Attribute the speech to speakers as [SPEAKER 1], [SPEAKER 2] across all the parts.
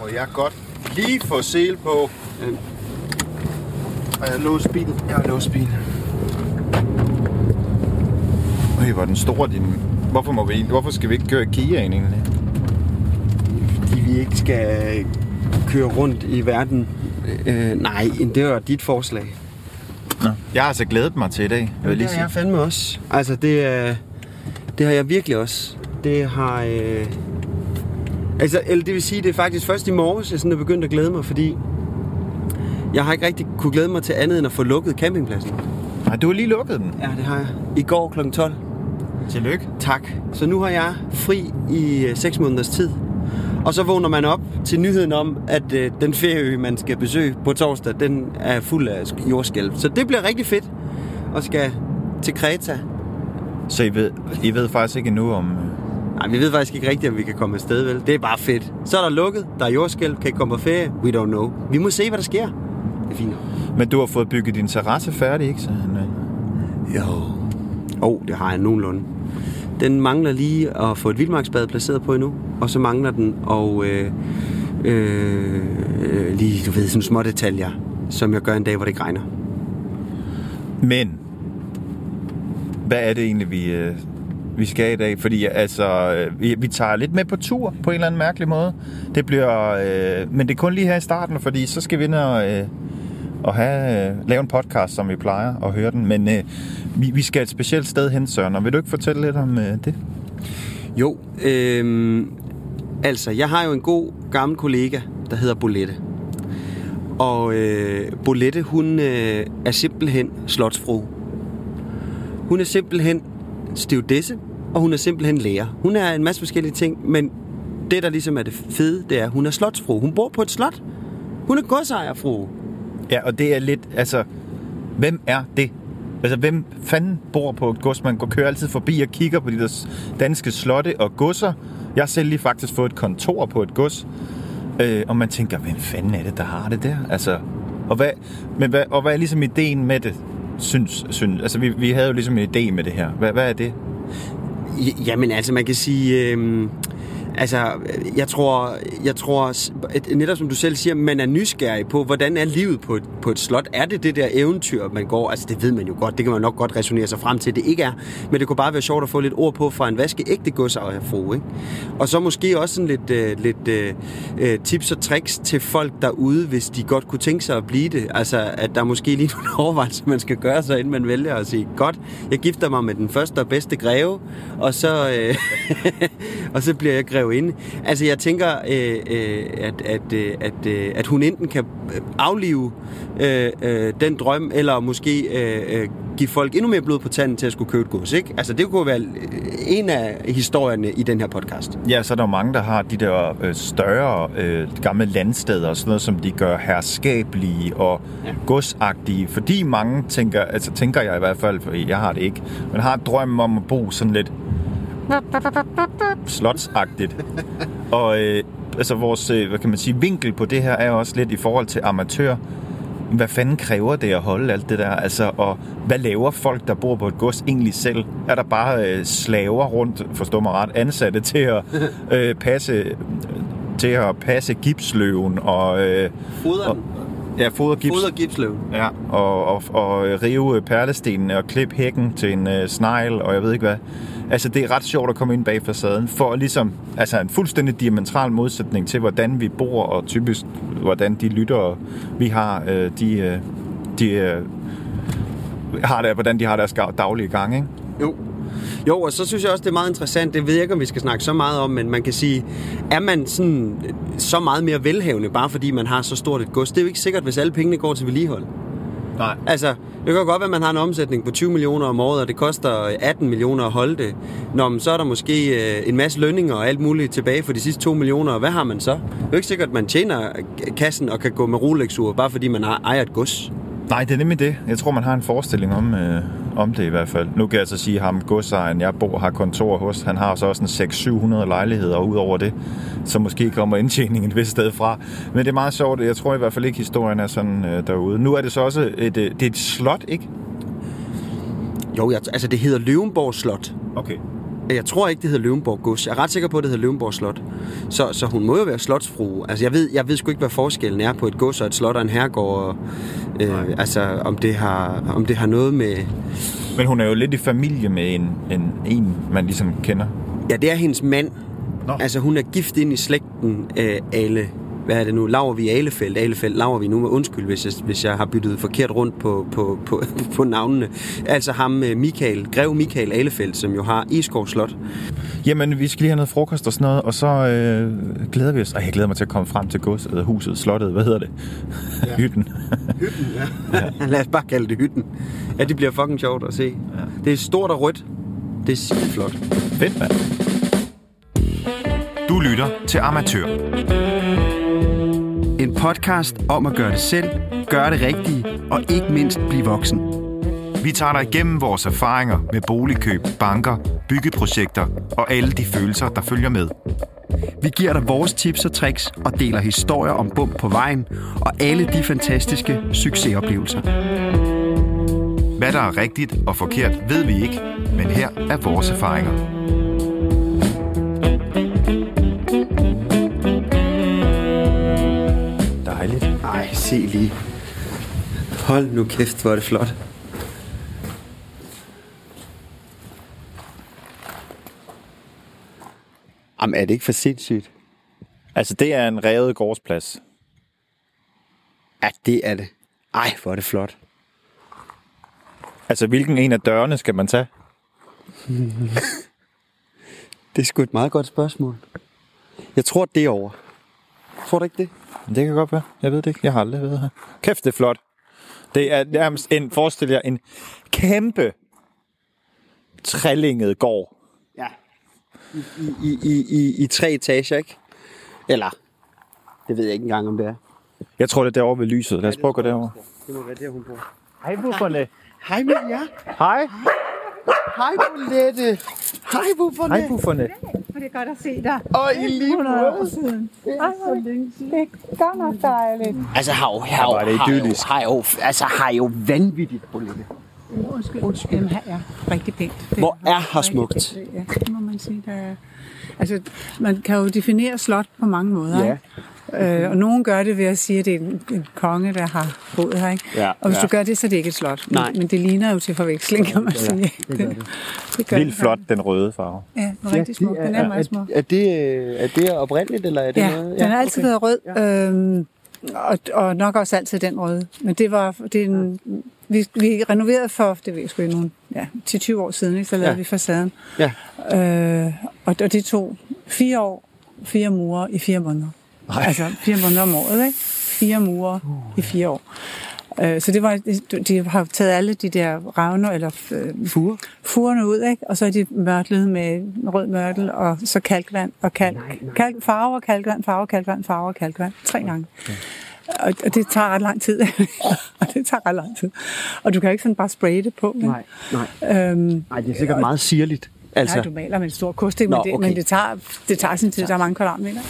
[SPEAKER 1] må jeg godt lige få sel på. Øhm, Og jeg låser bilen. Jeg har låst bilen.
[SPEAKER 2] Øj, hvor er den store din... Hvorfor, må vi, egentlig- hvorfor skal vi ikke køre i Kiaen egentlig?
[SPEAKER 3] fordi vi ikke skal køre rundt i verden. Øh, nej, det var dit forslag.
[SPEAKER 2] Nå. Jeg har altså glædet mig til i dag, vil jeg lige
[SPEAKER 3] det har
[SPEAKER 2] sige.
[SPEAKER 3] jeg fandme også. Altså, det, er- det har jeg virkelig også. Det har... Øh... Altså, eller det vil sige, det er faktisk først i morges, jeg sådan er begyndt at glæde mig, fordi jeg har ikke rigtig kunne glæde mig til andet end at få lukket campingpladsen.
[SPEAKER 2] Nej, du har lige lukket den.
[SPEAKER 3] Ja, det har jeg. I går kl. 12.
[SPEAKER 2] Tillykke.
[SPEAKER 3] Tak. Så nu har jeg fri i 6 måneders tid. Og så vågner man op til nyheden om, at øh, den ferieø, man skal besøge på torsdag, den er fuld af sk- jordskælv. Så det bliver rigtig fedt. Og skal til Kreta.
[SPEAKER 2] Så I ved, I ved faktisk ikke endnu om... øh,
[SPEAKER 3] Nej, vi ved faktisk ikke rigtigt, om vi kan komme afsted, vel? Det er bare fedt. Så er der lukket, der er jordskælv, kan ikke komme på ferie. We don't know. Vi må se, hvad der sker. Det er fint.
[SPEAKER 2] Men du har fået bygget din terrasse færdig, ikke? Så han, øh,
[SPEAKER 3] Jo. Åh, oh, det har jeg nogenlunde. Den mangler lige at få et vildmarksbad placeret på endnu, og så mangler den og øh, øh, øh, lige, du ved, sådan små detaljer, som jeg gør en dag, hvor det ikke regner.
[SPEAKER 2] Men, hvad er det egentlig, vi, øh, vi skal i dag? Fordi altså, øh, vi, vi tager lidt med på tur på en eller anden mærkelig måde. Det bliver, øh, men det er kun lige her i starten, fordi så skal vi ind og, øh, og have, øh, lave en podcast, som vi plejer at høre den. Men øh, vi, vi skal et specielt sted hen, Søren, og vil du ikke fortælle lidt om øh, det?
[SPEAKER 3] Jo, øhm, altså, jeg har jo en god gammel kollega, der hedder Bolette. Og øh, Bolette, hun øh, er simpelthen slotsfru. Hun er simpelthen stivdisse, og hun er simpelthen lærer. Hun er en masse forskellige ting, men det, der ligesom er det fede, det er, at hun er slotsfru. Hun bor på et slot. Hun er godsejerfru.
[SPEAKER 2] Ja, og det er lidt, altså, hvem er det? Altså, hvem fanden bor på et gods? Man går kører altid forbi og kigger på de der s- danske slotte og godser. Jeg har selv lige faktisk fået et kontor på et gods. Øh, og man tænker, hvem fanden er det, der har det der? Altså, og hvad, men hvad, og hvad er ligesom ideen med det? Synes, synes, altså, vi, vi havde jo ligesom en idé med det her. Hvad, hvad er det?
[SPEAKER 3] Ja- Jamen altså, man kan sige... Øhm, altså, øh, jeg tror, jeg tror s- at netop som du selv siger, man er nysgerrig på, hvordan er livet på et, på et slot? Er det det der eventyr, man går? Altså, det ved man jo godt. Det kan man nok godt resonere sig frem til, det ikke er. Men det kunne bare være sjovt at få lidt ord på fra en vaskeægte godsejerfru, ikke? Og så måske også sådan lidt, øh, lidt øh, øh, tips og tricks til folk derude, hvis de godt kunne tænke sig at blive det. Altså, at der er måske lige nogle overvejelser, man skal gøre sig, inden man vælger at sige, godt, jeg gifter mig med den første og bedste greve, og så, øh, og så bliver jeg grevinde. Altså, jeg tænker, øh, øh, at, at, øh, at, øh, at hun enten kan øh, aflive øh, øh, den drøm, eller måske øh, øh, give folk endnu mere blod på tanden til at skulle købe et gods, ikke? Altså, det kunne være øh, en af historierne i den her podcast.
[SPEAKER 2] Ja, så er der jo mange, der har de der øh, større øh, gamle landsteder og sådan noget, som de gør herskabelige og ja. godsagtige. Fordi mange tænker, altså tænker jeg i hvert fald, for jeg har det ikke, men har drømmen om at bo sådan lidt slotsagtigt. og øh, altså vores, øh, hvad kan man sige, vinkel på det her er også lidt i forhold til amatør. Hvad fanden kræver det at holde alt det der? Altså, og hvad laver folk, der bor på et gods egentlig selv? Er der bare øh, slaver rundt, forstår mig ret, ansatte til at øh, passe til at passe gipsløven og, øh,
[SPEAKER 3] Foderen.
[SPEAKER 2] ja, foder gips,
[SPEAKER 3] Foder gipsløv.
[SPEAKER 2] Ja, og, og, og øh, rive øh, perlestenen og klippe hækken til en øh, snegl, og jeg ved ikke hvad. Altså, det er ret sjovt at komme ind bag facaden, for ligesom, altså en fuldstændig diametral modsætning til, hvordan vi bor, og typisk, hvordan de lyttere, vi har, øh, de, øh, de øh, har der, hvordan de har deres gav- daglige gang, ikke?
[SPEAKER 3] Jo. Jo, og så synes jeg også, det er meget interessant. Det ved jeg ikke, om vi skal snakke så meget om, men man kan sige, er man sådan, øh, så meget mere velhavende, bare fordi man har så stort et gods? Det er jo ikke sikkert, hvis alle pengene går til vedligehold.
[SPEAKER 2] Nej.
[SPEAKER 3] Altså, det kan godt være, at man har en omsætning på 20 millioner om året, og det koster 18 millioner at holde det. Nå, men så er der måske øh, en masse lønninger og alt muligt tilbage for de sidste 2 millioner, og hvad har man så? Det er jo ikke sikkert, at man tjener øh, kassen og kan gå med rolex bare fordi man har- ejer et gods.
[SPEAKER 2] Nej, det er nemlig det. Jeg tror, man har en forestilling om, øh, om det i hvert fald. Nu kan jeg så sige ham, godsejeren, jeg bor, har kontor hos, han har så også en 600-700 lejligheder ud over det, så måske kommer indtjeningen et vist sted fra. Men det er meget sjovt, jeg tror i hvert fald ikke, historien er sådan øh, derude. Nu er det så også et, øh, det er et slot, ikke?
[SPEAKER 3] Jo, jeg, altså det hedder Løvenborg Slot.
[SPEAKER 2] Okay.
[SPEAKER 3] Jeg tror ikke, det hedder Løvenborg Gods. Jeg er ret sikker på, at det hedder Løvenborg Slot. Så, så hun må jo være slotsfrue. Altså, jeg ved, jeg ved sgu ikke, hvad forskellen er på et gods og et slot og en herregård. Og, øh, altså, om det, har, om det har noget med...
[SPEAKER 2] Men hun er jo lidt i familie med en, en, en man ligesom kender.
[SPEAKER 3] Ja, det er hendes mand.
[SPEAKER 2] Nå.
[SPEAKER 3] Nå. Altså, hun er gift ind i slægten øh, Ale. Hvad er det nu? Lavervi Alefeldt. Alefeldt Lavervi. Nu må undskyld, hvis jeg, hvis jeg har byttet forkert rundt på, på, på, på navnene. Altså ham, øh, Michael, Grev Michael Alefeldt, som jo har Eskov Slot.
[SPEAKER 2] Jamen, vi skal lige have noget frokost og sådan noget, og så øh, glæder vi os. Ej, jeg glæder mig til at komme frem til godset, huset, slottet, hvad hedder det? Ja. Hytten.
[SPEAKER 4] Hytten, ja.
[SPEAKER 3] Ja. Lad os bare kalde det hytten. Ja, det bliver fucking sjovt at se. Ja. Det er stort og rødt. Det er sindssygt flot.
[SPEAKER 2] Fedt, mand. Du lytter til Amatør.
[SPEAKER 5] En podcast om at gøre det selv, gøre det rigtige og ikke mindst blive voksen.
[SPEAKER 2] Vi tager dig igennem vores erfaringer med boligkøb, banker, byggeprojekter og alle de følelser, der følger med.
[SPEAKER 5] Vi giver dig vores tips og tricks og deler historier om bump på vejen og alle de fantastiske succesoplevelser.
[SPEAKER 2] Hvad der er rigtigt og forkert, ved vi ikke, men her er vores erfaringer. Dejligt.
[SPEAKER 3] Ej, se lige. Hold nu kæft, hvor er det flot. Jamen, er det ikke for sindssygt?
[SPEAKER 2] Altså, det er en revet gårdsplads.
[SPEAKER 3] Ja, det er det. Ej, hvor er det flot.
[SPEAKER 2] Altså, hvilken en af dørene skal man tage?
[SPEAKER 3] Det er sgu et meget godt spørgsmål. Jeg tror, det er over. Tror du ikke det?
[SPEAKER 2] Det kan godt være. Jeg ved det ikke. Jeg har aldrig været her. Kæft, det er flot. Det er nærmest en, forestil jer, en kæmpe trælinget gård.
[SPEAKER 3] Ja. I, i, i, i, i tre etager, ikke? Eller, det ved jeg ikke engang, om det er.
[SPEAKER 2] Jeg tror, det er derovre ved lyset. Lad os prøve at gå derover.
[SPEAKER 3] Det må være der, hun bor.
[SPEAKER 2] Hej, Bufferne.
[SPEAKER 3] Hej med jer.
[SPEAKER 2] Hej.
[SPEAKER 3] Hej, Bolette. Hej, bufferne.
[SPEAKER 2] Hej, Bufferne.
[SPEAKER 6] Og det er godt at se dig.
[SPEAKER 3] Og I lige måde.
[SPEAKER 6] 100 år siden. Ej, hvor det er godt nok dejligt.
[SPEAKER 3] Altså, har jo, har
[SPEAKER 2] var det
[SPEAKER 3] jo, har jo,
[SPEAKER 2] idyllisk.
[SPEAKER 3] har jo, altså, har jo vanvittigt, Bolette.
[SPEAKER 6] Undskyld. Undskyld. Jamen, her er rigtig pænt. Det
[SPEAKER 3] Hvor er her
[SPEAKER 6] rigtig
[SPEAKER 3] smukt.
[SPEAKER 6] pænt. Ja, det må man sige, der er... Altså, man kan jo definere slot på mange måder.
[SPEAKER 3] Ja.
[SPEAKER 6] ikke? Øh, og nogen gør det ved at sige, at det er en, en konge, der har boet her. Ikke?
[SPEAKER 3] Ja,
[SPEAKER 6] og hvis
[SPEAKER 3] ja.
[SPEAKER 6] du gør det, så er det ikke et slot.
[SPEAKER 3] Nej.
[SPEAKER 6] Men, men det ligner jo til forveksling, kan man sige. det gør det. det gør
[SPEAKER 2] Vildt flot, den røde farve.
[SPEAKER 6] Ja, den er rigtig smuk. Den er meget smuk.
[SPEAKER 3] Er, er, det, øh, er det oprindeligt, eller er det
[SPEAKER 6] Ja,
[SPEAKER 3] noget?
[SPEAKER 6] den har altid været rød, øhm, og, og nok også altid den røde. Men det var, det er en, vi, vi renoverede for, det ved jeg sgu ikke, nogen, ja, 10-20 år siden, ikke, så lavede
[SPEAKER 3] Ja.
[SPEAKER 6] ja. vi facaden.
[SPEAKER 3] Ja.
[SPEAKER 6] Øh, og, og det tog fire år, fire murer i fire måneder. Ej. Altså fire måneder om året, ikke? Fire murer uh. i fire år. Øh, Så det var, de har taget alle de der ravner, eller øh,
[SPEAKER 3] Fure.
[SPEAKER 6] furerne ud, ikke? og så er de mørtlet med rød mørtel, og så kalkvand og kalk. kalk farve og kalkvand, farve og kalkvand, farve og kalkvand. Tre gange. Og, og det tager ret lang tid. og det tager ret lang tid. Og du kan jo ikke sådan bare spraye det på. Men,
[SPEAKER 3] Nej, nej.
[SPEAKER 6] øhm,
[SPEAKER 3] Nej, det er sikkert meget sirligt. Altså,
[SPEAKER 6] altså. Nej, du maler med en stor kost, ikke?
[SPEAKER 3] Nå,
[SPEAKER 6] men, det,
[SPEAKER 3] okay.
[SPEAKER 6] men det, tager, det tager sin tid. Der er mange kvadratmeter.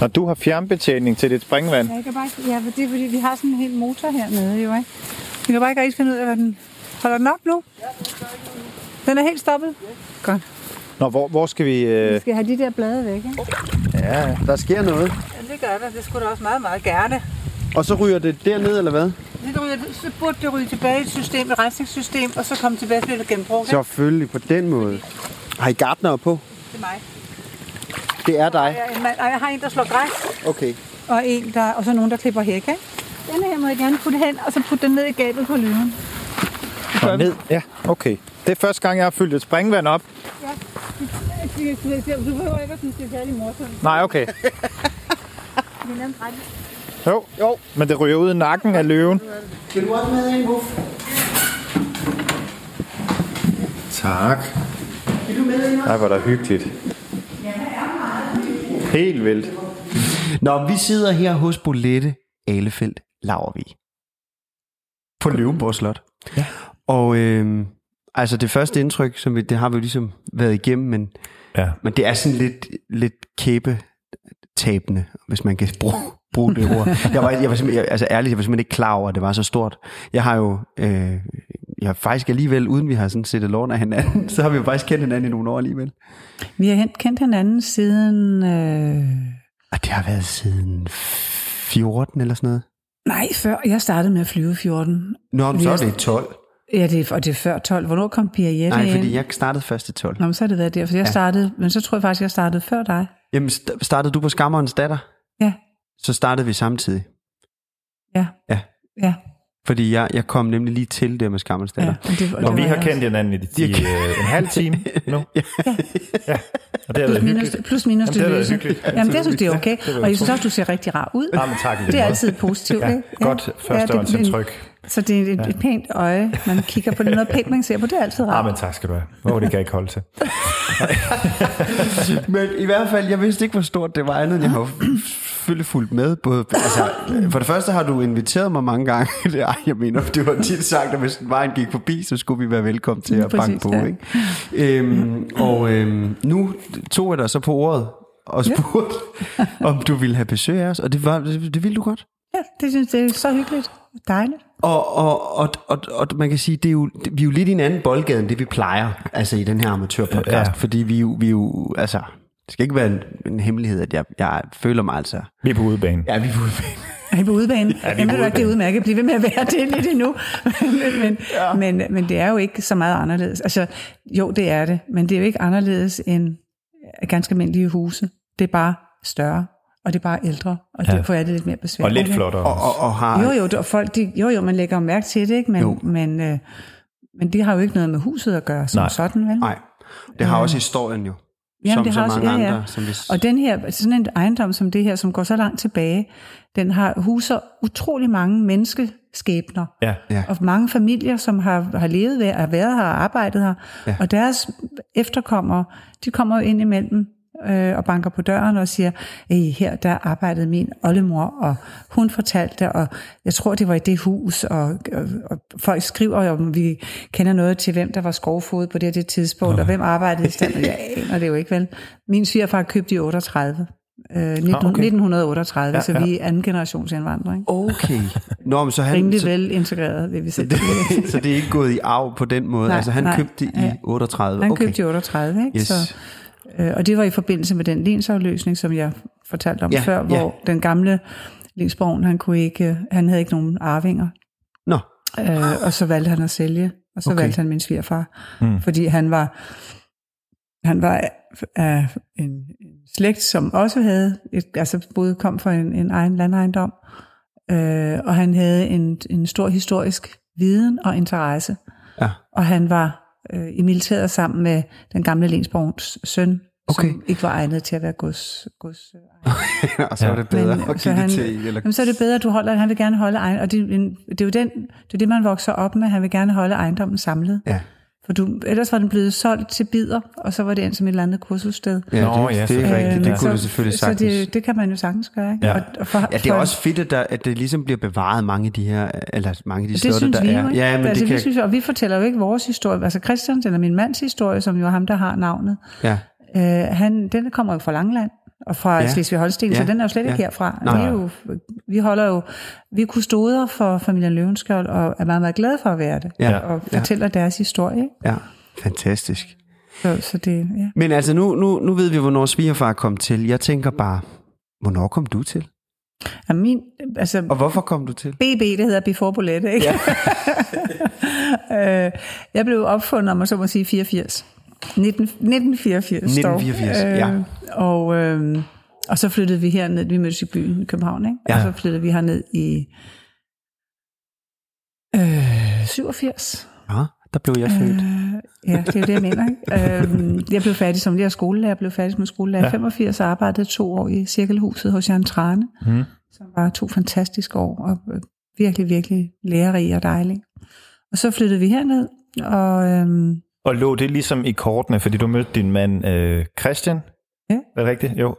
[SPEAKER 2] Og du har fjernbetjening til dit springvand.
[SPEAKER 6] Jeg kan bare ikke, ja, for det er fordi, vi har sådan en hel motor hernede, jo, ikke? Vi kan bare ikke rigtig finde ud af, hvad den... Holder den op nu? Den er helt stoppet? Godt.
[SPEAKER 2] Nå, hvor, hvor skal vi...
[SPEAKER 6] Vi
[SPEAKER 2] Øh...
[SPEAKER 6] skal have de der blade væk, ikke?
[SPEAKER 2] Ja,
[SPEAKER 3] der sker noget.
[SPEAKER 6] Ja, det gør der. Det skulle da også meget, meget gerne.
[SPEAKER 3] Og så ryger det derned, eller hvad?
[SPEAKER 6] Det ryger, så burde det ryge tilbage i et system, et rensningssystem, og så komme tilbage til det genbrug. Så.
[SPEAKER 3] Selvfølgelig, på den måde. Har I gardner på?
[SPEAKER 6] Det er mig.
[SPEAKER 3] Det er dig.
[SPEAKER 6] Jeg, er en mand, og jeg har en, der slår græs,
[SPEAKER 3] Okay.
[SPEAKER 6] og, en, der, og så nogen, der klipper hæk. Ikke? Den her må jeg gerne putte hen, og så putte den ned i gabet på løven.
[SPEAKER 2] og ned. Ja, okay. Det er første gang, jeg har fyldt et springvand op.
[SPEAKER 6] Ja. Du behøver ikke at synes, det er særlig morsomt.
[SPEAKER 2] Nej, okay.
[SPEAKER 6] Det er nemt ret.
[SPEAKER 2] Jo. jo. Men det ryger ud i nakken af løven.
[SPEAKER 3] Vil du også med en buff?
[SPEAKER 2] Tak. Nej, hvor er der hyggeligt. Helt vildt.
[SPEAKER 5] Nå, vi sidder her hos Bolette Alefeldt Lavervig. På Løvenborg Slot.
[SPEAKER 2] Ja.
[SPEAKER 5] Og øh, altså det første indtryk, som vi, det har vi jo ligesom været igennem, men,
[SPEAKER 2] Ja.
[SPEAKER 5] men det er sådan lidt, lidt kæbe tabende, hvis man kan bruge, bruge det ord. Jeg var, jeg var simpelthen, jeg, altså ærligt, jeg var simpelthen ikke klar over, at det var så stort. Jeg har jo, øh,
[SPEAKER 3] ja, faktisk alligevel, uden vi har sådan set lort af hinanden, så har vi jo faktisk kendt hinanden i nogle år alligevel.
[SPEAKER 6] Vi har hen- kendt hinanden siden... Øh...
[SPEAKER 3] Og det har været siden 14 eller sådan noget.
[SPEAKER 6] Nej, før jeg startede med at flyve i 14.
[SPEAKER 3] Nå, men
[SPEAKER 6] Vi
[SPEAKER 3] så
[SPEAKER 6] har-
[SPEAKER 3] er det 12.
[SPEAKER 6] Ja, det er, og det er før 12. Hvornår kom Birgitte
[SPEAKER 3] Nej,
[SPEAKER 6] ind?
[SPEAKER 3] fordi jeg startede først i 12.
[SPEAKER 6] Nå, men så har det været der, for jeg ja. startede... Men så tror jeg faktisk, jeg startede før dig.
[SPEAKER 3] Jamen, st- startede du på Skammerens datter?
[SPEAKER 6] Ja,
[SPEAKER 3] Så startede vi samtidig.
[SPEAKER 6] ja,
[SPEAKER 3] Ja,
[SPEAKER 6] ja.
[SPEAKER 3] fordi jeg, jeg kom nemlig lige til det med Skammerens
[SPEAKER 6] ja.
[SPEAKER 3] datter.
[SPEAKER 6] Og det, og det
[SPEAKER 2] Og vi
[SPEAKER 6] var
[SPEAKER 2] har
[SPEAKER 6] jeg
[SPEAKER 2] kendt hinanden i de, de, øh, en halv time nu. ja. ja. Og det har
[SPEAKER 6] Plus
[SPEAKER 2] været
[SPEAKER 6] minus,
[SPEAKER 2] hyggeligt.
[SPEAKER 6] plus minus
[SPEAKER 2] Jamen, det har
[SPEAKER 6] det
[SPEAKER 2] været
[SPEAKER 6] løse.
[SPEAKER 2] hyggeligt.
[SPEAKER 6] Jamen, det synes jeg er
[SPEAKER 2] Ja,
[SPEAKER 6] okay.
[SPEAKER 2] det har været
[SPEAKER 6] Og jeg synes også, du ser rigtig rar ud.
[SPEAKER 2] Jamen, tak, i lige
[SPEAKER 6] Det er
[SPEAKER 2] måde.
[SPEAKER 6] altid positivt,
[SPEAKER 2] Ja,
[SPEAKER 6] ikke?
[SPEAKER 2] godt førstehåndsindtryk.
[SPEAKER 6] men- Så det er et, et pænt øje, man kigger på. Det er noget pænt, man ser på. Det er altid
[SPEAKER 2] Ah,
[SPEAKER 6] rart.
[SPEAKER 2] men tak skal du have. Åh, det kan jeg ikke holde til.
[SPEAKER 3] Men i hvert fald, jeg vidste ikke, hvor stort det var andet, end jeg har selvfølgelig fulgt med. Både, altså, for det første har du inviteret mig mange gange. Det, ej, jeg mener, det var tit sagt, at hvis vejen gik forbi, så skulle vi være velkommen til at
[SPEAKER 6] Præcis,
[SPEAKER 3] banke på.
[SPEAKER 6] ja.
[SPEAKER 3] Ikke? Øhm, og øhm, nu tog jeg dig så på ordet og spurgte, om du ville have besøg af os, og det, var, det, det ville du godt.
[SPEAKER 6] Ja, det synes jeg er så hyggeligt. Dejligt.
[SPEAKER 3] Og, og, og, og, og man kan sige, det er jo, det- vi er jo lidt i en anden boldgade, end det vi plejer, altså i den her amatørpodcast,
[SPEAKER 2] Ja.
[SPEAKER 3] ja. fordi vi, jo- vi jo, altså, det skal ikke være en, en hemmelighed, at jeg, jeg føler mig altså,
[SPEAKER 2] Vi er på udebane.
[SPEAKER 3] ja, vi burde
[SPEAKER 6] Er I på udebane? Ja,
[SPEAKER 2] er
[SPEAKER 6] Jamen,
[SPEAKER 2] på
[SPEAKER 6] ved du ikke, det er
[SPEAKER 2] udebane.
[SPEAKER 6] udmærket at blive ved med at være det lidt endnu. men, men, ja. men, men det er jo ikke så meget anderledes. Altså, jo, det er det, men det er jo ikke anderledes end øh, ganske almindelige huse. Det er bare større, og det er bare ældre, og derfor er det lidt mere besværligt.
[SPEAKER 2] Og lidt
[SPEAKER 6] ikke?
[SPEAKER 2] flottere.
[SPEAKER 3] og, og, og har,
[SPEAKER 6] Jo, jo, det- og folk, de, jo, jo, man lægger jo mærke til det, ikke? Men,
[SPEAKER 3] Jo.
[SPEAKER 6] men, øh, men det har jo ikke noget med huset at gøre som
[SPEAKER 2] Nej.
[SPEAKER 6] Nej. sådan, vel?
[SPEAKER 3] nej, det har også historien jo,
[SPEAKER 6] Jamen,
[SPEAKER 3] som
[SPEAKER 6] det
[SPEAKER 3] så
[SPEAKER 6] har også-
[SPEAKER 3] mange
[SPEAKER 6] ja, ja.
[SPEAKER 3] andre, som hvis,
[SPEAKER 6] Og den her, sådan en ejendom som det her, som går så langt tilbage, den har huser utrolig mange menneskeskæbner.
[SPEAKER 2] Ja.
[SPEAKER 3] Ja.
[SPEAKER 6] Og mange familier, som har, har levet ved, har været her og arbejdet her. Ja. Og deres efterkommere, de kommer jo ind imellem øh, og banker på døren og siger, "Ey, her der arbejdede min oldemor, og hun fortalte, og jeg tror, det var i det hus, og, og, og folk skriver jo, om vi kender noget til, hvem der var skovfod på det og det tidspunkt, og hvem arbejdede i stand, jeg aner det jo ikke vel. Min svigerfar købte i 38. Øh, 19,
[SPEAKER 2] Ah, okay.
[SPEAKER 6] 1938, ja, så vi er anden generations indvandring.
[SPEAKER 3] okay, Nå, men så han,
[SPEAKER 6] Rimelig
[SPEAKER 3] så,
[SPEAKER 6] vel integreret, vil vi sige.
[SPEAKER 3] så det er ikke gået i arv på den måde,
[SPEAKER 6] Nej,
[SPEAKER 3] altså han
[SPEAKER 6] nej,
[SPEAKER 3] købte det i
[SPEAKER 6] ja.
[SPEAKER 3] 38,
[SPEAKER 6] Han
[SPEAKER 3] okay,
[SPEAKER 6] købte i 38, ikke?
[SPEAKER 3] Yes.
[SPEAKER 6] Så, øh, og det var i forbindelse med den lensafløsning, som jeg fortalte om
[SPEAKER 3] Ja,
[SPEAKER 6] ja, før,
[SPEAKER 3] ja.
[SPEAKER 6] hvor den gamle lensborgen, han, kunne ikke, øh, han havde ikke nogen arvinger,
[SPEAKER 3] nå,
[SPEAKER 6] øh, og så valgte han at sælge, og så
[SPEAKER 3] Okay.
[SPEAKER 6] okay. valgte han min svigerfar, mm. fordi han var, han var af en, en slægt, som også havde, et, altså både kom fra en, en egen landejendom, øh, og han havde en, en stor historisk viden og interesse
[SPEAKER 3] ja,
[SPEAKER 6] og han var øh, i militæret sammen med den gamle lensborgens søn, okay.
[SPEAKER 3] Okay.
[SPEAKER 6] som ikke var egnet til at være gods. gods øh,
[SPEAKER 3] og så
[SPEAKER 2] Ja.
[SPEAKER 3] var det bedre
[SPEAKER 6] Men, øh,
[SPEAKER 3] at
[SPEAKER 6] så
[SPEAKER 3] give
[SPEAKER 6] han-
[SPEAKER 3] det til, eller
[SPEAKER 6] Jamen, så er det bedre, at du holder, at han vil gerne holde egen, og det, er en- det er jo den, det, er det, man vokser op med, han vil gerne holde ejendommen samlet.
[SPEAKER 3] Ja.
[SPEAKER 6] For du, ellers var den blevet solgt til bidder, og så var det endt som et eller andet kursussted. Øhm,
[SPEAKER 3] Ja,
[SPEAKER 2] Nå, ja,
[SPEAKER 3] det, det er
[SPEAKER 2] selvfølgelig.
[SPEAKER 3] rigtigt. Det
[SPEAKER 2] Ja.
[SPEAKER 3] kunne du selvfølgelig
[SPEAKER 6] Øh, så
[SPEAKER 3] sagtens.
[SPEAKER 6] det, det kan man jo sagtens gøre. Ikke?
[SPEAKER 2] Ja.
[SPEAKER 6] Og, og for,
[SPEAKER 3] Ja, det er også fedt, at, der, at det ligesom bliver bevaret mange af de her, eller mange af de
[SPEAKER 6] Det
[SPEAKER 3] slotte,
[SPEAKER 6] synes
[SPEAKER 3] der
[SPEAKER 6] vi
[SPEAKER 3] er.
[SPEAKER 6] jo, ikke?
[SPEAKER 3] Ja, men
[SPEAKER 6] altså,
[SPEAKER 3] det kan...
[SPEAKER 6] vi synes, jo- og vi fortæller jo ikke vores historie, altså Christians eller min mands historie, som jo er ham, der har navnet.
[SPEAKER 3] ja.
[SPEAKER 6] Øh, han, den kommer jo fra Langland og fra
[SPEAKER 3] Ja.
[SPEAKER 6] ja. Slesvig-Holsten, ja. så
[SPEAKER 3] Ja.
[SPEAKER 6] den er jo slet
[SPEAKER 3] Ja.
[SPEAKER 6] ikke ja. herfra.
[SPEAKER 3] Nej.
[SPEAKER 6] Vi, er jo, vi holder jo, vi er kustoder for familien Løvenskjold, og er meget, meget glade for at være det,
[SPEAKER 3] Ja.
[SPEAKER 6] og fortæller deres historie. ikke?
[SPEAKER 3] ja, fantastisk.
[SPEAKER 6] Så, så det, ja.
[SPEAKER 3] Men altså, nu, nu, nu ved vi, hvornår svigerfar kom til. Jeg tænker bare, hvornår kom du til?
[SPEAKER 6] Og min, altså,
[SPEAKER 3] Og hvorfor kom du til?
[SPEAKER 6] BB, det hedder Before Bullet, ikke? Ja. øh, jeg blev opfundet, om man så må sige, 84. 19, 1984. dog.
[SPEAKER 3] 1984, ja.
[SPEAKER 6] Øh, og, øh, og så flyttede vi herned, vi mødtes i byen i København, ikke? Ja. Og
[SPEAKER 3] Ja.
[SPEAKER 6] så flyttede vi herned i øh, 87.
[SPEAKER 3] Ja, Ah, der blev jeg født.
[SPEAKER 6] Øh, Ja, det er jo det, jeg mener. Ikke? Øhm, jeg blev færdig som lærer skolelærer, jeg blev færdig som skolelærer i ja. 85 og arbejdede to år i Cirkelhuset hos Jan Trane, mm.
[SPEAKER 2] Mhm.
[SPEAKER 6] som var to fantastiske år og øh, virkelig, virkelig lærerige og dejlige. Og så flyttede vi herned, og øhm,
[SPEAKER 2] Og lå det ligesom i kortene, fordi du mødte din mand øh, Christian?
[SPEAKER 6] Ja.
[SPEAKER 2] Er det rigtigt? Jo.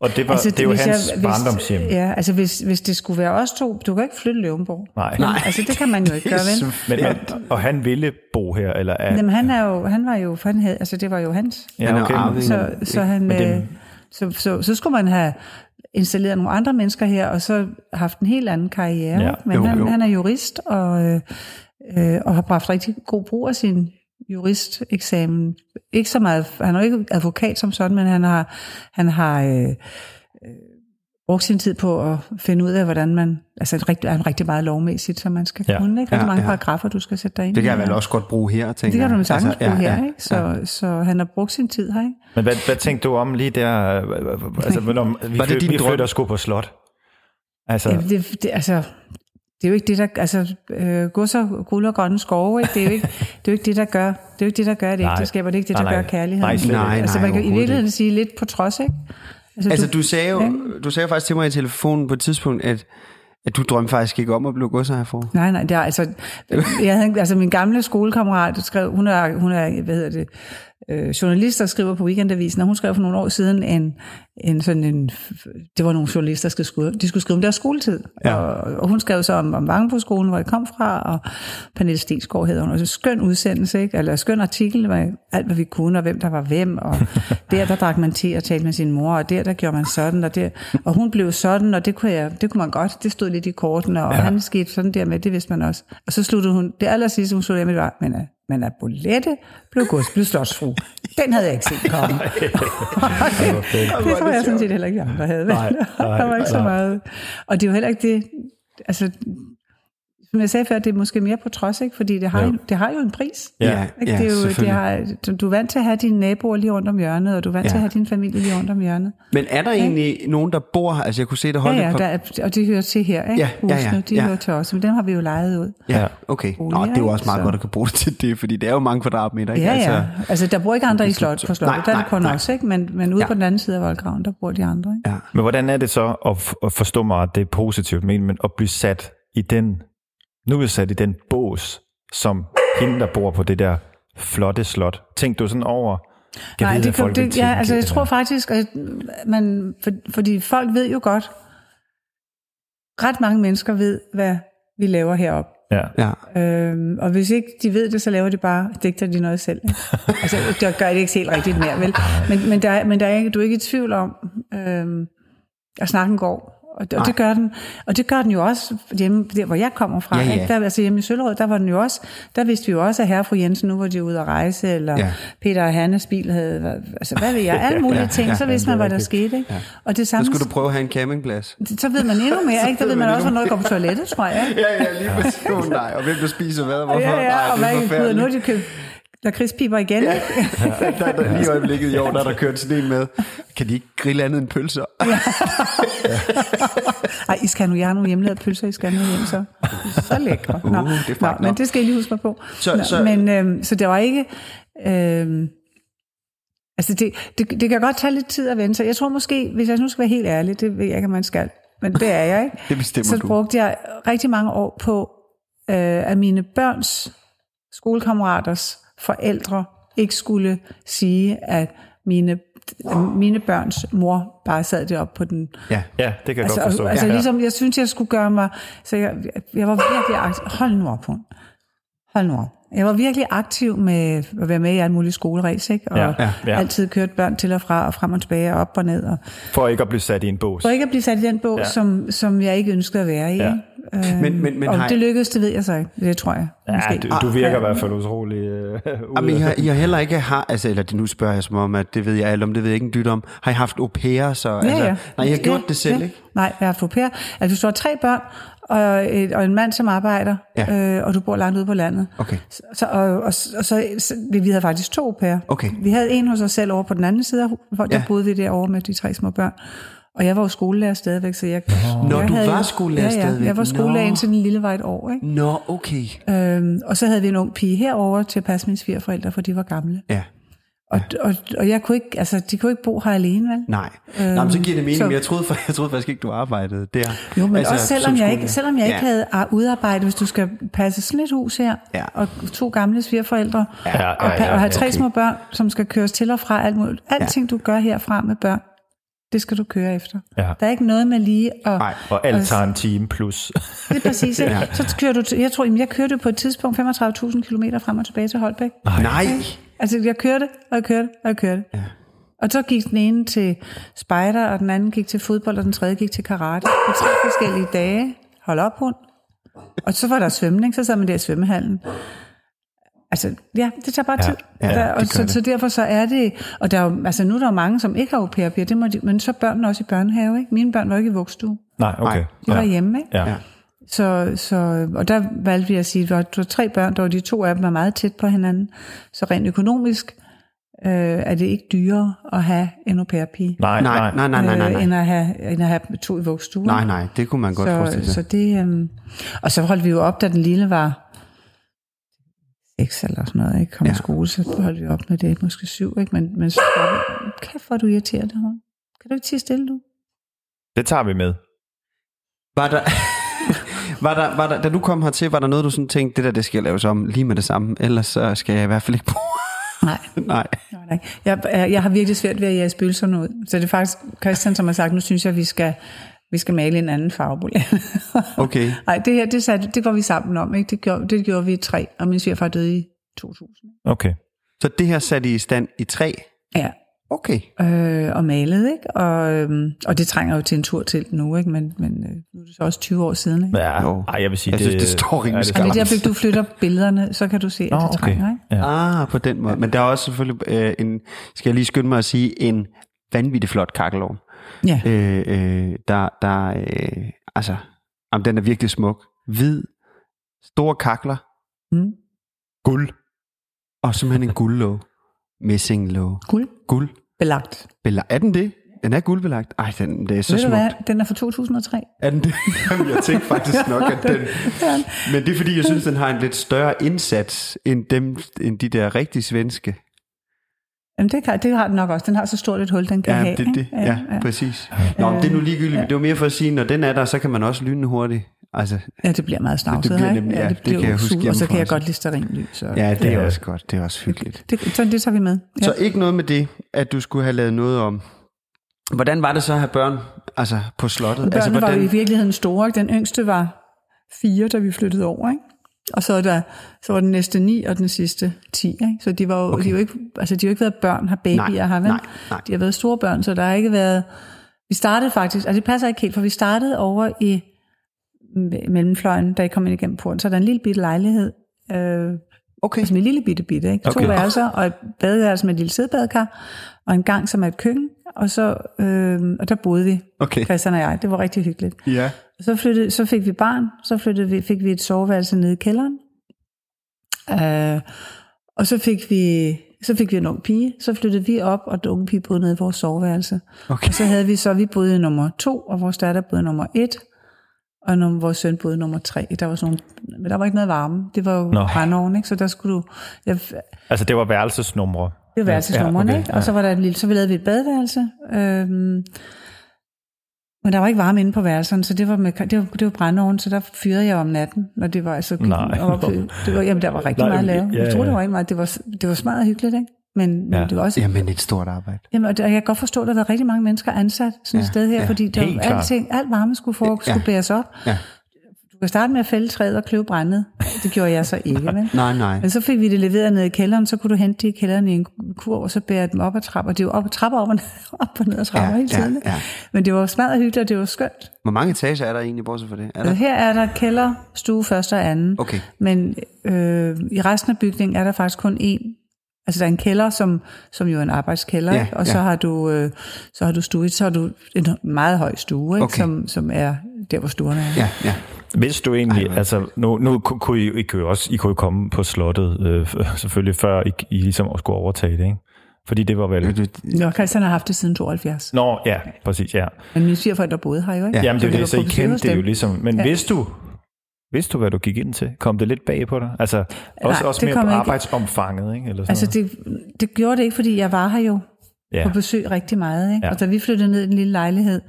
[SPEAKER 2] Og det, var, altså, det, det er jo
[SPEAKER 6] hvis
[SPEAKER 2] hans
[SPEAKER 6] jeg-
[SPEAKER 2] jeg,
[SPEAKER 6] hvis-
[SPEAKER 2] barndomshjem. Ja.
[SPEAKER 6] Ja, altså hvis, hvis det skulle være os to, du kan ikke flytte Løvenborg.
[SPEAKER 2] Nej.
[SPEAKER 6] Altså det kan man jo ikke gøre, vel?
[SPEAKER 2] Men, men, og han ville bo her, eller er...
[SPEAKER 6] Jamen, han, er jo, han var jo, han havde, altså det var jo hans.
[SPEAKER 2] ja,
[SPEAKER 3] Han er
[SPEAKER 2] okay.
[SPEAKER 3] arving.
[SPEAKER 2] men-
[SPEAKER 6] Så, så, han,
[SPEAKER 2] Men det-
[SPEAKER 6] øh, så, så, så skulle man have installeret nogle andre mennesker her, og så haft en helt anden karriere.
[SPEAKER 2] Ja,
[SPEAKER 6] Ja, Men
[SPEAKER 3] jo,
[SPEAKER 6] jo, han,
[SPEAKER 3] jo.
[SPEAKER 6] jo. han er jurist, og, øh, øh, og har haft rigtig god brug af sin juristeksamen. Ikke så meget, han er jo ikke advokat som sådan, men han har, han har øh, øh, brugt sin tid på at finde ud af, hvordan man, altså et rigtig, er rigtig meget lovmæssigt, så man skal
[SPEAKER 2] Ja.
[SPEAKER 6] ja. kunne, ikke? Rigtig
[SPEAKER 3] Ja,
[SPEAKER 6] ja, mange
[SPEAKER 3] ja.
[SPEAKER 6] ja. paragrafer, du skal sætte dig ind
[SPEAKER 3] Det kan jeg
[SPEAKER 6] i.
[SPEAKER 3] vel også godt bruge her, tænker
[SPEAKER 6] Det kan
[SPEAKER 3] jeg.
[SPEAKER 6] du jo sagtens
[SPEAKER 3] Altså,
[SPEAKER 6] bruge her, ikke? Så, ja. så han har brugt sin tid her, ikke?
[SPEAKER 2] Men hvad, hvad tænkte du om lige der? øh, øh, øh, Altså, men om, vi,
[SPEAKER 3] Var det
[SPEAKER 2] fly-
[SPEAKER 3] din
[SPEAKER 2] vi
[SPEAKER 3] drøm?
[SPEAKER 2] flytter sgu på slot. Altså,
[SPEAKER 6] Jamen, det, det, altså, det er jo ikke det, der... Altså, øh, godser, guld og grønne skove, ikke? Det, er jo ikke, det er jo ikke det, der gør... Det er jo ikke det, der gør et
[SPEAKER 2] Nej.
[SPEAKER 6] ægteskab, og det er ikke det, der
[SPEAKER 2] Nej, nej.
[SPEAKER 6] gør kærligheden.
[SPEAKER 2] Nej, slet ikke.
[SPEAKER 3] Nej,
[SPEAKER 6] altså,
[SPEAKER 3] nej,
[SPEAKER 6] man kan jo i
[SPEAKER 3] overhovedet
[SPEAKER 6] virkeligheden sige lidt på trods, ikke?
[SPEAKER 3] Altså, du sagde jo du sagde jo faktisk til mig i telefonen på et tidspunkt, at, at du drømte faktisk ikke om at blive godsejer herfor.
[SPEAKER 6] Nej, nej, det er altså... Jeg havde, en- altså min gamle skolekammerat skrev, hun er, hun er hvad hedder det, øh, journalist, der skriver på Weekendavisen, og hun skrev for nogle år siden en, en sådan en... Det var nogle journalister, der skulle, skrive- de skulle skrive om deres skoletid. Ja. Og, og, hun skrev så om, om Vangbo-skolen, hvor jeg kom fra, og Pernille Stensgaard hedder hun. Og så skøn udsendelse, ikke? eller skøn artikel med alt, hvad vi kunne, og hvem der var hvem. Og der, der drak man te og talte med sin mor, og der, der gjorde man sådan, og, der, og hun blev sådan, og det kunne, jeg, det kunne man godt. Det stod lidt i kortene, og ja. han skete sådan der med, det vidste man også. Og så sluttede hun, det aller sidste, hun sluttede med, det var, men er, men er bolette, blev gods, blev slotsfru. Den havde jeg ikke set komme. det tror jeg sådan set heller ikke, de andre havde. vel?
[SPEAKER 2] Nej, nej,
[SPEAKER 6] der var ikke så
[SPEAKER 2] nej.
[SPEAKER 6] meget. Og det er jo heller ikke det, altså, som jeg sagde før, det er måske mere på trods, ikke? fordi det har,
[SPEAKER 2] Ja.
[SPEAKER 6] jo- det har jo en pris.
[SPEAKER 2] Ja,
[SPEAKER 6] Ikke? det er jo, det har, du- du er vant til at have dine naboer lige rundt om hjørnet, og du er vant ja. til
[SPEAKER 3] Ja.
[SPEAKER 6] at have din familie lige rundt om hjørnet.
[SPEAKER 3] Men er der egentlig nogen, der bor her? Altså, jeg kunne se, der holdt
[SPEAKER 6] ja,
[SPEAKER 3] et
[SPEAKER 6] ja,
[SPEAKER 3] par...
[SPEAKER 6] der er, og det hører til her, ikke?
[SPEAKER 3] Ja, ja, ja,
[SPEAKER 6] Husene, de
[SPEAKER 3] ja.
[SPEAKER 6] hører til os, men dem har vi jo lejet ud.
[SPEAKER 3] Ja, okay. Nå,
[SPEAKER 6] Boliger,
[SPEAKER 3] det er jo også
[SPEAKER 6] ikke?
[SPEAKER 3] meget
[SPEAKER 6] Så-
[SPEAKER 3] godt at kan bruge det til det, fordi det er jo mange kvadratmeter, ikke?
[SPEAKER 6] Ja, altså, ja. Altså, der bor ikke andre i slot, på slottet,
[SPEAKER 3] Nej,
[SPEAKER 6] der er
[SPEAKER 3] nej,
[SPEAKER 6] det kun
[SPEAKER 3] nej.
[SPEAKER 6] os, ikke? Men, men ude
[SPEAKER 3] Ja.
[SPEAKER 6] ja. på den anden side af voldgraven, der bor de andre, ikke?
[SPEAKER 3] ja.
[SPEAKER 2] men hvordan er det så at, f- at forstå mig, at det er positivt, men, men at blive sat i den, nu er jeg sat i den bås, som hende, der bor på det der flotte slot. Tænkte du sådan over, kan
[SPEAKER 6] Nej,
[SPEAKER 2] vide,
[SPEAKER 6] det,
[SPEAKER 2] hvad
[SPEAKER 6] kan,
[SPEAKER 2] folk vil
[SPEAKER 6] det, ja,
[SPEAKER 2] tænke,
[SPEAKER 6] altså jeg
[SPEAKER 2] eller-
[SPEAKER 6] tror faktisk, at man, for, fordi folk ved jo godt, ret mange mennesker ved, hvad vi laver heroppe.
[SPEAKER 2] Ja.
[SPEAKER 3] ja.
[SPEAKER 6] Øhm, og hvis ikke de ved det, så laver de bare, digter de noget selv. ikke? altså, der gør det ikke helt rigtigt mere, vel? Men, men, der, er- men der er, ikke- du er ikke i tvivl om, øhm, at snakken går. Og det, og det gør den. Og det gør den jo også hjemme, der hvor jeg kommer fra.
[SPEAKER 3] Ja, ja.
[SPEAKER 6] Ikke? Der, altså hjemme i Søllerød, der var den jo også, der vidste vi jo også, at herre og fru Jensen, nu var de ude at rejse, eller
[SPEAKER 3] Ja.
[SPEAKER 6] ja. Peter og Hannes bil havde, hvad- altså hvad ved jeg, alle mulige
[SPEAKER 3] ja,
[SPEAKER 6] ting,
[SPEAKER 3] ja,
[SPEAKER 6] så vidste man, hvad der skete. Ikke? Og det
[SPEAKER 3] Så
[SPEAKER 6] samme,
[SPEAKER 3] skulle du prøve at have en campingplads.
[SPEAKER 6] så ved man endnu mere, ikke? Der ved man også, hvornår jeg går på toilettet, tror jeg. Ikke?
[SPEAKER 3] Ja, ja, lige præcis. Oh, nej, og hvem der spiser hvad, og hvorfor?
[SPEAKER 6] Ja, ja, og
[SPEAKER 3] nej,
[SPEAKER 6] man
[SPEAKER 3] det
[SPEAKER 6] kan ud, nu
[SPEAKER 3] er
[SPEAKER 6] har de købt lakridspiber igen. Ja.
[SPEAKER 3] forfærdeligt. Der, der, lige i øjeblikket i år, der er der kørt sådan en med. Kan de ikke grille andet end pølser?
[SPEAKER 6] Ej, I skal nu, jeg har nogle hjemmelavede pølser, I skal nu hjem, så, så lækre. Nå,
[SPEAKER 3] Uh, det er faktisk
[SPEAKER 6] nå, men
[SPEAKER 3] nok.
[SPEAKER 6] det skal I lige huske mig på.
[SPEAKER 3] Så-
[SPEAKER 6] nå,
[SPEAKER 3] så-
[SPEAKER 6] Men, øhm, så det var ikke... Øhm, altså, det, det, det kan godt tage lidt tid at vente sig. Jeg tror måske, hvis jeg nu skal være helt ærlig, det ved jeg ikke, om man skal, men det er jeg, ikke?
[SPEAKER 3] Det bestemmer
[SPEAKER 6] så
[SPEAKER 3] du.
[SPEAKER 6] brugte jeg rigtig mange år på, øh, at mine børns skolekammeraters forældre ikke skulle sige, at mine, at mine børns mor bare sad deroppe på den
[SPEAKER 3] Ja.
[SPEAKER 2] ja, det kan jeg godt
[SPEAKER 6] Altså,
[SPEAKER 2] forstå.
[SPEAKER 6] altså
[SPEAKER 2] ja.
[SPEAKER 6] ligesom, jeg synes, jeg skulle gøre mig... Så jeg, jeg var virkelig aktiv. Hold nu op, hun. Hold nu op. Jeg var virkelig aktiv med at være med i alle mulige skoleræs, ikke? Og
[SPEAKER 2] Ja, ja, ja.
[SPEAKER 6] altid kørte børn til og fra, og frem og tilbage, og op og ned. Og,
[SPEAKER 2] For ikke at blive sat i en bås.
[SPEAKER 6] for ikke at blive sat i den bog,
[SPEAKER 2] Ja.
[SPEAKER 6] ja. som, som jeg ikke ønskede at være i.
[SPEAKER 2] Ja.
[SPEAKER 6] Ja. Øhm,
[SPEAKER 3] Men- men- men
[SPEAKER 6] og
[SPEAKER 3] har I-
[SPEAKER 6] det lykkedes, det ved jeg så ikke. Det tror jeg.
[SPEAKER 2] Ja, du, du virker i hvert fald utrolig øh, ud
[SPEAKER 3] Jamen, I
[SPEAKER 2] af-
[SPEAKER 3] har, I har heller ikke har, altså, eller det nu spørger jeg som om, at det ved jeg alt om, det ved jeg ikke en dyt om. Har I haft au pair, så?
[SPEAKER 6] Ja,
[SPEAKER 3] altså,
[SPEAKER 6] ja.
[SPEAKER 3] Nej, I har
[SPEAKER 6] Ja,
[SPEAKER 3] gjort det selv,
[SPEAKER 6] ja.
[SPEAKER 3] ikke?
[SPEAKER 6] Nej, jeg har haft au pair. Altså, du står tre børn, og, et, og en mand, som arbejder,
[SPEAKER 3] Ja.
[SPEAKER 6] ja. øh, og du bor langt ude på landet.
[SPEAKER 3] Okay.
[SPEAKER 6] Så, og, og, og så, så, vi, vi havde faktisk to au pair.
[SPEAKER 3] Okay.
[SPEAKER 6] Vi havde en hos os selv over på den anden side, af hu- hvor der
[SPEAKER 3] Ja.
[SPEAKER 6] boede vi derovre med de tre små børn. Og jeg var jo skolelærer stadigvæk, så jeg...
[SPEAKER 3] Nå,
[SPEAKER 6] jeg
[SPEAKER 3] du var
[SPEAKER 6] jo-
[SPEAKER 3] skolelærer
[SPEAKER 6] ja, ja,
[SPEAKER 3] stadigvæk.
[SPEAKER 6] jeg var skolelærer
[SPEAKER 3] Nå.
[SPEAKER 6] indtil den lille var et år, ikke?
[SPEAKER 3] Nå, okay.
[SPEAKER 6] Øhm, og så havde vi en ung pige herover til at passe mine svigerforældre, for de var gamle.
[SPEAKER 3] Ja.
[SPEAKER 6] Og, og, og jeg kunne ikke, altså, de kunne ikke bo her alene, vel?
[SPEAKER 3] Nej. Øhm, Nå, men så giver det mening,
[SPEAKER 6] så-
[SPEAKER 3] men jeg troede, fa- jeg troede faktisk ikke, du arbejdede der.
[SPEAKER 6] Jo, men
[SPEAKER 3] Altså,
[SPEAKER 6] altså, også
[SPEAKER 3] som
[SPEAKER 6] selvom jeg, ikke,
[SPEAKER 3] skolelærer.
[SPEAKER 6] selvom jeg ikke
[SPEAKER 3] ja.
[SPEAKER 6] havde ar- udarbejdet, hvis du skal passe sådan et hus her,
[SPEAKER 3] Ja.
[SPEAKER 6] og to gamle svigerforældre,
[SPEAKER 2] Ja, ja,
[SPEAKER 6] og, pa-
[SPEAKER 2] ja,
[SPEAKER 6] og have
[SPEAKER 2] ja,
[SPEAKER 6] tre
[SPEAKER 2] okay.
[SPEAKER 6] små børn, som skal køres til og fra alt muligt. Alting, du gør herfra med børn, det skal du køre efter.
[SPEAKER 2] Ja.
[SPEAKER 6] Der er ikke noget med lige at...
[SPEAKER 3] Nej.
[SPEAKER 2] Og alt tager en time plus.
[SPEAKER 6] Det er præcis, ikke? Så kører du... Til, jeg tror, jamen, jeg kørte på et tidspunkt 35.000 km frem og tilbage til Holbæk.
[SPEAKER 3] Nej.
[SPEAKER 6] Altså, jeg kørte, og jeg kørte, og jeg kørte. Ja. Og så gik den ene til spejder, og den anden gik til fodbold, og den tredje gik til karate. På tre forskellige dage. Hold op, hund. Og så var der svømning, så sad man der i svømmehallen. Altså, ja, det tager bare tid.
[SPEAKER 3] ja,
[SPEAKER 6] der, og
[SPEAKER 3] det gør
[SPEAKER 6] så, så derfor så er det... Og der er jo, altså, nu er der jo mange, som ikke har au pair piger, det må de, men så er børnene også i børnehave, ikke? Mine børn var ikke i vugstue.
[SPEAKER 2] Nej, okay.
[SPEAKER 6] De var hjemme, ikke?
[SPEAKER 2] Ja.
[SPEAKER 3] Ja.
[SPEAKER 2] ja.
[SPEAKER 6] Så, så, og der valgte vi at sige, at der var- der var tre børn, der var de to af dem er meget tæt på hinanden. Så rent økonomisk øh, er det ikke dyrere at have en au pair pige,
[SPEAKER 2] Nej, nej.
[SPEAKER 3] Nej, nej, nej, nej, nej.
[SPEAKER 6] Øh, end, at have, end at have dem to i vuggestuen.
[SPEAKER 3] Nej, nej, det kunne man godt forestille
[SPEAKER 6] så,
[SPEAKER 3] sig.
[SPEAKER 6] så det, øhm, og så holdt vi jo op, da den lille var 6 eller sådan noget, ikke? kom ja. i
[SPEAKER 3] Ja.
[SPEAKER 6] skole, så holdt vi op med det, måske syv, ikke? men, men så stoppede kæft, hvor er du irriterende, hun. Kan du ikke tige stille, du?
[SPEAKER 2] Det tager vi med.
[SPEAKER 3] Var der, var der, var der, da du kom hertil, var der noget, du sådan tænkte, det der, det skal jeg laves om lige med det samme, ellers så skal jeg i hvert fald ikke bruge.
[SPEAKER 6] Nej.
[SPEAKER 3] Nej.
[SPEAKER 6] Nå, nej. Jeg, jeg jeg har virkelig svært ved at jage spøgelserne ud. Så det er faktisk Christian, som har sagt, nu synes jeg, vi skal, vi skal male en anden farvebulje.
[SPEAKER 3] Okay.
[SPEAKER 6] Nej, det her, det, satte, det var vi sammen om. Ikke? Det, gjorde, det gjorde vi i tre, og min svigerfar døde i 2000.
[SPEAKER 2] Okay.
[SPEAKER 3] Så det her satte I i stand i tre.
[SPEAKER 6] Ja,
[SPEAKER 3] Okay.
[SPEAKER 6] øh, og malede, ikke? Og, øhm, og det trænger jo til en tur til nu, ikke? Men, men øh, nu er det så også 20 år siden, ikke?
[SPEAKER 2] Ja,
[SPEAKER 3] Jo.
[SPEAKER 2] Ej, jeg vil sige,
[SPEAKER 3] Jeg synes, det står rimelig
[SPEAKER 6] Og
[SPEAKER 2] skarpt.
[SPEAKER 6] det er
[SPEAKER 3] skarpt.
[SPEAKER 6] der, hvis du flytter billederne, så kan du se, at
[SPEAKER 2] Nå,
[SPEAKER 6] det
[SPEAKER 2] okay.
[SPEAKER 6] trænger, ikke?
[SPEAKER 2] Ja.
[SPEAKER 3] Ah, på den måde. Men der er også selvfølgelig øh, en, skal jeg lige skynde mig at sige, en vanvittig flot kakkelovn.
[SPEAKER 6] Ja.
[SPEAKER 3] Øh, øh, der, der øh, altså, jamen, den er virkelig smuk. Hvid, store kakler
[SPEAKER 6] Mm.
[SPEAKER 2] Guld.
[SPEAKER 3] og simpelthen en guldlåg. Messinglåg.
[SPEAKER 6] Guld.
[SPEAKER 3] Guld.
[SPEAKER 6] Belagt.
[SPEAKER 3] Bela- er den det? Den er guldbelagt. Ej, den, det er så
[SPEAKER 6] Ved du
[SPEAKER 3] smukt.
[SPEAKER 6] hvad? Den er fra 2003.
[SPEAKER 3] Er den det? Jamen, jeg tænkte faktisk nok, at den... Men det er fordi, jeg synes, den har en lidt større indsats end, dem, end de der rigtig svenske.
[SPEAKER 6] Jamen, det, kan, det har den nok også. Den har så stort et hul, den kan
[SPEAKER 3] Ja,
[SPEAKER 6] have.
[SPEAKER 3] det,
[SPEAKER 6] ikke?
[SPEAKER 3] det, ja, ja, præcis. Nå, men det er nu ligegyldigt. men Det var mere for at sige, når den er der, så kan man også lyne hurtigt. Altså,
[SPEAKER 6] Ja, det bliver meget snavset,
[SPEAKER 3] bliver
[SPEAKER 6] ikke?
[SPEAKER 3] nemlig- ja, det kan
[SPEAKER 6] bliver
[SPEAKER 3] jeg huske
[SPEAKER 6] sur, Og så kan jeg
[SPEAKER 3] hjemmefra.
[SPEAKER 6] godt lide stearinlys. Og...
[SPEAKER 3] ja, det er
[SPEAKER 2] Ja.
[SPEAKER 3] også godt. Det er også hyggeligt.
[SPEAKER 6] Det, så det tager vi med. Ja.
[SPEAKER 3] Så ikke noget med det, at du skulle have lavet noget om. Hvordan var det så at have børn altså, på slottet?
[SPEAKER 6] Børnene
[SPEAKER 3] altså,
[SPEAKER 6] altså, var jo i
[SPEAKER 3] hvordan...
[SPEAKER 6] virkeligheden store. Ikke? Den yngste var fire, da vi flyttede over, ikke? Og så, er der, så var den næste ni, og den sidste ti. Ikke? Så de, var jo, okay. de, er jo ikke, altså, de har jo ikke været børn, har babyer,
[SPEAKER 3] Nej,
[SPEAKER 6] har vel?
[SPEAKER 3] nej, nej.
[SPEAKER 6] De har været store børn, så der har ikke været... Vi startede faktisk, altså det passer ikke helt, for vi startede over i me- mellemfløjen, da I kom ind igennem porten. Så er der en lille bitte lejlighed. Øh, okay. Altså med en lille bitte bitte, ikke? To
[SPEAKER 2] Okay.
[SPEAKER 6] værelser, og et badeværelse med et lille sædebadekar, og en gang som er et køkken, og, så, øh, og der boede vi,
[SPEAKER 3] Okay.
[SPEAKER 6] Christian og jeg. Det var rigtig hyggeligt.
[SPEAKER 3] Ja.
[SPEAKER 6] Så, flyttede, så fik vi barn, så flyttede vi, fik vi et soveværelse nede i kælderen. Øh, og så fik, vi, så fik vi en ung pige, så flyttede vi op, og den unge pige boede nede i vores soveværelse.
[SPEAKER 3] Okay.
[SPEAKER 6] Og så havde vi så, vi boede i nummer to, og vores datter boede i nummer et, og num- vores søn boede i nummer tre. Der var sådan nogle, men der var ikke noget varme. Det var jo
[SPEAKER 2] Nå.
[SPEAKER 6] brændeovn, ikke? Så der skulle du... Jeg,
[SPEAKER 2] Altså, det var værelsesnumre.
[SPEAKER 6] det var værelsesnummerne, ja,
[SPEAKER 2] Ja, okay,
[SPEAKER 6] okay, ikke? Og så var der et lille, så vi lavede vi et badeværelse. Øhm, men der var ikke varme inde på værelserne, så det var, med, det var, det var brændeovnen, så der fyrede jeg om natten, når det var altså...
[SPEAKER 2] Nej.
[SPEAKER 6] og var, det var, jamen, der var rigtig
[SPEAKER 2] Nej,
[SPEAKER 6] meget at lave.
[SPEAKER 2] ja,
[SPEAKER 6] Jeg tror,
[SPEAKER 2] ja.
[SPEAKER 6] det var ikke meget. Det var, det var smadret hyggeligt, ikke? Men, men
[SPEAKER 2] Ja.
[SPEAKER 6] det var også...
[SPEAKER 3] Jamen, et stort arbejde.
[SPEAKER 6] Jamen, og det- og jeg kan godt forstå, at der har været rigtig mange mennesker ansat sådan et sted her, ja, fordi der,
[SPEAKER 2] helt klart.
[SPEAKER 6] alting, alt varme skulle, for, skulle bæres op.
[SPEAKER 3] Ja.
[SPEAKER 6] Du kan starte med at fælde træet og kløve brændet. Det gjorde jeg så ikke, vel?
[SPEAKER 3] Nej, nej.
[SPEAKER 6] Men så fik vi det leveret ned i kælderen, så kunne du hente det i kælderen i en kurv, og så bære dem op ad trapper. Det er jo op ad trapper, op og ned, op og ned ad trapper
[SPEAKER 3] Ja,
[SPEAKER 6] ja, hele
[SPEAKER 3] ja,
[SPEAKER 6] tiden. ikke?
[SPEAKER 3] ja.
[SPEAKER 6] Men det var smadret hyggeligt, og det var skønt.
[SPEAKER 3] Hvor mange etager er der egentlig, bortset for det? Er
[SPEAKER 6] Og
[SPEAKER 3] der?
[SPEAKER 6] her er der kælder, stue, første og anden.
[SPEAKER 3] Okay.
[SPEAKER 6] Men øh, i resten af bygningen er der faktisk kun én. Altså der er en kælder, som, som jo er en arbejdskælder,
[SPEAKER 3] Ja,
[SPEAKER 6] ikke? og
[SPEAKER 3] ja.
[SPEAKER 6] så har du øh, så har du stue, så har du en meget høj stue, ikke?
[SPEAKER 3] Okay.
[SPEAKER 6] Som, som er der, hvor stuerne er.
[SPEAKER 3] Ja, ja.
[SPEAKER 2] Hvis du egentlig, Ej, altså, nu, nu ku- kunne I, I, kunne jo også, I kunne jo komme på slottet, øh, f- selvfølgelig før I, I ligesom skulle overtage det, ikke? Fordi det var vel...
[SPEAKER 6] Nå, Christian har haft det siden 72.
[SPEAKER 2] Nå, ja, præcis, ja.
[SPEAKER 6] Men mine svigerforældre boede her jo, ikke?
[SPEAKER 2] Ja, Jamen, det er jo det, så I
[SPEAKER 6] på
[SPEAKER 2] kendte det jo
[SPEAKER 6] besøg hos
[SPEAKER 2] ligesom. Men ja. vidste du, vidste du, hvad du gik ind til? Kom det lidt bag på dig? Altså, også,
[SPEAKER 6] Nej,
[SPEAKER 2] også
[SPEAKER 6] det
[SPEAKER 2] mere
[SPEAKER 6] kom
[SPEAKER 2] på
[SPEAKER 6] ikke.
[SPEAKER 2] arbejdsomfanget, ikke? Eller sådan
[SPEAKER 6] Altså,
[SPEAKER 2] altså,
[SPEAKER 6] det, det gjorde det ikke, fordi jeg var her jo ja. på
[SPEAKER 2] noget. Ja.
[SPEAKER 6] besøg rigtig meget. Ikke? Ja.
[SPEAKER 2] Ja.
[SPEAKER 6] Og da vi flyttede ned i den lille lejlighed,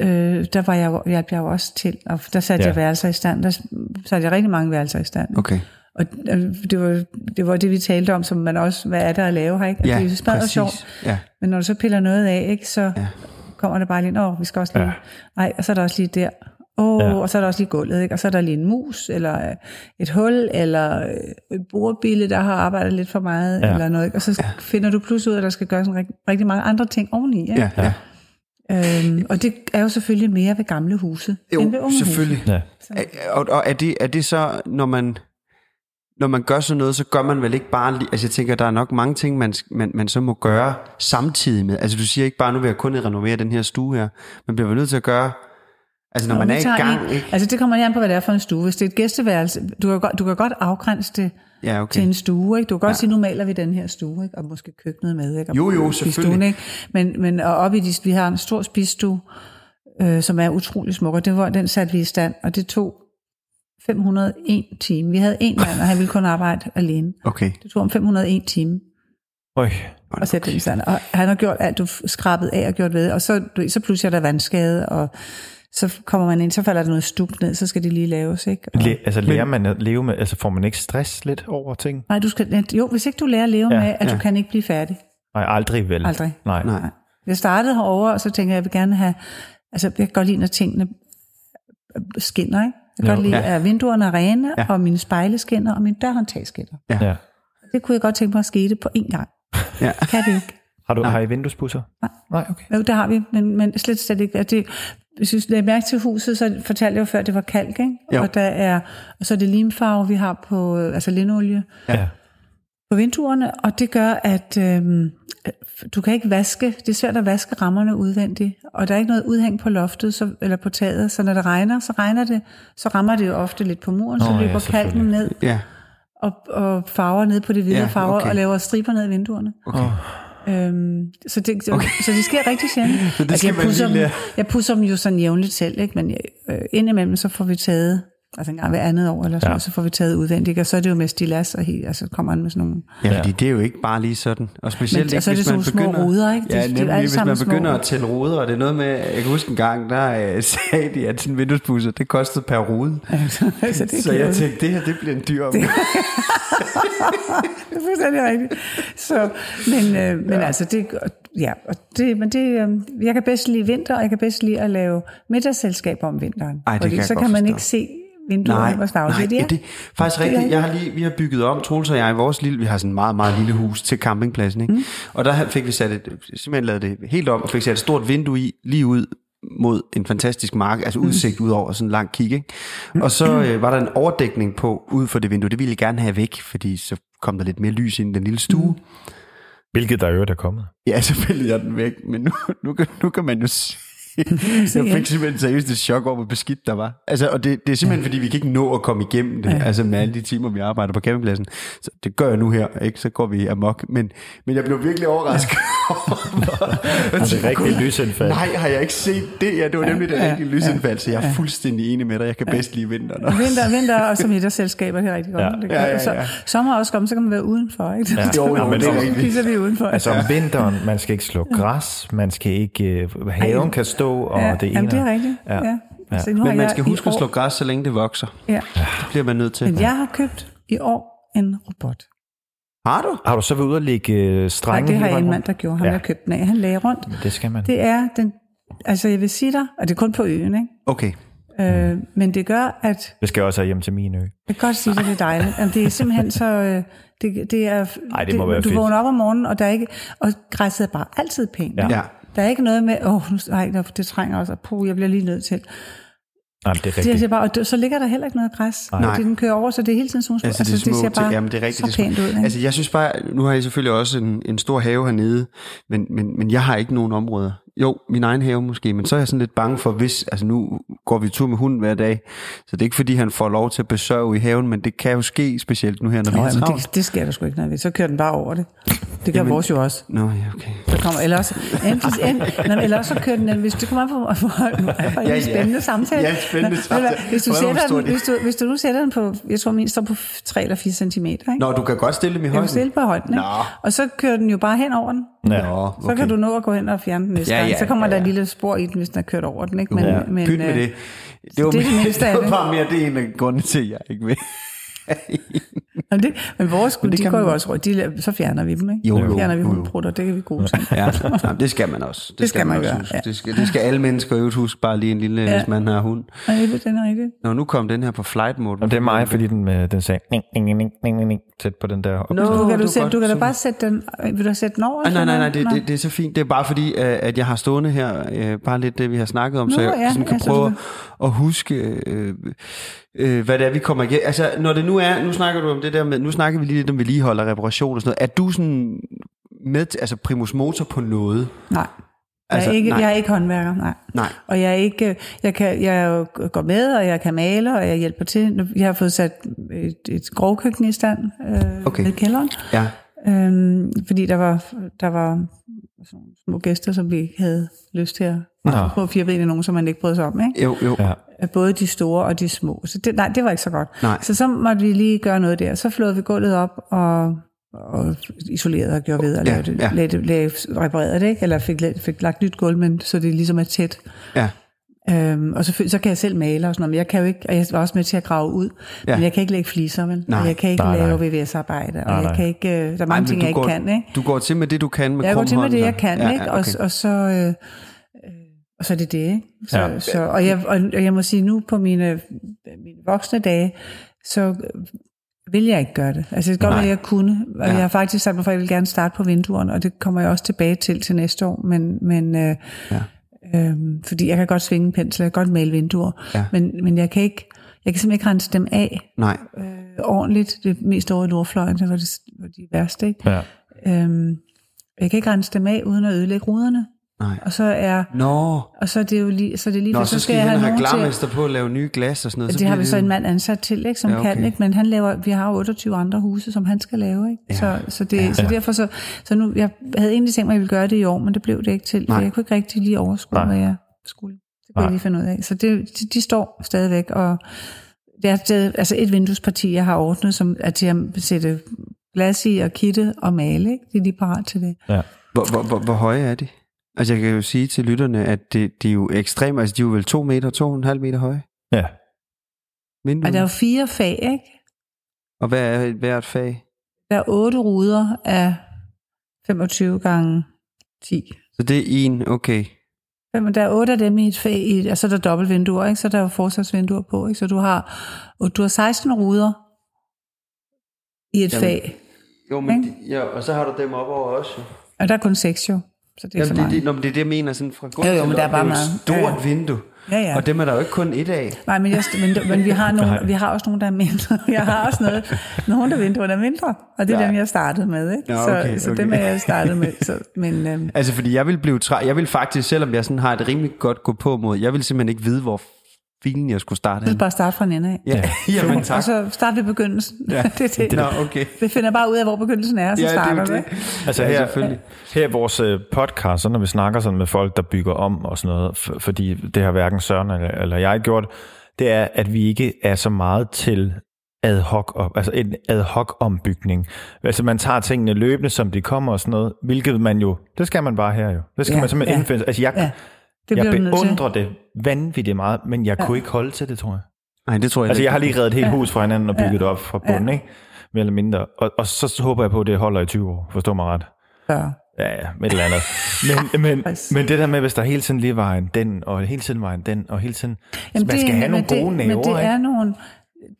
[SPEAKER 6] øh, der var jeg, jo- hjalp jeg jo også til, og der satte
[SPEAKER 2] Ja.
[SPEAKER 6] ja. jeg værelser i stand. Der s- satte jeg rigtig mange værelser i stand. ikke?
[SPEAKER 3] Okay.
[SPEAKER 6] Og øh, det var, det var det, vi talte om, som man også, hvad er der at lave her? Ikke? Og
[SPEAKER 3] Ja,
[SPEAKER 6] det er jo smadret
[SPEAKER 3] præcis.
[SPEAKER 6] sjovt,
[SPEAKER 3] Ja.
[SPEAKER 6] men når du så piller noget af, ikke, så ja. kommer der bare lige, åh, vi skal også lige,
[SPEAKER 2] Ja.
[SPEAKER 6] nej, og så er der også lige der, Åh,
[SPEAKER 7] Ja.
[SPEAKER 6] ja. og så er der også lige gulvet, ikke? Og så er der lige en mus, eller øh, et hul, eller øh, en bordbille, der har arbejdet lidt for meget,
[SPEAKER 7] Ja.
[SPEAKER 6] ja. eller noget, ikke? Og så finder du pludselig ud af, at der skal gøres en rigtig, rigtig mange andre ting oveni, ikke?
[SPEAKER 3] Ja, ja.
[SPEAKER 6] Øhm, og det er jo selvfølgelig mere ved gamle huse, end ved
[SPEAKER 3] Jo,
[SPEAKER 6] unge
[SPEAKER 3] selvfølgelig.
[SPEAKER 7] Ja.
[SPEAKER 3] Er- Og, og er, det, er det så, når man, når man gør sådan noget, så gør man vel ikke bare... li- Altså jeg tænker, der er nok mange ting, man, sk- man, man så må gøre samtidig med. Altså du siger ikke bare, nu vil jeg kun renovere den her stue her. Man bliver vel nødt til at gøre... Altså når
[SPEAKER 6] Nå,
[SPEAKER 3] man
[SPEAKER 6] vi
[SPEAKER 3] er i
[SPEAKER 6] tager
[SPEAKER 3] gang,
[SPEAKER 6] en-
[SPEAKER 3] ikke?
[SPEAKER 6] Altså det kommer lige an på, hvad det er for en stue. Hvis det er et gæsteværelse, du kan godt, du kan godt afgrænse det
[SPEAKER 3] Ja, okay.
[SPEAKER 6] til en stue. Ikke? Du kan godt ja. sige, nu maler vi den her stue, ikke? og måske køkkenet med. Ikke? Og
[SPEAKER 3] Jo, jo,
[SPEAKER 6] spisestuen,
[SPEAKER 3] selvfølgelig.
[SPEAKER 6] Ikke? Men, men og op i de, vi har en stor spisestue, øh, som er utrolig smuk, og det var, den satte vi i stand, og det tog 501 timer. Vi havde en mand, og han ville kun arbejde alene.
[SPEAKER 3] Okay.
[SPEAKER 6] Det tog om 501 timer
[SPEAKER 7] Øj.
[SPEAKER 6] og sætte den i stand. Og han har gjort alt, du f- skrabet af og gjort ved, og så, du ved, så pludselig er der vandskade, og så kommer man ind, så falder der noget stup ned, så skal det lige laves, ikke? Og,
[SPEAKER 2] Le, altså, lærer man at leve med, altså får man ikke stress lidt over ting?
[SPEAKER 6] nej, du skal, jo, hvis ikke du lærer at leve
[SPEAKER 2] Ja,
[SPEAKER 6] ja, med, at ja. du kan ikke blive færdig.
[SPEAKER 2] Nej, aldrig vel.
[SPEAKER 6] Aldrig.
[SPEAKER 2] Nej. Nej.
[SPEAKER 3] Nej.
[SPEAKER 6] Jeg startede herover og så tænker jeg, jeg vil gerne have, altså jeg kan godt lide, når tingene skinner, ikke? Jeg kan
[SPEAKER 2] Jo.
[SPEAKER 6] godt lide,
[SPEAKER 3] Ja.
[SPEAKER 6] at vinduerne er rene, ja. og mine spejle skinner, og min dørhåndtag skinner.
[SPEAKER 2] Ja.
[SPEAKER 6] Det kunne jeg godt tænke mig at skete på én gang.
[SPEAKER 3] Ja.
[SPEAKER 6] Kan det ikke?
[SPEAKER 2] Har, du, har I vinduespusser? Nej. Nej, okay.
[SPEAKER 6] Jo, det har vi, men, men slet, slet ikke. Og det, hvis du lægger mærke til huset, så fortalte jeg jo før, at det var kalk, ikke?
[SPEAKER 3] Jo.
[SPEAKER 6] Og, der er, og så er det limfarve, vi har på, øh, altså linolie
[SPEAKER 2] Ja.
[SPEAKER 6] på vinduerne, og det gør, at øhm, du kan ikke vaske, det er svært at vaske rammerne udvendigt, og der er ikke noget udhæng på loftet så, eller på taget, så når det regner, så regner det, så rammer det jo ofte lidt på muren, så
[SPEAKER 2] Nå, ja,
[SPEAKER 6] løber kalken
[SPEAKER 2] selvfølgelig.
[SPEAKER 6] ned
[SPEAKER 3] Ja.
[SPEAKER 6] og, og farver ned på de hvide
[SPEAKER 3] Ja,
[SPEAKER 6] ja, farver
[SPEAKER 3] okay.
[SPEAKER 6] og laver striber ned i vinduerne. Okay. Øhm, så, det, okay. så det sker rigtig sjældent. så det
[SPEAKER 3] skal
[SPEAKER 6] jeg,
[SPEAKER 3] man
[SPEAKER 6] pudser
[SPEAKER 3] lige
[SPEAKER 6] dem,
[SPEAKER 3] lære.
[SPEAKER 6] jeg pudser dem jo sådan jævnligt selv, ikke? men jeg, øh, indimellem så får vi taget, altså en gang hver andet år eller sådan, ja. så får vi taget udvendigt, ikke? og så er det jo med stilas, og, helt, og så kommer han med sådan nogle...
[SPEAKER 3] Ja, fordi det er jo ikke bare lige sådan. Og specielt
[SPEAKER 6] Men-
[SPEAKER 3] ikke,
[SPEAKER 6] og så er det
[SPEAKER 3] hvis man
[SPEAKER 6] sådan nogle små
[SPEAKER 3] begynder...
[SPEAKER 6] ruder, ikke? Det- det
[SPEAKER 3] Ja,
[SPEAKER 6] er
[SPEAKER 3] nemlig,
[SPEAKER 6] alle
[SPEAKER 3] hvis
[SPEAKER 6] sammen
[SPEAKER 3] man
[SPEAKER 6] små
[SPEAKER 3] begynder
[SPEAKER 6] ruder.
[SPEAKER 3] at tælle ruder, og det er noget med... Jeg kan huske en gang, der øh, sagde de, at sådan en vinduespusser, det kostede per rude.
[SPEAKER 6] så det er
[SPEAKER 3] Så jeg
[SPEAKER 6] kedeligt.
[SPEAKER 3] tænkte, det her, det bliver en dyr omgang.
[SPEAKER 6] Det er fuldstændig rigtigt. Så, men øh, men ja. altså, det, ja, og det, men det, øh, jeg kan bedst lide vinter, og jeg kan bedst lide at lave middagsselskaber om vinteren.
[SPEAKER 3] Ej, det
[SPEAKER 6] Fordi
[SPEAKER 3] kan jeg
[SPEAKER 6] så
[SPEAKER 3] godt
[SPEAKER 6] kan man
[SPEAKER 3] forstå.
[SPEAKER 6] ikke se vinduerne, hvor
[SPEAKER 3] nej,
[SPEAKER 6] snavset de
[SPEAKER 3] ja,
[SPEAKER 6] er.
[SPEAKER 3] det er faktisk rigtigt. Jeg har lige, vi har bygget om, Troels og jeg, i vores lille, vi har sådan en meget, meget lille hus til campingpladsen, ikke? Mm. Og der fik vi sat et, simpelthen lavet det helt om, og fik sat et stort vindue i, lige ud mod en fantastisk mark, altså udsigt ud over sådan en lang kig, ikke? Og så øh, var der en overdækning på ud for det vindue, det ville jeg gerne have væk, fordi så kom der lidt mere lys ind i den lille stue. Mm.
[SPEAKER 2] Hvilket der i øvrigt er kommet.
[SPEAKER 3] Ja, så pillede jeg den væk, men nu, nu, kan, nu kan man jo se. Jeg fik simpelthen seriøst et chok over, hvor beskidt der var. Altså, og det, det er simpelthen, fordi vi kan ikke nå at komme igennem det, altså med alle de timer, vi arbejder på campingpladsen. Så det gør jeg nu her, ikke? Så går vi amok. Men, men jeg blev virkelig overrasket over,
[SPEAKER 2] Altså, det er rigtig lysindfald.
[SPEAKER 3] Nej, har jeg ikke set det? Ja, det var nemlig det rigtige lysindfald, så jeg er fuldstændig enig med dig. Jeg kan bedst lide vinteren også.
[SPEAKER 6] Vinter, vinter og så middagsselskaber, det er rigtig godt.
[SPEAKER 2] Ja.
[SPEAKER 6] Det kan-
[SPEAKER 3] Ja, ja, ja.
[SPEAKER 6] Så, sommer er også kommet, så kan man være udenfor, ikke? Ja.
[SPEAKER 3] Jo, jo,
[SPEAKER 2] men
[SPEAKER 3] det er
[SPEAKER 2] om-
[SPEAKER 3] rigtigt.
[SPEAKER 6] Spiser vi udenfor.
[SPEAKER 2] Altså om vinteren, man skal ikke slå græs, man skal ikke, øh, haven
[SPEAKER 6] Ej.
[SPEAKER 2] kan stå, og
[SPEAKER 6] ja,
[SPEAKER 2] det ene.
[SPEAKER 6] jamen, det er
[SPEAKER 2] og-
[SPEAKER 6] rigtigt. Ja. Ja.
[SPEAKER 2] Ja.
[SPEAKER 6] Så nu har
[SPEAKER 3] Men man
[SPEAKER 6] jeg
[SPEAKER 3] skal
[SPEAKER 6] i
[SPEAKER 3] huske at
[SPEAKER 6] år-
[SPEAKER 3] slå græs, så længe det vokser.
[SPEAKER 6] Ja.
[SPEAKER 3] Det bliver man nødt til.
[SPEAKER 6] Men jeg har købt i år en robot.
[SPEAKER 3] Har du?
[SPEAKER 2] Har du så været ude og lægge øh,
[SPEAKER 6] Nej,
[SPEAKER 2] strenge?
[SPEAKER 6] det
[SPEAKER 2] hele
[SPEAKER 6] har jeg
[SPEAKER 2] vejen
[SPEAKER 6] en mand,
[SPEAKER 2] rundt?
[SPEAKER 6] der gjorde. Ham,
[SPEAKER 2] Ja.
[SPEAKER 6] ja. jeg købte den af. Han lagde rundt.
[SPEAKER 2] Det skal man.
[SPEAKER 6] Det er den... Altså, jeg vil sige dig, og det er kun på øen, ikke?
[SPEAKER 3] Okay.
[SPEAKER 6] Øh, men det gør, at...
[SPEAKER 2] Det skal jeg også have hjem til min ø.
[SPEAKER 6] Jeg kan godt sige dig, det er dejligt. Jamen, det er simpelthen så... Øh, det, det er,
[SPEAKER 2] Ej, det må være
[SPEAKER 6] Du
[SPEAKER 2] fedt.
[SPEAKER 6] vågner op om morgenen, og, der er ikke, og græsset er bare altid pænt.
[SPEAKER 2] Ja.
[SPEAKER 6] ikke?
[SPEAKER 3] Ja.
[SPEAKER 6] Der er ikke noget med, åh, oh, nej, nå, det trænger også, og puh, jeg bliver lige nødt til.
[SPEAKER 2] Nej, det er
[SPEAKER 6] Det, jeg
[SPEAKER 2] rigtigt.
[SPEAKER 6] siger bare, og det, så ligger der heller ikke noget græs, nej. fordi den kører over, så det er hele tiden sådan nogle små-
[SPEAKER 3] Altså, altså det, er små
[SPEAKER 6] det ser
[SPEAKER 3] ting.
[SPEAKER 6] bare
[SPEAKER 3] Jamen, det er rigtigt,
[SPEAKER 6] så
[SPEAKER 3] det er små-
[SPEAKER 6] pænt ud. Ikke?
[SPEAKER 3] Altså jeg synes bare, nu har jeg selvfølgelig også en, en stor have hernede, men, men, men jeg har ikke nogen områder. Jo, min egen have måske, men så er jeg sådan lidt bange for, hvis, altså nu går vi tur med hunden hver dag, så det er ikke fordi, han får lov til at besøge i haven, men det kan jo ske, specielt nu her, når vi
[SPEAKER 6] Nå,
[SPEAKER 3] er
[SPEAKER 6] jamen,
[SPEAKER 3] travlt.
[SPEAKER 6] det, det sker der sgu ikke noget ved. Så kører den bare over det. Det gør vores jo også.
[SPEAKER 3] Nå, ja, okay.
[SPEAKER 6] Der kommer, eller, også, enten, enten, nej, eller også så kører den, den- hvis det kommer an på, for, for
[SPEAKER 3] Ja, ja.
[SPEAKER 6] en spændende samtale.
[SPEAKER 3] Ja, spændende
[SPEAKER 6] Nå, ved du hvad,
[SPEAKER 3] samtale.
[SPEAKER 6] Hvis du,
[SPEAKER 3] Prøv at
[SPEAKER 6] sætter
[SPEAKER 3] forstå
[SPEAKER 6] den,
[SPEAKER 3] det.
[SPEAKER 6] hvis, du, hvis du nu sætter den på, jeg tror min står på 3 eller 4 cm, ikke?
[SPEAKER 3] Nå, du kan godt stille dem i
[SPEAKER 6] jeg vil
[SPEAKER 3] højden.
[SPEAKER 6] stille på højden, ikke?
[SPEAKER 3] Nå.
[SPEAKER 6] og så kører den jo bare hen over den.
[SPEAKER 3] Nå,
[SPEAKER 6] Så okay. kan du nå at gå hen og fjerne den næste
[SPEAKER 3] Ja,
[SPEAKER 6] ja,
[SPEAKER 3] ja,
[SPEAKER 6] gang. Så kommer
[SPEAKER 3] ja,
[SPEAKER 6] der
[SPEAKER 3] ja.
[SPEAKER 6] et lille spor i den, hvis den er kørt over den. Ikke? Men,
[SPEAKER 3] Ja, men, Pyt med
[SPEAKER 6] øh,
[SPEAKER 3] det. Det var,
[SPEAKER 6] det er det mindste af
[SPEAKER 3] det var
[SPEAKER 6] det.
[SPEAKER 3] bare mere det er en af grundene til, at jeg ikke vil.
[SPEAKER 6] Jamen det, men vores guld,
[SPEAKER 3] det
[SPEAKER 6] de
[SPEAKER 3] kan
[SPEAKER 6] går
[SPEAKER 3] man-
[SPEAKER 6] jo også rundt. De, la- så fjerner vi dem, ikke?
[SPEAKER 3] Jo, jo,
[SPEAKER 6] så fjerner vi
[SPEAKER 3] jo, jo.
[SPEAKER 6] hundprutter, det kan vi gode til.
[SPEAKER 3] Ja, Jamen, det skal man også. Det,
[SPEAKER 6] skal man
[SPEAKER 3] også
[SPEAKER 6] gøre,
[SPEAKER 3] huske.
[SPEAKER 6] ja.
[SPEAKER 3] Det, skal, det skal alle mennesker jo huske, bare lige en lille, ja. hvis man har hund.
[SPEAKER 6] Nej, det den er rigtigt.
[SPEAKER 3] Nå, nu kom den her på flight mode.
[SPEAKER 2] Og det er mig, fordi den, øh, den sagde ning, ning, ning, ning, ning, ning, tæt på den der. Op.
[SPEAKER 3] Nå,
[SPEAKER 6] Du kan,
[SPEAKER 3] det
[SPEAKER 6] du,
[SPEAKER 3] var
[SPEAKER 6] sætte,
[SPEAKER 3] godt.
[SPEAKER 6] du kan da
[SPEAKER 3] Super.
[SPEAKER 6] bare sætte den... Vil du sætte den over?
[SPEAKER 3] Ah, nej, nej, nej, det,
[SPEAKER 6] Nå.
[SPEAKER 3] det, det er så fint. Det er bare fordi, øh, at jeg har stående her, øh, bare lidt det, vi har snakket om, så
[SPEAKER 6] Nå,
[SPEAKER 3] jeg
[SPEAKER 6] ja,
[SPEAKER 3] sådan kan
[SPEAKER 6] ja, så du
[SPEAKER 3] prøve
[SPEAKER 6] kan-
[SPEAKER 3] at- at huske, øh, øh, hvad det er, vi kommer igen. Altså, når det nu er, nu snakker du om det der med, nu snakker vi lige lidt om vedligehold og reparation og sådan noget. Er du sådan med, til- altså primus motor på noget?
[SPEAKER 6] Nej.
[SPEAKER 3] Altså,
[SPEAKER 6] jeg, er ikke,
[SPEAKER 3] nej.
[SPEAKER 6] jeg er ikke håndværker, nej.
[SPEAKER 3] Nej.
[SPEAKER 6] Og jeg er ikke, jeg, kan, jeg jo går med, og jeg kan male, og jeg hjælper til. Nu- Jeg har fået sat et, et grovkøkken i stand øh,
[SPEAKER 3] Okay.
[SPEAKER 6] okay. ved kælderen,
[SPEAKER 3] Ja.
[SPEAKER 6] øhm, fordi der var, der var sådan nogle små gæster, som vi ikke havde lyst til at få fire ben i nogen, som man ikke brød sig om. Ikke?
[SPEAKER 3] Jo, jo. Ja.
[SPEAKER 6] af både de store og de små. Så det, nej, det var ikke så godt.
[SPEAKER 3] Nej.
[SPEAKER 6] Så så måtte vi lige gøre noget der. Så flåede vi gulvet op og, og isolerede og gjorde ved og
[SPEAKER 3] Ja,
[SPEAKER 6] lavede,
[SPEAKER 3] ja.
[SPEAKER 6] ja, ja. Lavede, reparerede det, ikke? eller fik, la- fik lagt nyt gulv, men så det ligesom er tæt.
[SPEAKER 3] ja.
[SPEAKER 6] Øhm, og selvfølgelig, så kan jeg selv male og sådan noget, men jeg kan jo ikke, og jeg var også med til at grave ud,
[SPEAKER 3] Ja.
[SPEAKER 6] ja. men jeg kan ikke lægge fliser, vel?
[SPEAKER 3] Nej.
[SPEAKER 6] Og jeg kan ikke
[SPEAKER 2] Nej,
[SPEAKER 6] nej,
[SPEAKER 2] nej.
[SPEAKER 6] lave VVS-arbejde, og
[SPEAKER 2] Nej,
[SPEAKER 6] nej,
[SPEAKER 2] nej.
[SPEAKER 6] jeg kan ikke, øh, der er mange
[SPEAKER 3] men
[SPEAKER 6] Ej, ting,
[SPEAKER 3] du
[SPEAKER 6] jeg
[SPEAKER 3] går,
[SPEAKER 6] ikke kan, ikke?
[SPEAKER 3] Du går til med det, du kan med
[SPEAKER 6] Jeg går til med
[SPEAKER 3] krum
[SPEAKER 6] det,
[SPEAKER 3] hånd,
[SPEAKER 6] jeg
[SPEAKER 3] så-
[SPEAKER 6] kan, ja, ikke?
[SPEAKER 3] okay.
[SPEAKER 6] Og, og så... Øh, øh, og så er det det, ikke? Så,
[SPEAKER 2] Ja.
[SPEAKER 6] ja. så, og, jeg, og, og jeg må sige, nu på mine, mine voksne dage, så øh, vil jeg ikke gøre det. Altså, det kan godt være, at jeg kunne. Og ja. jeg har faktisk sagt mig for, at jeg vil gerne starte på vinduerne, og det kommer jeg også tilbage til til næste år, men, men øh,
[SPEAKER 3] Ja.
[SPEAKER 6] Øhm, fordi jeg kan godt svinge en pensel, jeg kan godt male vinduer,
[SPEAKER 3] Ja.
[SPEAKER 6] men, men jeg kan ikke, jeg kan simpelthen ikke rense dem af
[SPEAKER 3] Nej,
[SPEAKER 6] øh, ordentligt. Det er mest over i nordfløjen, der var det, hvor de er værst, ikke?
[SPEAKER 2] Ja.
[SPEAKER 6] Øhm, jeg kan ikke rense dem af, uden at ødelægge ruderne.
[SPEAKER 3] nej.
[SPEAKER 6] Og så er,
[SPEAKER 3] Nå,
[SPEAKER 6] og så er det jo lige, så er det lige,
[SPEAKER 3] Nå
[SPEAKER 6] for
[SPEAKER 3] så, skal I hen og have
[SPEAKER 6] nogen
[SPEAKER 3] glarmester på at lave nye glas og sådan noget.
[SPEAKER 6] det har
[SPEAKER 3] bliver
[SPEAKER 6] vi så
[SPEAKER 3] jo-
[SPEAKER 6] en mand ansat til, ikke, som
[SPEAKER 3] Ja,
[SPEAKER 6] ja,
[SPEAKER 3] okay.
[SPEAKER 6] okay. kan, ikke? men han laver, vi har jo 28 andre huse, som han skal lave. Ikke? Ja, så, så, det, ja. så derfor så, så nu, jeg havde egentlig tænkt mig, at jeg ville gøre det i år, men det blev det ikke til.
[SPEAKER 3] Nej.
[SPEAKER 6] Nej. Jeg kunne ikke rigtig lige overskue,
[SPEAKER 2] Nej.
[SPEAKER 6] hvad jeg skulle. Det kunne
[SPEAKER 2] Nej.
[SPEAKER 6] jeg lige finde ud af. Så det, de, de står stadigvæk, og det er stadig, altså et vinduesparti, jeg har ordnet, som er til at sætte glas i og kitte og male. Ikke? Det er lige parat til det.
[SPEAKER 2] Ja.
[SPEAKER 3] Hvor, hvor, hvor, hvor høje er de? Altså jeg kan jo sige til lytterne, at det, de er jo ekstremt, altså de er jo vel 2 meter, 2,5 meter høje.
[SPEAKER 2] ja.
[SPEAKER 6] Og
[SPEAKER 3] Vinduer.
[SPEAKER 6] der er jo fire fag, ikke?
[SPEAKER 3] Og hvad er et hvert fag?
[SPEAKER 6] Der er otte ruder af 25 gange 10.
[SPEAKER 3] Så det er en, okay.
[SPEAKER 6] Jamen, der er otte af dem i et fag, i, et- og så er der dobbeltvinduer, ikke? så der er jo forsvarsvinduer på. Ikke? Så du har, og du har 16 ruder i et
[SPEAKER 3] Jamen.
[SPEAKER 6] Jamen. fag.
[SPEAKER 3] Jo, men de, ja, og så har du dem op over også. jo.
[SPEAKER 6] Og der er kun seks jo, så det er
[SPEAKER 3] Jamen,
[SPEAKER 6] ikke
[SPEAKER 3] det,
[SPEAKER 6] så
[SPEAKER 3] det,
[SPEAKER 6] meget.
[SPEAKER 3] nå, men det er det, jeg mener sådan fra gulv
[SPEAKER 6] Jo, jo,
[SPEAKER 3] til
[SPEAKER 6] men der er
[SPEAKER 3] loft.
[SPEAKER 6] bare
[SPEAKER 3] Det jo et
[SPEAKER 6] meget.
[SPEAKER 3] stort
[SPEAKER 6] Ja, ja.
[SPEAKER 3] vindue.
[SPEAKER 6] Ja, ja.
[SPEAKER 3] Og dem er der jo ikke kun et af.
[SPEAKER 6] Nej, men, jeg, men, men vi, har nogle, vi har også nogle, der er mindre. Jeg har også noget, nogle der vinduer, der er mindre, og det er
[SPEAKER 3] Ja.
[SPEAKER 6] dem, jeg startede med. Ikke?
[SPEAKER 3] Ja,
[SPEAKER 6] så,
[SPEAKER 3] okay,
[SPEAKER 6] så
[SPEAKER 3] okay.
[SPEAKER 6] dem er jeg startet med. Så, men, øhm,
[SPEAKER 3] Altså, fordi jeg vil blive træ... Jeg vil faktisk, selvom jeg sådan har et rimelig godt gå på mod, jeg vil simpelthen ikke vide, hvor filen jeg skulle starte
[SPEAKER 6] jeg vil
[SPEAKER 3] henne.
[SPEAKER 6] bare starte fra en ende af.
[SPEAKER 3] Ja, jamen tak.
[SPEAKER 6] Og så starter vi begyndelsen. Ja, det, er det,
[SPEAKER 3] Nå,
[SPEAKER 6] det.
[SPEAKER 3] okay.
[SPEAKER 6] Vi finder bare ud af, hvor begyndelsen er, og så
[SPEAKER 3] Ja, det er
[SPEAKER 6] starter
[SPEAKER 3] jo
[SPEAKER 6] vi.
[SPEAKER 3] det.
[SPEAKER 6] ikke?
[SPEAKER 2] Altså
[SPEAKER 3] Ja,
[SPEAKER 2] her,
[SPEAKER 3] selvfølgelig.
[SPEAKER 2] her i vores øh, podcast, så når vi snakker sådan med folk, der bygger om og sådan noget, f- fordi det har hverken Søren eller, eller jeg gjort, det er, at vi ikke er så meget til ad hoc, op, altså en ad hoc ombygning. Altså man tager tingene løbende, som de kommer og sådan noget, hvilket man jo, det skal man bare her jo. Det skal ja,
[SPEAKER 6] Ja,
[SPEAKER 2] man simpelthen ja.
[SPEAKER 6] ja.
[SPEAKER 2] indfinde. Altså jeg, ja,
[SPEAKER 6] Ja, Det
[SPEAKER 2] jeg
[SPEAKER 6] bliver du nødt til.
[SPEAKER 2] beundrer det vanvittigt meget, men jeg ja. kunne ikke holde til det, tror jeg.
[SPEAKER 3] Nej, det tror jeg
[SPEAKER 2] Altså,
[SPEAKER 3] ikke.
[SPEAKER 2] jeg har lige reddet et helt hus fra hinanden og bygget det op fra bunden, ikke? Mere eller mindre. Og, og så håber jeg på, at det holder i 20 år. Forstår mig ret?
[SPEAKER 6] Ja.
[SPEAKER 2] Ja, ja, med et eller andet. Men, men, men det der med, hvis der hele tiden lige var en den, og hele tiden var en den, og hele tiden... Jamen, man
[SPEAKER 6] det er
[SPEAKER 2] skal have nogle
[SPEAKER 6] nemlig-
[SPEAKER 2] gode
[SPEAKER 6] det,
[SPEAKER 2] næver,
[SPEAKER 6] Men det
[SPEAKER 2] ikke?
[SPEAKER 6] er nogle...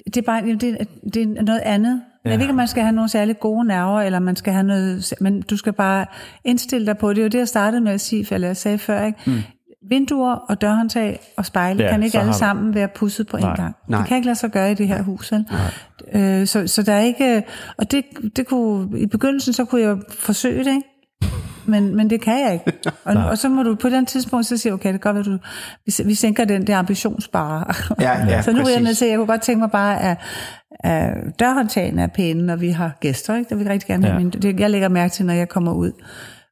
[SPEAKER 6] Det er bare jamen, det er, det er noget andet. Ja. Jeg ved ikke, om man skal have nogle særlig gode nerver, eller man skal have noget... Men du skal bare indstille dig på det. Det er jo det, jeg startede med at sige, eller jeg sagde før, ikke? Mm. Vinduer og dørhåndtag og spejle
[SPEAKER 2] Ja,
[SPEAKER 6] ja, kan
[SPEAKER 2] så
[SPEAKER 6] ikke
[SPEAKER 2] har
[SPEAKER 6] alle
[SPEAKER 2] du-
[SPEAKER 6] sammen være pusset på
[SPEAKER 2] Nej.
[SPEAKER 6] en gang.
[SPEAKER 3] Nej.
[SPEAKER 6] Det kan ikke lade sig gøre i det her hus. Vel? Øh, så, så der er ikke... Og det, det kunne... I begyndelsen, så kunne jeg forsøge det, ikke? men, men det kan jeg ikke. Og, og så må du på den tidspunkt så sige, okay, det kan godt være, du, vi, vi sænker den der ambitionsbare.
[SPEAKER 3] Ja, ja,
[SPEAKER 6] så nu er jeg
[SPEAKER 3] præcis.
[SPEAKER 6] nødt til, jeg kunne godt tænke mig bare, at, at dørhåndtagene er pæne, når vi har gæster, ikke? Der vil jeg rigtig gerne have
[SPEAKER 2] Ja.
[SPEAKER 6] ja. min, det, jeg lægger mærke til, når jeg kommer ud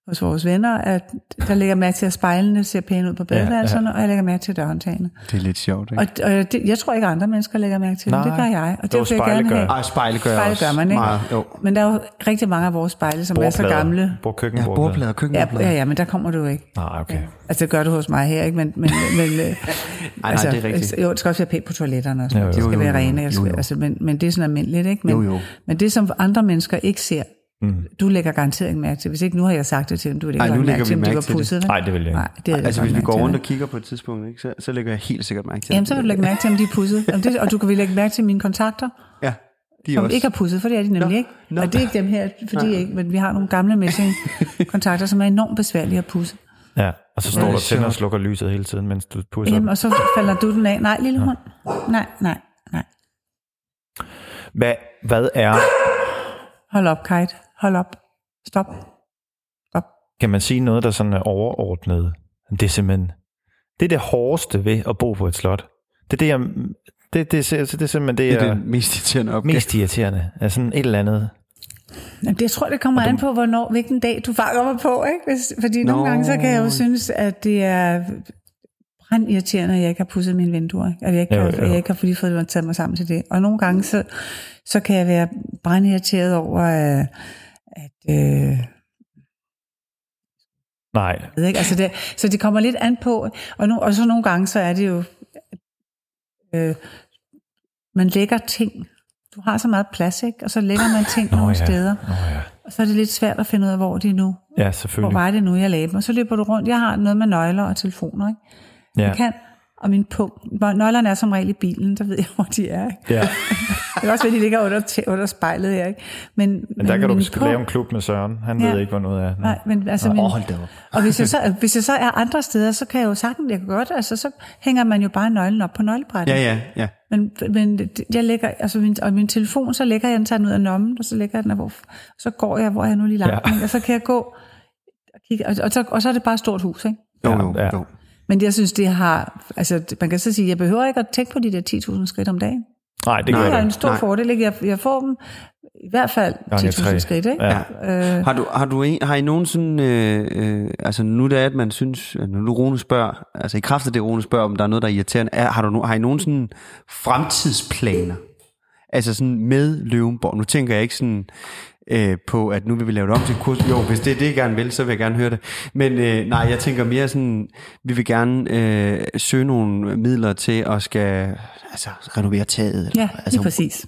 [SPEAKER 6] hos vores venner, at der lægger mærke til, at spejlene ser pæne ud på badeværelserne, ja, ja. og jeg lægger mærke til dørhåndtagene.
[SPEAKER 3] Det er lidt sjovt, ikke?
[SPEAKER 6] Og, og det, jeg tror ikke, andre mennesker lægger mærke til det. Det
[SPEAKER 2] Nej.
[SPEAKER 6] gør jeg, og
[SPEAKER 2] Jo,
[SPEAKER 6] det vil jeg
[SPEAKER 2] spejle
[SPEAKER 6] gerne
[SPEAKER 2] gør.
[SPEAKER 6] have.
[SPEAKER 2] Ej,
[SPEAKER 3] Ej, spejle gør,
[SPEAKER 6] Spejle
[SPEAKER 3] også
[SPEAKER 6] gør man, ikke?
[SPEAKER 3] Meget, jo.
[SPEAKER 6] Men der er jo rigtig mange af vores spejle, som er så
[SPEAKER 2] Bordplader.
[SPEAKER 6] gamle.
[SPEAKER 2] Bord,
[SPEAKER 3] Ja,
[SPEAKER 2] køkkenbordplader.
[SPEAKER 3] bordplader,
[SPEAKER 6] Ja,
[SPEAKER 3] køkkenbordplader.
[SPEAKER 6] ja, ja, men der kommer du ikke.
[SPEAKER 2] Nej, okay.
[SPEAKER 6] Altså, det gør du hos mig her, ikke? Men, men, men øh, altså,
[SPEAKER 3] nej, det er rigtigt.
[SPEAKER 6] Jo, det skal også være pænt på toiletterne også.
[SPEAKER 2] Jo, jo.
[SPEAKER 6] Det skal
[SPEAKER 3] Jo, jo,
[SPEAKER 6] være
[SPEAKER 3] jo,
[SPEAKER 6] rene.
[SPEAKER 3] jo,
[SPEAKER 6] Jo,
[SPEAKER 3] jo.
[SPEAKER 6] jo. Altså, men, men det er sådan almindeligt, ikke? Men,
[SPEAKER 3] Jo, jo.
[SPEAKER 6] men det, som andre mennesker ikke ser, mm. du lægger garanteret ikke mærke til. Hvis ikke nu har jeg sagt det til dem, du ville ikke
[SPEAKER 3] Ej, nu
[SPEAKER 6] lagt
[SPEAKER 3] lægger
[SPEAKER 6] mærke
[SPEAKER 3] vi
[SPEAKER 6] til, om de
[SPEAKER 3] mærke
[SPEAKER 6] var
[SPEAKER 3] til det.
[SPEAKER 6] pudsede. vel?
[SPEAKER 2] Nej, det vil jeg ikke.
[SPEAKER 6] Nej, det havde jeg
[SPEAKER 3] Altså,
[SPEAKER 6] godt
[SPEAKER 3] hvis vi
[SPEAKER 6] mærke
[SPEAKER 3] går
[SPEAKER 6] til,
[SPEAKER 3] rundt
[SPEAKER 6] vel?
[SPEAKER 3] og kigger på et tidspunkt, ikke, så, så lægger jeg helt sikkert mærke til
[SPEAKER 6] Jamen,
[SPEAKER 3] det.
[SPEAKER 6] så vil du lægge mærke til, om de er pudset. Jamen, det, og du kan vel lægge mærke til mine kontakter,
[SPEAKER 3] Ja, de er
[SPEAKER 6] som
[SPEAKER 3] også.
[SPEAKER 6] ikke er pudset, for det er de nemlig
[SPEAKER 3] Nå,
[SPEAKER 6] ikke.
[SPEAKER 3] nå.
[SPEAKER 6] Og det er ikke dem her, fordi ikke, men vi har nogle gamle messing-kontakter, som er enormt besværlige at pusse.
[SPEAKER 2] Ja, og så står du og tænder og slukker lyset hele tiden, mens du pusser
[SPEAKER 6] Jamen,
[SPEAKER 2] den.
[SPEAKER 6] og så falder du den af. Nej, lille hund. Nej, nej, nej.
[SPEAKER 2] Hvad, hvad er,
[SPEAKER 6] Hold op, Kite. Hold op. Stop. Stop.
[SPEAKER 2] kan man sige noget, der sådan er overordnet? Det er simpelthen, det er det hårdeste ved at bo på et slot. Det er det, jeg, det, det, det, det, det er simpelthen det,
[SPEAKER 3] Det er
[SPEAKER 2] jeg,
[SPEAKER 3] den mest irriterende opgave.
[SPEAKER 2] mest irriterende. Er sådan et eller andet.
[SPEAKER 6] Jamen, det, jeg tror, det kommer an på, hvornår, hvilken dag du fanger mig på. Ikke? Hvis, fordi Nå.
[SPEAKER 3] Nå.
[SPEAKER 6] nogle gange, så kan jeg jo synes, at det er brandirriterende, at jeg ikke har pudset mine vinduer. Ikke? At jeg ikke,
[SPEAKER 2] Jo,
[SPEAKER 6] jo,
[SPEAKER 2] jo.
[SPEAKER 6] jo. Jeg ikke har fordi fået mig taget mig sammen til det. Og nogle gange, så, så kan jeg være brandirriteret over, øh, at... Øh,
[SPEAKER 2] Nej,
[SPEAKER 6] ved ikke? Altså det, så det kommer lidt an på, og, nu, og så nogle gange, så er det jo, øh, man lægger ting. Du har så meget plads, ikke? Og så lægger man ting
[SPEAKER 2] Nå
[SPEAKER 6] nogle
[SPEAKER 2] ja.
[SPEAKER 6] steder.
[SPEAKER 2] Åh ja.
[SPEAKER 6] Og så er det lidt svært at finde ud af, hvor de er nu.
[SPEAKER 2] ja,
[SPEAKER 6] Hvor
[SPEAKER 2] selvfølgelig.
[SPEAKER 6] var det nu, jeg lagde dem? Og så løber du rundt. Jeg har noget med nøgler og telefoner, ikke?
[SPEAKER 2] Ja.
[SPEAKER 6] Jeg kan, og min punkt. hvor- Nøglerne er som regel i bilen, der ved jeg, hvor de er. Ikke?
[SPEAKER 2] Ja.
[SPEAKER 6] Det kan også være, de ligger under, tæ- under spejlet her, ikke? Men,
[SPEAKER 2] Men der kan
[SPEAKER 6] min
[SPEAKER 2] du skal
[SPEAKER 6] pung-
[SPEAKER 2] lave en klub med Søren. Han
[SPEAKER 6] Øhm, Ja.
[SPEAKER 2] ved ikke, hvor noget er.
[SPEAKER 6] Nej, men altså... Min,
[SPEAKER 3] hold da op.
[SPEAKER 6] og hvis jeg, så, hvis jeg så er andre steder, så kan jeg jo sagtens, jeg kan godt, altså så hænger man jo bare nøglen op på nøglebrættet.
[SPEAKER 3] Ja, ja, ja.
[SPEAKER 6] Men, men det- jeg lægger, altså min, og min telefon, så lægger jeg den sådan ud af lommen, og så lægger jeg den, og hvor, så går jeg, hvor er jeg nu lige langt,
[SPEAKER 2] Ja.
[SPEAKER 6] ja. og så kan jeg gå, og, kigge, og, og, så, og så er det bare et stort hus, ikke?
[SPEAKER 3] Jo,
[SPEAKER 2] Ja,
[SPEAKER 3] jo,
[SPEAKER 2] ja.
[SPEAKER 3] jo.
[SPEAKER 6] Men jeg synes, det har, altså man kan så sige, jeg behøver ikke at tænke på de der 10.000 skridt om dagen.
[SPEAKER 2] Nej det
[SPEAKER 6] Det
[SPEAKER 2] gør
[SPEAKER 6] er en
[SPEAKER 2] du.
[SPEAKER 6] stor
[SPEAKER 3] Nej.
[SPEAKER 6] Nej. fordel, ikke? Jeg, jeg får dem i hvert fald
[SPEAKER 2] Gange
[SPEAKER 6] 10.000
[SPEAKER 2] tre.
[SPEAKER 6] skridt, ikke?
[SPEAKER 2] Ja.
[SPEAKER 6] Øh,
[SPEAKER 3] Har du, har du en, har I nogen sådan, øh, øh, altså nu det er, at man synes, at når nu Rune spørger, altså i kraft af det, Rune spørger, om der er noget, der er irriterende, er, har, du, no- har I nogen sådan fremtidsplaner? Altså sådan med Løvenborg. Nu tænker jeg ikke sådan øh, på, at nu vil vi lave det om til et kurs. Jo, hvis det er det, jeg gerne vil, så vil jeg gerne høre det. Men øh, nej, jeg tænker mere sådan, vi vil gerne øh, søge nogle midler til at skal altså, renovere taget.
[SPEAKER 6] ja,
[SPEAKER 3] altså,
[SPEAKER 6] lige præcis.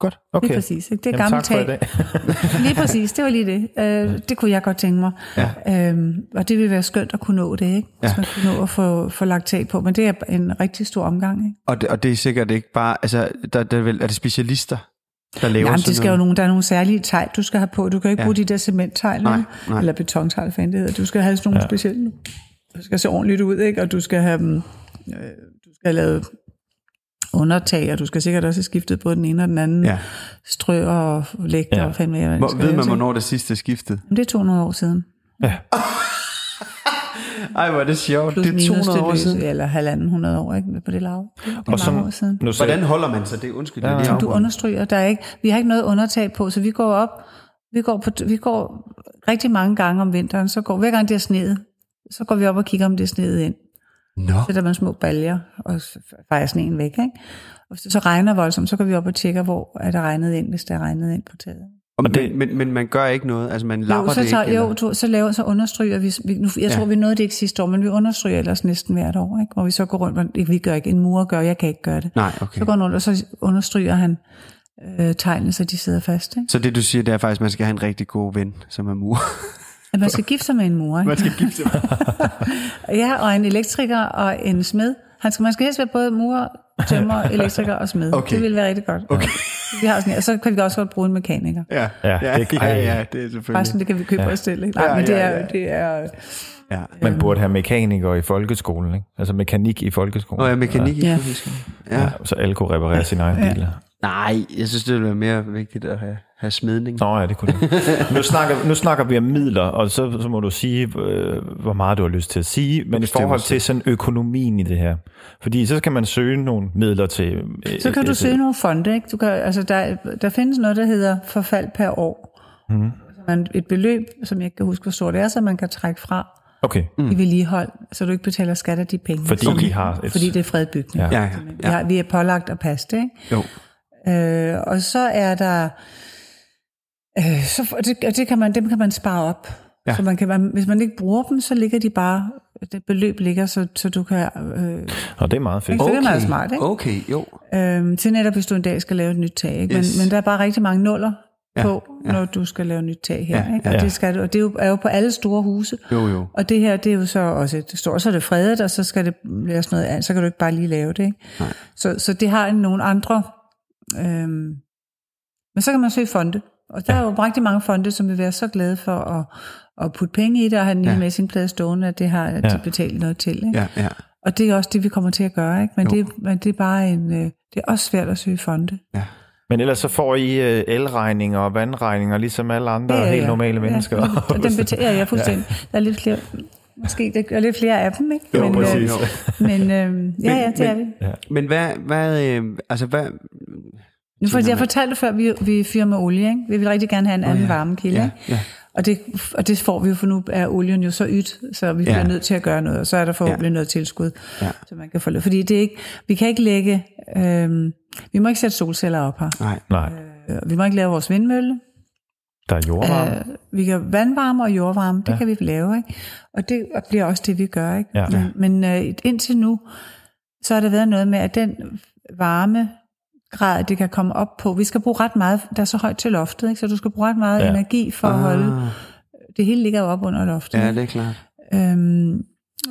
[SPEAKER 3] Godt.
[SPEAKER 6] Lige
[SPEAKER 2] Okay.
[SPEAKER 6] præcis. Ikke? Det er
[SPEAKER 2] Jamen,
[SPEAKER 6] gammelt
[SPEAKER 2] tak for i
[SPEAKER 6] tag.
[SPEAKER 2] dag.
[SPEAKER 6] Lige præcis, det var lige det. Øh, det kunne jeg godt tænke mig. Ja. Øhm, og det ville være skønt at kunne nå det, ikke? Hvis ja. man kunne nå at få, få lagt tag på. Men det er en rigtig stor omgang, ikke?
[SPEAKER 3] Og det, og det er sikkert ikke bare, altså, der, der er, vel, er det specialister, der laver
[SPEAKER 6] Jamen,
[SPEAKER 3] sådan
[SPEAKER 6] det skal jo
[SPEAKER 3] noget?
[SPEAKER 6] nogle, der er nogle særlige tegl, du skal have på. Du kan jo ikke
[SPEAKER 3] Ja.
[SPEAKER 6] ja. bruge de der cementtegl,
[SPEAKER 3] Nej,
[SPEAKER 6] vel?
[SPEAKER 3] nej.
[SPEAKER 6] eller betontejl, hvad fanden det hedder. Du skal have sådan nogle ja. specielle. Du skal se ordentligt ud, ikke? Og du skal have dem... Øh, du skal have lavet undertag, og du skal sikkert også have skiftet både den ene og den anden
[SPEAKER 3] Ja.
[SPEAKER 6] ja. strø og lægter ja. og fandme, hvad det
[SPEAKER 3] Hvor,
[SPEAKER 6] skal
[SPEAKER 3] ved
[SPEAKER 6] være,
[SPEAKER 3] man,
[SPEAKER 6] ikke?
[SPEAKER 3] hvornår det sidste er skiftet?
[SPEAKER 6] Jamen, Det er 200 år siden.
[SPEAKER 3] Ej, hvor er det sjovt.
[SPEAKER 6] plus
[SPEAKER 3] Det er 200 år
[SPEAKER 6] minus
[SPEAKER 3] siden.
[SPEAKER 6] siden. eller halvanden hundrede år ikke, på det lav. Det er
[SPEAKER 2] Og
[SPEAKER 6] mange år
[SPEAKER 2] som,
[SPEAKER 6] siden.
[SPEAKER 2] nu sagde,
[SPEAKER 3] Hvordan holder man sig det? Undskyld, ja, det er
[SPEAKER 6] Du understryger, der er ikke, vi har ikke noget undertag på, så vi går op, vi går, på, vi går rigtig mange gange om vinteren, så går hver gang det er sneet, så går vi op og kigger, om det er sneet ind.
[SPEAKER 3] Nå,
[SPEAKER 6] Så sætter man små baljer og s- fejer sneen væk. Ikke? Og så, så regner voldsomt, så går vi op og tjekker, hvor er det regnet ind, hvis det er regnet ind på taget.
[SPEAKER 3] men,
[SPEAKER 2] det-
[SPEAKER 3] det... men, men man gør ikke noget? Altså, man lapper
[SPEAKER 6] Jo, så,
[SPEAKER 3] det
[SPEAKER 6] tager,
[SPEAKER 3] ikke?
[SPEAKER 6] jo,
[SPEAKER 3] eller?
[SPEAKER 6] to, så laver så understryger vi, vi nu, jeg
[SPEAKER 3] Ja.
[SPEAKER 6] ja. tror vi nåede det ikke sidste år, men vi understryger ellers næsten hvert år, ikke? hvor vi så går rundt, og vi gør ikke, en mur gør, jeg kan ikke gøre det.
[SPEAKER 3] Nej, okay.
[SPEAKER 6] Så går han rundt, og så understryger han øh, tegnene, så de sidder fast. Ikke?
[SPEAKER 3] Så det, du siger, det er faktisk, at man skal have en rigtig god ven, som er mur.
[SPEAKER 6] At man skal gifte sig med en mor. Ikke?
[SPEAKER 3] man skal gifte sig.
[SPEAKER 6] Ja, og en elektriker og en smed. Han skal, man skal helst være både murer, tømmer, elektriker og smed.
[SPEAKER 3] Okay.
[SPEAKER 6] Det ville være rigtig godt. Okay. Vi har sådan, og så kan vi også godt bruge en mekaniker.
[SPEAKER 3] Ja,
[SPEAKER 2] Ja, det-
[SPEAKER 3] ja, ja, det er
[SPEAKER 6] Bare
[SPEAKER 3] selvfølgelig.
[SPEAKER 6] sådan, det kan vi købe ja. os til. Ikke? Nej, ja, men det
[SPEAKER 3] ja,
[SPEAKER 6] er,
[SPEAKER 3] ja.
[SPEAKER 6] ja. det er...
[SPEAKER 3] Ja.
[SPEAKER 2] man burde have mekanikere i folkeskolen, ikke? Altså mekanik i folkeskolen.
[SPEAKER 3] Nå, ja, mekanik i
[SPEAKER 6] Ja.
[SPEAKER 3] folkeskolen. Ja.
[SPEAKER 2] Ja, så alle kunne reparere sine egne biler.
[SPEAKER 3] Nej, jeg synes, det ville være mere vigtigt at have, have smedning.
[SPEAKER 2] Nå ja, det kunne det. Nu snakker, nu snakker vi om midler, og så, så må du sige, øh, hvor meget du har lyst til at sige, men i forhold til sådan økonomien i det her. Fordi så skal man søge nogle midler til... øh,
[SPEAKER 6] Så kan altså, du
[SPEAKER 2] øh,
[SPEAKER 7] Mhm.
[SPEAKER 6] søge nogle fonde, ikke? Du kan, altså der, der findes noget, der hedder forfald per år. Mm. man et beløb, som jeg ikke kan huske, hvor stort det er, så man kan trække fra
[SPEAKER 7] Okay, mm.
[SPEAKER 6] mm. i vedligehold, så du ikke betaler skat af de penge.
[SPEAKER 7] Fordi
[SPEAKER 6] som-
[SPEAKER 7] I har et-
[SPEAKER 6] Fordi det er fredet bygning.
[SPEAKER 7] Ja.
[SPEAKER 3] Ja, ja,
[SPEAKER 6] simpelthen. Vi,
[SPEAKER 3] ja.
[SPEAKER 6] har, vi er pålagt at passe det, ikke?
[SPEAKER 3] Jo.
[SPEAKER 6] Øh, og så er der... Øh, så, og det, og det kan man, dem kan man spare op. Ja. Så man kan, man, hvis man ikke bruger dem, så ligger de bare... Det beløb ligger, så, så du kan... Øh,
[SPEAKER 7] og det er meget fedt.
[SPEAKER 6] Så det er meget smart, ikke?
[SPEAKER 3] Okay, jo.
[SPEAKER 6] øh, til netop, hvis du en dag skal lave et nyt tag. Ikke?
[SPEAKER 3] Yes.
[SPEAKER 6] Yes. Men, men der er bare rigtig mange nuller
[SPEAKER 3] Ja,
[SPEAKER 6] ja. på,
[SPEAKER 3] ja.
[SPEAKER 6] når du skal lave et nyt tag her.
[SPEAKER 3] Ja,
[SPEAKER 6] Ja. Ikke? Og,
[SPEAKER 7] ja.
[SPEAKER 6] det skal du, og det er jo, er jo på alle store huse.
[SPEAKER 3] Jo, jo.
[SPEAKER 6] Og det her, det er jo så også et stort, så er det fredet, og så skal det laves noget andet, så kan du ikke bare lige lave det. Ikke? Så, så det har en- nogle andre... Øhm, men så kan man søge fonde. Og der ja. er jo rigtig mange fonde, som vil være så glade for at, at putte penge i det, og have en lille ja. messingplade stående, at det har at de betalt noget til. Ikke?
[SPEAKER 3] Ja, ja.
[SPEAKER 6] Og det er også det, vi kommer til at gøre, ikke? Men, det, men det er bare en... øh, Det er også svært at søge fonde.
[SPEAKER 7] Men ellers så får I øh, elregninger og vandregninger, ligesom alle andre ja, ja, ja. helt normale mennesker.
[SPEAKER 6] Ja, og den betaler jeg fuldstændig. Ja. Der er lidt flere... Måske der er lidt flere af dem, ikke?
[SPEAKER 7] Jo,
[SPEAKER 6] men,
[SPEAKER 7] præcis.
[SPEAKER 6] Øh, men øh, ja, ja, det
[SPEAKER 3] men-
[SPEAKER 6] er vi.
[SPEAKER 3] Men hvad, hvad øh, altså hvad,
[SPEAKER 6] Nu for, jeg fortalte før, vi, vi fyrer med olie, ikke? Vi vil rigtig gerne have en anden oh, ja. varmekilde,
[SPEAKER 3] Ja,
[SPEAKER 6] ikke? Og det, og det får vi jo, for nu er olien jo så ydt, så vi bliver
[SPEAKER 3] Ja.
[SPEAKER 6] nødt til at gøre noget, og så er der forhåbentlig
[SPEAKER 3] Ja.
[SPEAKER 6] noget tilskud,
[SPEAKER 3] Ja.
[SPEAKER 6] så man kan få løb. Fordi det er ikke, vi kan ikke lægge, øhm, vi må ikke sætte solceller op her.
[SPEAKER 3] nej,
[SPEAKER 7] Nej,
[SPEAKER 6] Øh, Vi må ikke lave vores vindmølle.
[SPEAKER 7] der er jordvarme.
[SPEAKER 6] Øh, vi kan vandvarme og jordvarme, det ja. kan vi lave, ikke? Og det bliver også det, vi gør, ikke?
[SPEAKER 7] Ja.
[SPEAKER 6] Men, men øh, indtil nu, så har der været noget med, at den varme grad, det kan komme op på, vi skal bruge ret meget, der er så højt til loftet, ikke? Så du skal bruge ret meget
[SPEAKER 7] Ja.
[SPEAKER 6] ja. energi for at holde, det hele ligger jo op under loftet.
[SPEAKER 3] Ah. ja,
[SPEAKER 6] ikke?
[SPEAKER 3] det er klart.
[SPEAKER 6] Øhm,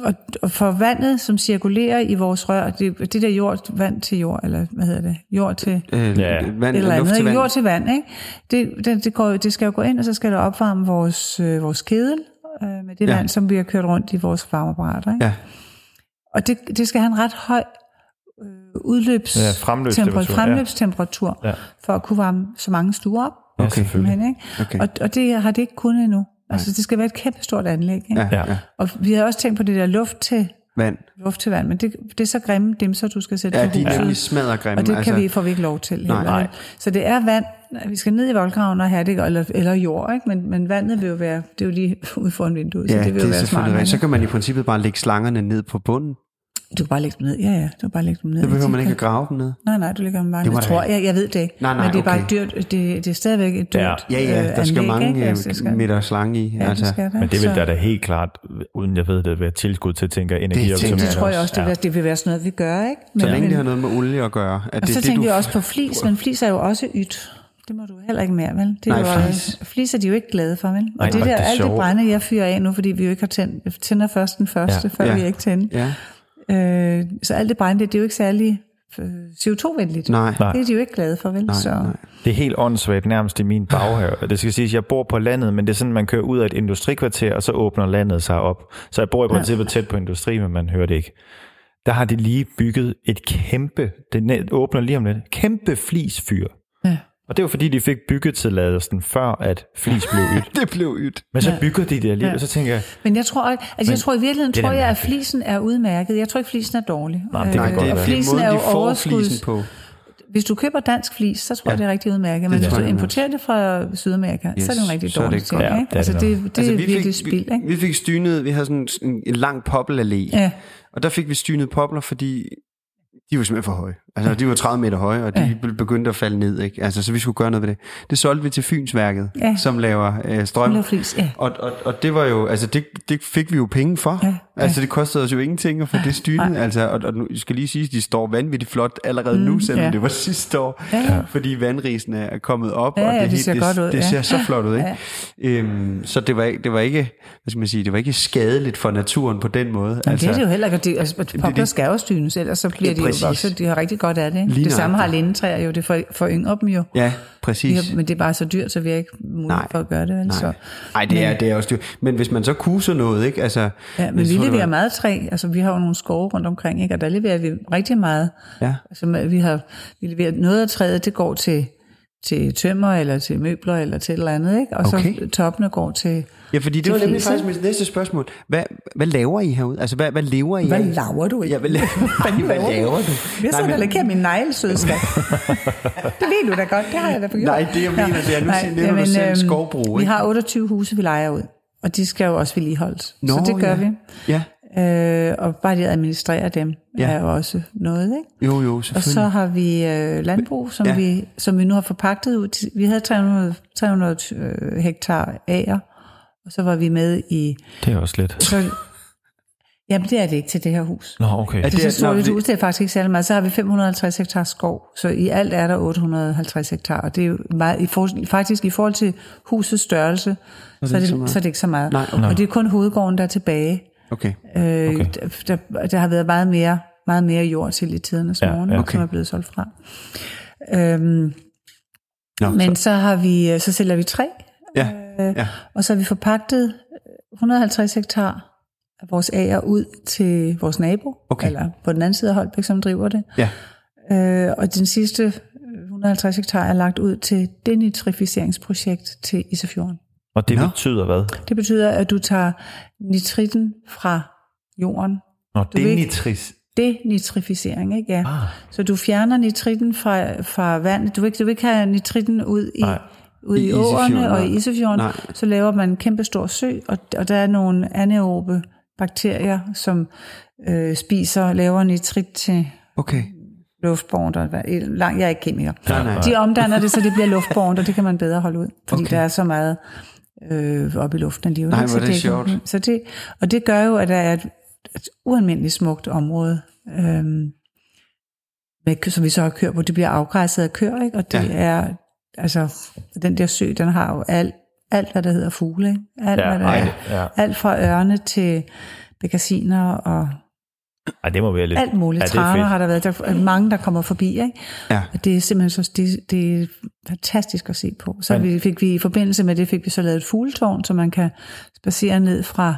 [SPEAKER 6] og, og for vandet, som cirkulerer i vores rør, det, det der jord, vand til jord, eller hvad hedder det? Jord til
[SPEAKER 3] Øh,
[SPEAKER 7] Ja.
[SPEAKER 3] Vand,
[SPEAKER 6] eller
[SPEAKER 3] eller luft
[SPEAKER 6] andet,
[SPEAKER 3] til
[SPEAKER 6] ikke?
[SPEAKER 3] vand.
[SPEAKER 6] jord til vand, ikke? Det, det, det, går, det skal jo gå ind, og så skal det opvarme vores, øh, vores kedel øh, med det
[SPEAKER 3] Ja.
[SPEAKER 6] ja. vand, som vi har kørt rundt i vores varmeapparater, ikke?
[SPEAKER 3] Ja.
[SPEAKER 6] Og det, det skal have en ret høj øh, udløbs
[SPEAKER 7] Ja, fremløbstemperatur, ja.
[SPEAKER 6] fremløbstemperatur
[SPEAKER 7] Ja.
[SPEAKER 6] ja. for at kunne varme så mange stuer op.
[SPEAKER 7] Ja,
[SPEAKER 3] okay.
[SPEAKER 7] selvfølgelig.
[SPEAKER 6] Men, ikke?
[SPEAKER 3] Okay.
[SPEAKER 6] Og, og det har det ikke kunnet endnu. Altså, det skal være et kæmpe stort anlæg. Ikke?
[SPEAKER 3] Ja,
[SPEAKER 7] Ja.
[SPEAKER 3] ja.
[SPEAKER 6] Og vi havde også tænkt på det der luft til,
[SPEAKER 3] Vand.
[SPEAKER 6] luft til vand, men det, det er så grimme dem, så du skal sætte
[SPEAKER 3] Ja,
[SPEAKER 6] til
[SPEAKER 3] de er
[SPEAKER 6] huset.
[SPEAKER 3] nemlig smadregrimme.
[SPEAKER 6] Og det
[SPEAKER 3] altså,
[SPEAKER 6] kan vi, får vi ikke lov til.
[SPEAKER 3] Nej,
[SPEAKER 6] heller,
[SPEAKER 3] nej.
[SPEAKER 6] vel? Så det er vand, vi skal ned i voldgraven og have det, eller, eller jord, ikke? Men, men vandet vil jo være, det er jo lige ude foran vinduet,
[SPEAKER 3] Ja,
[SPEAKER 6] så det vil jo
[SPEAKER 3] det er
[SPEAKER 6] være smart.
[SPEAKER 3] selvfølgelig rigtigt. Så
[SPEAKER 6] men
[SPEAKER 3] kan man i princippet bare lægge slangerne ned på bunden.
[SPEAKER 6] Du kan bare lægge dem ned, ja ja, du kan bare lægge dem ned.
[SPEAKER 3] Det behøver
[SPEAKER 6] De
[SPEAKER 3] man ikke
[SPEAKER 6] kan-
[SPEAKER 3] at grave dem ned.
[SPEAKER 6] Nej, nej, du lægger dem bare ned.
[SPEAKER 3] var
[SPEAKER 6] Jeg tror,
[SPEAKER 3] da-
[SPEAKER 6] jeg, jeg ved det ikke.
[SPEAKER 3] Nej, nej,
[SPEAKER 6] men det er bare
[SPEAKER 3] okay.
[SPEAKER 6] et dyrt, det, det er stadigvæk et dyrt
[SPEAKER 7] Ja.
[SPEAKER 3] Ja, ja, der skal
[SPEAKER 6] Øh, anlæg, ikke?
[SPEAKER 3] mange
[SPEAKER 6] Altså, det
[SPEAKER 3] øh, meter slange i.
[SPEAKER 6] ja,
[SPEAKER 3] altså.
[SPEAKER 6] det skal der.
[SPEAKER 7] Men det vil
[SPEAKER 6] Så-
[SPEAKER 7] der da helt klart, uden jeg ved det, være tilskud til, tænker energioptimering.
[SPEAKER 3] tænker
[SPEAKER 6] Det tror jeg også, det, vil, det vil være sådan noget, vi gør, ikke? Men,
[SPEAKER 3] Så længe
[SPEAKER 6] men,
[SPEAKER 3] det har noget med olie at gøre. At
[SPEAKER 6] Og
[SPEAKER 3] det,
[SPEAKER 6] så
[SPEAKER 3] er
[SPEAKER 6] tænker
[SPEAKER 3] det,
[SPEAKER 6] jeg
[SPEAKER 3] du,
[SPEAKER 6] også på flis, men flis er jo også ydt. Det må du heller ikke mere, vel? Det er
[SPEAKER 3] Nej,
[SPEAKER 6] jo,
[SPEAKER 3] flis.
[SPEAKER 6] flis er de jo ikke glade for, vel? Og
[SPEAKER 7] Nej,
[SPEAKER 6] det
[SPEAKER 7] nej,
[SPEAKER 6] der,
[SPEAKER 7] det er
[SPEAKER 6] alt det
[SPEAKER 7] sjovt.
[SPEAKER 6] brænde, jeg fyrer af nu, fordi vi jo ikke har tændt, tænder først den første,
[SPEAKER 7] Ja.
[SPEAKER 6] før
[SPEAKER 3] Ja.
[SPEAKER 6] vi ikke tænder.
[SPEAKER 3] Ja,
[SPEAKER 6] Øh, så alt det brænde, det er jo ikke særlig øh, CO2-venligt.
[SPEAKER 3] nej.
[SPEAKER 7] Nej.
[SPEAKER 6] Det er de jo ikke glade for, vel? så,
[SPEAKER 3] nej.
[SPEAKER 7] Det er helt åndssvagt nærmest i min baghave. Og Det skal siges, at jeg bor på landet, men det er sådan, man kører ud af et industrikvarter, og så åbner landet sig op. Så jeg bor i princippet tæt på industri, men man hører det ikke. Der har de lige bygget et kæmpe, det net- åbner lige om lidt, kæmpe flisfyr.
[SPEAKER 6] Ja.
[SPEAKER 7] Og det var fordi, de fik byggetilladelsen før, at flis blev ydt.
[SPEAKER 3] Det blev ydt.
[SPEAKER 7] Men så bygger de det alligevel,
[SPEAKER 6] Ja.
[SPEAKER 7] og så tænker jeg,
[SPEAKER 6] Men jeg tror, ikke- altså, jeg tror i virkeligheden,
[SPEAKER 7] det er
[SPEAKER 6] tror
[SPEAKER 7] da
[SPEAKER 6] jeg, at
[SPEAKER 7] mærkeligt.
[SPEAKER 6] flisen er udmærket. Jeg tror ikke, flisen er dårlig.
[SPEAKER 7] Nej, det kan
[SPEAKER 6] Øh,
[SPEAKER 7] godt
[SPEAKER 3] Det
[SPEAKER 6] og
[SPEAKER 3] er
[SPEAKER 7] være.
[SPEAKER 3] den
[SPEAKER 6] flisen
[SPEAKER 3] måde,
[SPEAKER 6] er jo
[SPEAKER 3] de får
[SPEAKER 6] overskuds,
[SPEAKER 3] flisen på.
[SPEAKER 6] Hvis du køber dansk flis, så tror jeg, det er rigtig udmærket. Men
[SPEAKER 3] Det
[SPEAKER 6] hvis
[SPEAKER 3] tror
[SPEAKER 6] du
[SPEAKER 3] jeg også.
[SPEAKER 6] importerer det fra Sydamerika, yes, så er det en rigtig
[SPEAKER 3] så er det
[SPEAKER 6] dårlig
[SPEAKER 3] ikke
[SPEAKER 6] ting.
[SPEAKER 7] godt. Ja,
[SPEAKER 6] ikke?
[SPEAKER 7] det er
[SPEAKER 6] altså,
[SPEAKER 7] det
[SPEAKER 6] det, det
[SPEAKER 3] Altså,
[SPEAKER 6] er
[SPEAKER 3] vi
[SPEAKER 6] virkelig
[SPEAKER 3] fik,
[SPEAKER 6] spild.
[SPEAKER 3] vi,
[SPEAKER 6] Ikke?
[SPEAKER 3] vi fik stynet, vi havde sådan en, en lang poppelallé.
[SPEAKER 6] Ja.
[SPEAKER 3] Og der fik vi stynet popler, fordi de var simpelthen for høje. Altså, de var 30 meter høje, og de ja. begyndte at falde ned. Ikke? Altså, så vi skulle gøre noget ved det. Det solgte vi til Fynsværket, ja.
[SPEAKER 6] Ja.
[SPEAKER 3] som laver øh, strøm.
[SPEAKER 6] Som laver flis, ja.
[SPEAKER 3] og, og, og det var jo, altså det, det fik vi jo penge for.
[SPEAKER 6] Ja, ja.
[SPEAKER 3] Altså, det kostede os jo ingenting at få det stynet. Altså, og, og nu jeg skal lige sige, at de står vanvittigt flot allerede mm, nu, selvom ja.
[SPEAKER 6] ja.
[SPEAKER 3] det var sidste år.
[SPEAKER 6] Ja, ja.
[SPEAKER 3] Fordi vandrisene er kommet op,
[SPEAKER 6] Ja,
[SPEAKER 3] og
[SPEAKER 6] ja,
[SPEAKER 3] det,
[SPEAKER 6] det
[SPEAKER 3] hele-
[SPEAKER 6] ser
[SPEAKER 3] det,
[SPEAKER 6] godt ud,
[SPEAKER 3] det
[SPEAKER 6] ja.
[SPEAKER 3] ser så flot ud, ikke? Øhm, så det var, ikke- det var ikke, hvad skal man sige, det var ikke skadeligt for naturen på den måde.
[SPEAKER 6] Men altså, det er det jo heller ikke. og Det, altså,
[SPEAKER 3] det-
[SPEAKER 6] popler skal jo stynes, ellers så bliver
[SPEAKER 3] Ja,
[SPEAKER 6] ja, de
[SPEAKER 3] præcis.
[SPEAKER 6] jo vokset. De har rigtig godt af det. Ikke? Det samme har
[SPEAKER 3] nøjagtigt.
[SPEAKER 6] lindetræer jo. Det for, for yngre dem jo.
[SPEAKER 3] Ja,
[SPEAKER 6] Vi
[SPEAKER 3] præcis.
[SPEAKER 6] har, men det er bare så dyrt, så vi har ikke mulighed
[SPEAKER 3] Nej.
[SPEAKER 6] for at gøre det. Vel? Så.
[SPEAKER 3] Nej, Ej, det, er, det er også dyrt. Men hvis man så kuser noget, ikke? Altså,
[SPEAKER 6] Ja, men
[SPEAKER 3] jeg
[SPEAKER 6] vi
[SPEAKER 3] tror, det
[SPEAKER 6] leverer
[SPEAKER 3] var-
[SPEAKER 6] meget træ. Altså, vi har jo nogle skove rundt omkring, ikke? og der leverer vi rigtig meget.
[SPEAKER 3] Ja.
[SPEAKER 6] Altså, vi har vi leverer noget af træet, det går til til tømmer, eller til møbler, eller til et eller andet, ikke? Og okay. så
[SPEAKER 3] Okay.
[SPEAKER 6] toppene går til...
[SPEAKER 3] Ja, fordi det,
[SPEAKER 6] Til
[SPEAKER 3] var nemlig
[SPEAKER 6] flisen.
[SPEAKER 3] faktisk mit næste spørgsmål. Hvad, hvad laver I herude? Altså, hvad, hvad lever I
[SPEAKER 6] Hvad
[SPEAKER 3] af?
[SPEAKER 6] laver du ikke?
[SPEAKER 3] Ja, hvad laver,
[SPEAKER 6] fanden
[SPEAKER 3] hvad
[SPEAKER 6] laver du?
[SPEAKER 3] laver du? Nej,
[SPEAKER 6] Jeg sidder og
[SPEAKER 3] men-
[SPEAKER 6] lakerer min negle, søde skat. det ved du da godt, det har jeg da gjort.
[SPEAKER 3] Nej, det, jeg mener, det er, nu siger- nævner du selv skovbrug,
[SPEAKER 6] øhm, Vi
[SPEAKER 3] ikke?
[SPEAKER 6] har 28 huse, vi lejer ud, og de skal jo også vedligeholdes.
[SPEAKER 3] Nå,
[SPEAKER 6] så det gør
[SPEAKER 3] ja.
[SPEAKER 6] vi.
[SPEAKER 3] Ja,
[SPEAKER 6] Øh, og bare det at administrere dem ja.
[SPEAKER 3] Ja.
[SPEAKER 6] er jo også noget, ikke?
[SPEAKER 3] jo, jo,
[SPEAKER 6] Og så
[SPEAKER 3] selvfølgelig.
[SPEAKER 6] har vi øh, landbrug, som, ja.
[SPEAKER 3] Ja.
[SPEAKER 6] vi, som vi nu har forpagtet ud. til- Vi havde 300, 300 øh, hektar ager, og så var vi med i...
[SPEAKER 2] Det er også lidt.
[SPEAKER 6] Så, jamen, det er det ikke til det her hus.
[SPEAKER 2] Nå, okay.
[SPEAKER 6] Det, det er så
[SPEAKER 3] nå,
[SPEAKER 6] stort et
[SPEAKER 3] fordi-
[SPEAKER 6] hus, det er faktisk ikke særlig meget. Så har vi 550 hektar skov, så i alt er der 850 hektar, og det er jo meget, i for, faktisk i forhold til husets størrelse, så er det, så
[SPEAKER 3] meget.
[SPEAKER 6] så er det ikke så meget.
[SPEAKER 3] Nej, okay.
[SPEAKER 6] Og det er kun hovedgården, der er tilbage.
[SPEAKER 3] Okay.
[SPEAKER 6] Øh, okay. der, der, der har været meget mere, meget mere jord til i tidernes
[SPEAKER 2] Ja,
[SPEAKER 6] ja, morgen,
[SPEAKER 2] ja.
[SPEAKER 6] ja.
[SPEAKER 3] Okay.
[SPEAKER 6] som er blevet solgt fra. Øhm,
[SPEAKER 3] Nå,
[SPEAKER 6] men så har vi, øh, så sælger vi træ,
[SPEAKER 3] ja,
[SPEAKER 6] øh,
[SPEAKER 3] ja.
[SPEAKER 6] og så har vi forpagtet øh, 150 hektar af vores ager ud til vores nabo,
[SPEAKER 3] Okay.
[SPEAKER 6] eller på den anden side af Holbæk, som driver det.
[SPEAKER 3] Ja.
[SPEAKER 6] Øh, og den sidste øh, 150 hektar er lagt ud til denitrificeringsprojekt til Isefjorden.
[SPEAKER 2] Og det
[SPEAKER 3] Nå.
[SPEAKER 2] betyder hvad?
[SPEAKER 6] Det betyder, at du tager nitritten fra jorden.
[SPEAKER 2] Nå,
[SPEAKER 6] ved
[SPEAKER 2] det er
[SPEAKER 6] ikke-
[SPEAKER 2] nitris.
[SPEAKER 6] Denitrificering, ikke? Ja. Ah. Så du fjerner nitritten fra, fra vandet. Du vil, ikke, du vil ikke have nitritten ud i,
[SPEAKER 2] Nej.
[SPEAKER 6] ud i,
[SPEAKER 3] I
[SPEAKER 6] I
[SPEAKER 3] Isefjorden,
[SPEAKER 6] åerne og
[SPEAKER 3] nej.
[SPEAKER 6] i Isefjorden.
[SPEAKER 3] Nej.
[SPEAKER 6] Så laver man en kæmpe stor sø, og, og der er nogle anaerobe bakterier, som øh, spiser, laver nitrit til
[SPEAKER 3] Okay.
[SPEAKER 6] luftbåren, der er langt, jeg er ikke kemiker.
[SPEAKER 3] Nej, nej.
[SPEAKER 6] De omdanner det, så det bliver luftbåren, og det kan man bedre holde ud, fordi okay.
[SPEAKER 3] Okay.
[SPEAKER 6] der er så meget øh, oppe i luften alligevel.
[SPEAKER 3] Nej,
[SPEAKER 6] ikke?
[SPEAKER 3] hvor er det
[SPEAKER 6] så
[SPEAKER 3] sjovt.
[SPEAKER 6] Så det, og det gør jo, at der er et, et ualmindeligt smukt område, øhm, med, som vi så har kørt på. Det bliver afgræsset af køer, ikke? og det ja.
[SPEAKER 3] Ja.
[SPEAKER 6] er, altså, den der sø, den har jo alt, alt hvad der hedder fugle, ikke? Alt,
[SPEAKER 2] Ja,
[SPEAKER 6] hvad der
[SPEAKER 2] ej,
[SPEAKER 6] er.
[SPEAKER 2] det- ja.
[SPEAKER 6] alt fra ørne til bekassiner og
[SPEAKER 2] Ej, det må være lidt...
[SPEAKER 6] alt muligt.
[SPEAKER 2] Ja,
[SPEAKER 6] Ja,
[SPEAKER 2] det er
[SPEAKER 6] Traner har
[SPEAKER 2] fedt.
[SPEAKER 6] der været. Der er mange, der kommer forbi. Ikke?
[SPEAKER 3] Ja.
[SPEAKER 6] Og det er simpelthen så, det, det er fantastisk at se på. Så vi, fik vi i forbindelse med det, fik vi så lavet et fugletårn, så man kan spacere ned fra,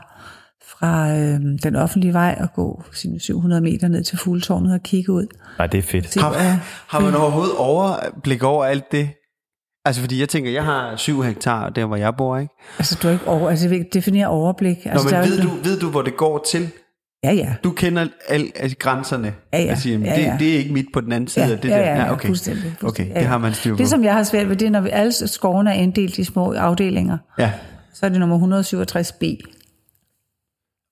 [SPEAKER 6] fra øh, den offentlige vej og gå sine 700 meter ned til fugletårnet og kigge ud.
[SPEAKER 2] Nej, det er fedt.
[SPEAKER 3] Har, har man overhovedet overblik over alt det? Altså, fordi jeg tænker, jeg har syv hektar der, hvor jeg bor, ikke?
[SPEAKER 6] Altså, du er ikke over, altså, jeg vil ikke definere overblik.
[SPEAKER 3] Nå,
[SPEAKER 6] Altså,
[SPEAKER 3] men
[SPEAKER 6] der er jo
[SPEAKER 3] ved
[SPEAKER 6] ikke-
[SPEAKER 3] du, ved du, hvor det går til?
[SPEAKER 6] Ja, ja.
[SPEAKER 3] Du kender alle altså, grænserne.
[SPEAKER 6] Ja, ja.
[SPEAKER 3] Jeg siger, jamen,
[SPEAKER 6] Ja, ja.
[SPEAKER 3] Det, det er ikke mit på den anden side
[SPEAKER 6] Ja,
[SPEAKER 3] af det
[SPEAKER 6] ja,
[SPEAKER 3] der.
[SPEAKER 6] ja, ja,
[SPEAKER 3] okay.
[SPEAKER 6] fuldstændig, fuldstændig.
[SPEAKER 3] Okay,
[SPEAKER 6] Ja,
[SPEAKER 3] det
[SPEAKER 6] ja.
[SPEAKER 3] har man styr på.
[SPEAKER 6] Det, som jeg har svært ved, det er, når vi alle skovene er inddelt i små afdelinger,
[SPEAKER 3] Ja,
[SPEAKER 6] så er det nummer 167b.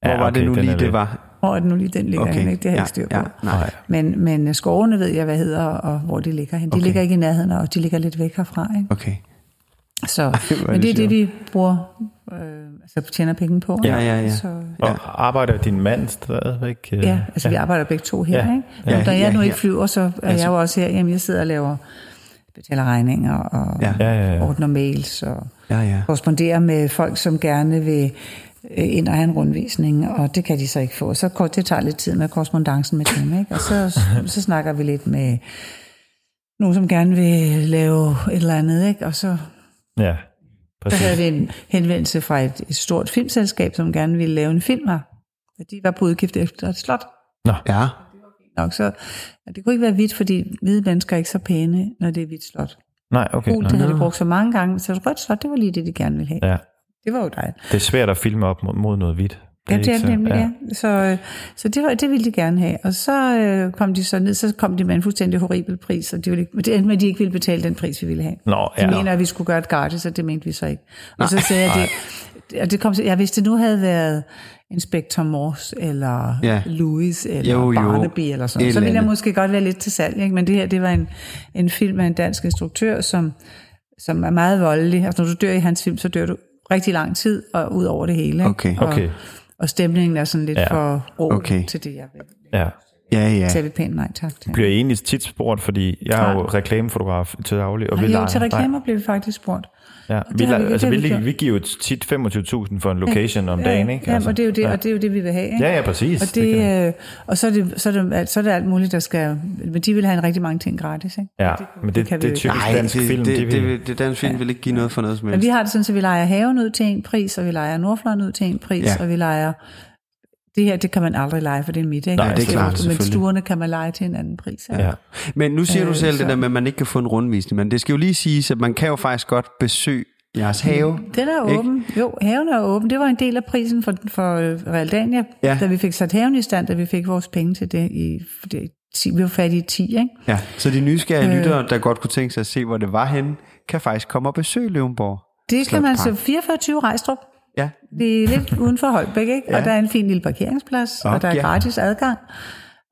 [SPEAKER 3] hvor var det nu
[SPEAKER 2] den er
[SPEAKER 3] lige, det
[SPEAKER 2] lidt-
[SPEAKER 3] var?
[SPEAKER 6] Hvor er det nu lige, den ligger okay.
[SPEAKER 3] Okay,
[SPEAKER 6] henne? Ikke? Det har jeg
[SPEAKER 3] ja,
[SPEAKER 6] ikke styr på.
[SPEAKER 3] ja, nej.
[SPEAKER 6] Men, men øh, skovene ved jeg, hvad hedder, og hvor de ligger hen. De okay. ligger ikke i nærheden, og de ligger lidt væk herfra. Ikke?
[SPEAKER 3] Okay.
[SPEAKER 6] Så,
[SPEAKER 3] hvor er
[SPEAKER 6] men det er
[SPEAKER 3] det
[SPEAKER 6] det, vi bruger, øh, altså tjener penge på.
[SPEAKER 3] Ja,
[SPEAKER 6] ikke?
[SPEAKER 3] ja, ja.
[SPEAKER 6] Så,
[SPEAKER 2] Og arbejder din mand stadigvæk? øh,
[SPEAKER 6] ja, altså ja. vi arbejder begge to her.
[SPEAKER 2] Ja.
[SPEAKER 6] Ja. Ikke? Ja,
[SPEAKER 3] Ja,
[SPEAKER 6] når jeg
[SPEAKER 3] ja,
[SPEAKER 6] nu ikke
[SPEAKER 3] her.
[SPEAKER 6] flyver, så er jeg jo også her. Jamen, jeg sidder og laver, betaler regninger og
[SPEAKER 3] Ja.
[SPEAKER 2] Ja, ja, ja.
[SPEAKER 6] ordner mails og
[SPEAKER 3] Ja, ja.
[SPEAKER 6] korrespondere med folk, som gerne vil øh, ind og have en rundvisning, og det kan de så ikke få. Så går- det tager lidt tid med korrespondancen med dem, ikke? og så, så snakker vi lidt med nogen, som gerne vil lave et eller andet, ikke? og så
[SPEAKER 2] Ja,
[SPEAKER 6] der havde
[SPEAKER 2] præcis.
[SPEAKER 6] vi en henvendelse fra et, et stort filmselskab, som gerne ville lave en film her, og de var på udgift efter et slot.
[SPEAKER 3] Ja,
[SPEAKER 6] Nok, så, og det kunne ikke være hvidt, fordi hvide mennesker er ikke så pæne, når det er hvidt slot.
[SPEAKER 2] Nej, okay.
[SPEAKER 6] Gult,
[SPEAKER 2] Nå.
[SPEAKER 6] det havde de brugt så mange gange, så et rødt slot, det var lige det, de gerne ville have.
[SPEAKER 2] Ja.
[SPEAKER 6] Det var jo dejligt.
[SPEAKER 2] Det er svært at filme op mod- mod noget hvidt.
[SPEAKER 6] Ja, det
[SPEAKER 2] ikke
[SPEAKER 6] er det
[SPEAKER 2] så-
[SPEAKER 6] nemlig, ja. Så, øh, så det, var, det ville de gerne have. Og så øh, kom de så ned, så kom de med en fuldstændig horribel pris, og de ville, ikke- men det endte med, at de ikke ville betale den pris, vi ville have.
[SPEAKER 2] Nå,
[SPEAKER 6] De
[SPEAKER 2] ja.
[SPEAKER 6] mener, at vi skulle gøre et gratis, og det mente vi så ikke. Og så sagde jeg det, og det kom til, ja, hvis det nu havde været Inspector Morse, eller ja.
[SPEAKER 3] Ja.
[SPEAKER 6] Louis, eller
[SPEAKER 3] Jo,
[SPEAKER 6] jo,
[SPEAKER 3] jo.
[SPEAKER 6] jo. Barnaby, eller sådan noget,
[SPEAKER 3] Et
[SPEAKER 6] så ville
[SPEAKER 3] eller
[SPEAKER 6] jeg
[SPEAKER 3] andet.
[SPEAKER 6] måske godt være lidt til salg, ikke? men det her, det var en, en film af en dansk instruktør, som, som er meget voldelig. Altså, når du dør i hans film, så dør du rigtig lang tid, og ud over det hele. Ikke?
[SPEAKER 3] Okay.
[SPEAKER 6] Og,
[SPEAKER 2] Okay.
[SPEAKER 6] og stemningen er sådan lidt
[SPEAKER 2] Ja.
[SPEAKER 6] ja. for rå okay.
[SPEAKER 3] Okay.
[SPEAKER 6] til det, jeg vil.
[SPEAKER 2] ja.
[SPEAKER 3] ja, ja.
[SPEAKER 6] Så er vi pænt nej tak til.
[SPEAKER 2] Bliver I egentlig tit spurgt, fordi jeg er jo reklamefotograf til daglig, og vi
[SPEAKER 6] Og jo,
[SPEAKER 2] leger.
[SPEAKER 6] til reklamer
[SPEAKER 2] Nej,
[SPEAKER 6] blev vi faktisk spurgt.
[SPEAKER 2] Ja.
[SPEAKER 6] Og det
[SPEAKER 2] Vi,
[SPEAKER 6] har vi-
[SPEAKER 2] leger,
[SPEAKER 6] det
[SPEAKER 2] altså,
[SPEAKER 6] har
[SPEAKER 2] vi,
[SPEAKER 6] vi
[SPEAKER 2] vi,
[SPEAKER 6] gjort.
[SPEAKER 2] vi giver jo tit 25.000 for en location om dagen, ikke?
[SPEAKER 6] Ja,
[SPEAKER 2] Altså.
[SPEAKER 6] og det er jo det, og det er jo det, vi vil have. Ikke?
[SPEAKER 2] Ja, ja, præcis.
[SPEAKER 6] Og,
[SPEAKER 2] Det
[SPEAKER 6] det,
[SPEAKER 2] kan
[SPEAKER 6] øh, og så, er det, så, er det, alt- så er det alt muligt, der skal... Men de vil have en rigtig mange ting gratis, ikke?
[SPEAKER 2] Ja, men det,
[SPEAKER 6] kan
[SPEAKER 2] det,
[SPEAKER 6] vi
[SPEAKER 2] det
[SPEAKER 6] jo
[SPEAKER 2] er
[SPEAKER 6] ikke.
[SPEAKER 2] typisk
[SPEAKER 3] Nej,
[SPEAKER 2] dansk
[SPEAKER 3] det,
[SPEAKER 2] film.
[SPEAKER 3] det, det,
[SPEAKER 2] vil-
[SPEAKER 3] det, det dansk film vil ikke give noget for noget som
[SPEAKER 6] Men
[SPEAKER 3] helst.
[SPEAKER 6] vi har det sådan, at vi leger haven ud til en pris, og vi leger Nordfløjen ud til en pris, ja.
[SPEAKER 3] Ja.
[SPEAKER 6] og vi leger Det her, det kan man aldrig lege, for det er en middag.
[SPEAKER 2] Nej,
[SPEAKER 3] det er klart,
[SPEAKER 6] Men
[SPEAKER 3] selvfølgelig.
[SPEAKER 6] stuerne kan man lege til en anden pris. ikke?
[SPEAKER 2] Ja.
[SPEAKER 3] Men nu siger øh, du
[SPEAKER 6] Øh,
[SPEAKER 3] selv
[SPEAKER 6] så-
[SPEAKER 3] det der med, at man ikke kan få en rundvisning, men det skal jo lige siges, at man kan jo faktisk godt besøge jeres have.
[SPEAKER 6] Den er
[SPEAKER 3] Ikke?
[SPEAKER 6] åben. Jo, haven er åben. Det var en del af prisen for, for øh, Realdania,
[SPEAKER 3] Ja.
[SPEAKER 6] ja. da vi fik sat haven i stand, da vi fik vores penge til det. I, for det 10, vi var fattige i 10, ikke?
[SPEAKER 3] Ja, så de nysgerrige øh. lyttere, der godt kunne tænke sig at se, hvor det var henne, kan faktisk komme og besøge Løvenborg.
[SPEAKER 6] Det kan man
[SPEAKER 3] Slotspark.
[SPEAKER 6] så 44 Rejstrup.
[SPEAKER 3] Ja,
[SPEAKER 6] Det er lidt uden for Holbæk, ikke? Ja. Og der er en fin lille parkeringsplads,
[SPEAKER 3] Nå,
[SPEAKER 6] og der er
[SPEAKER 3] ja.
[SPEAKER 6] gratis adgang.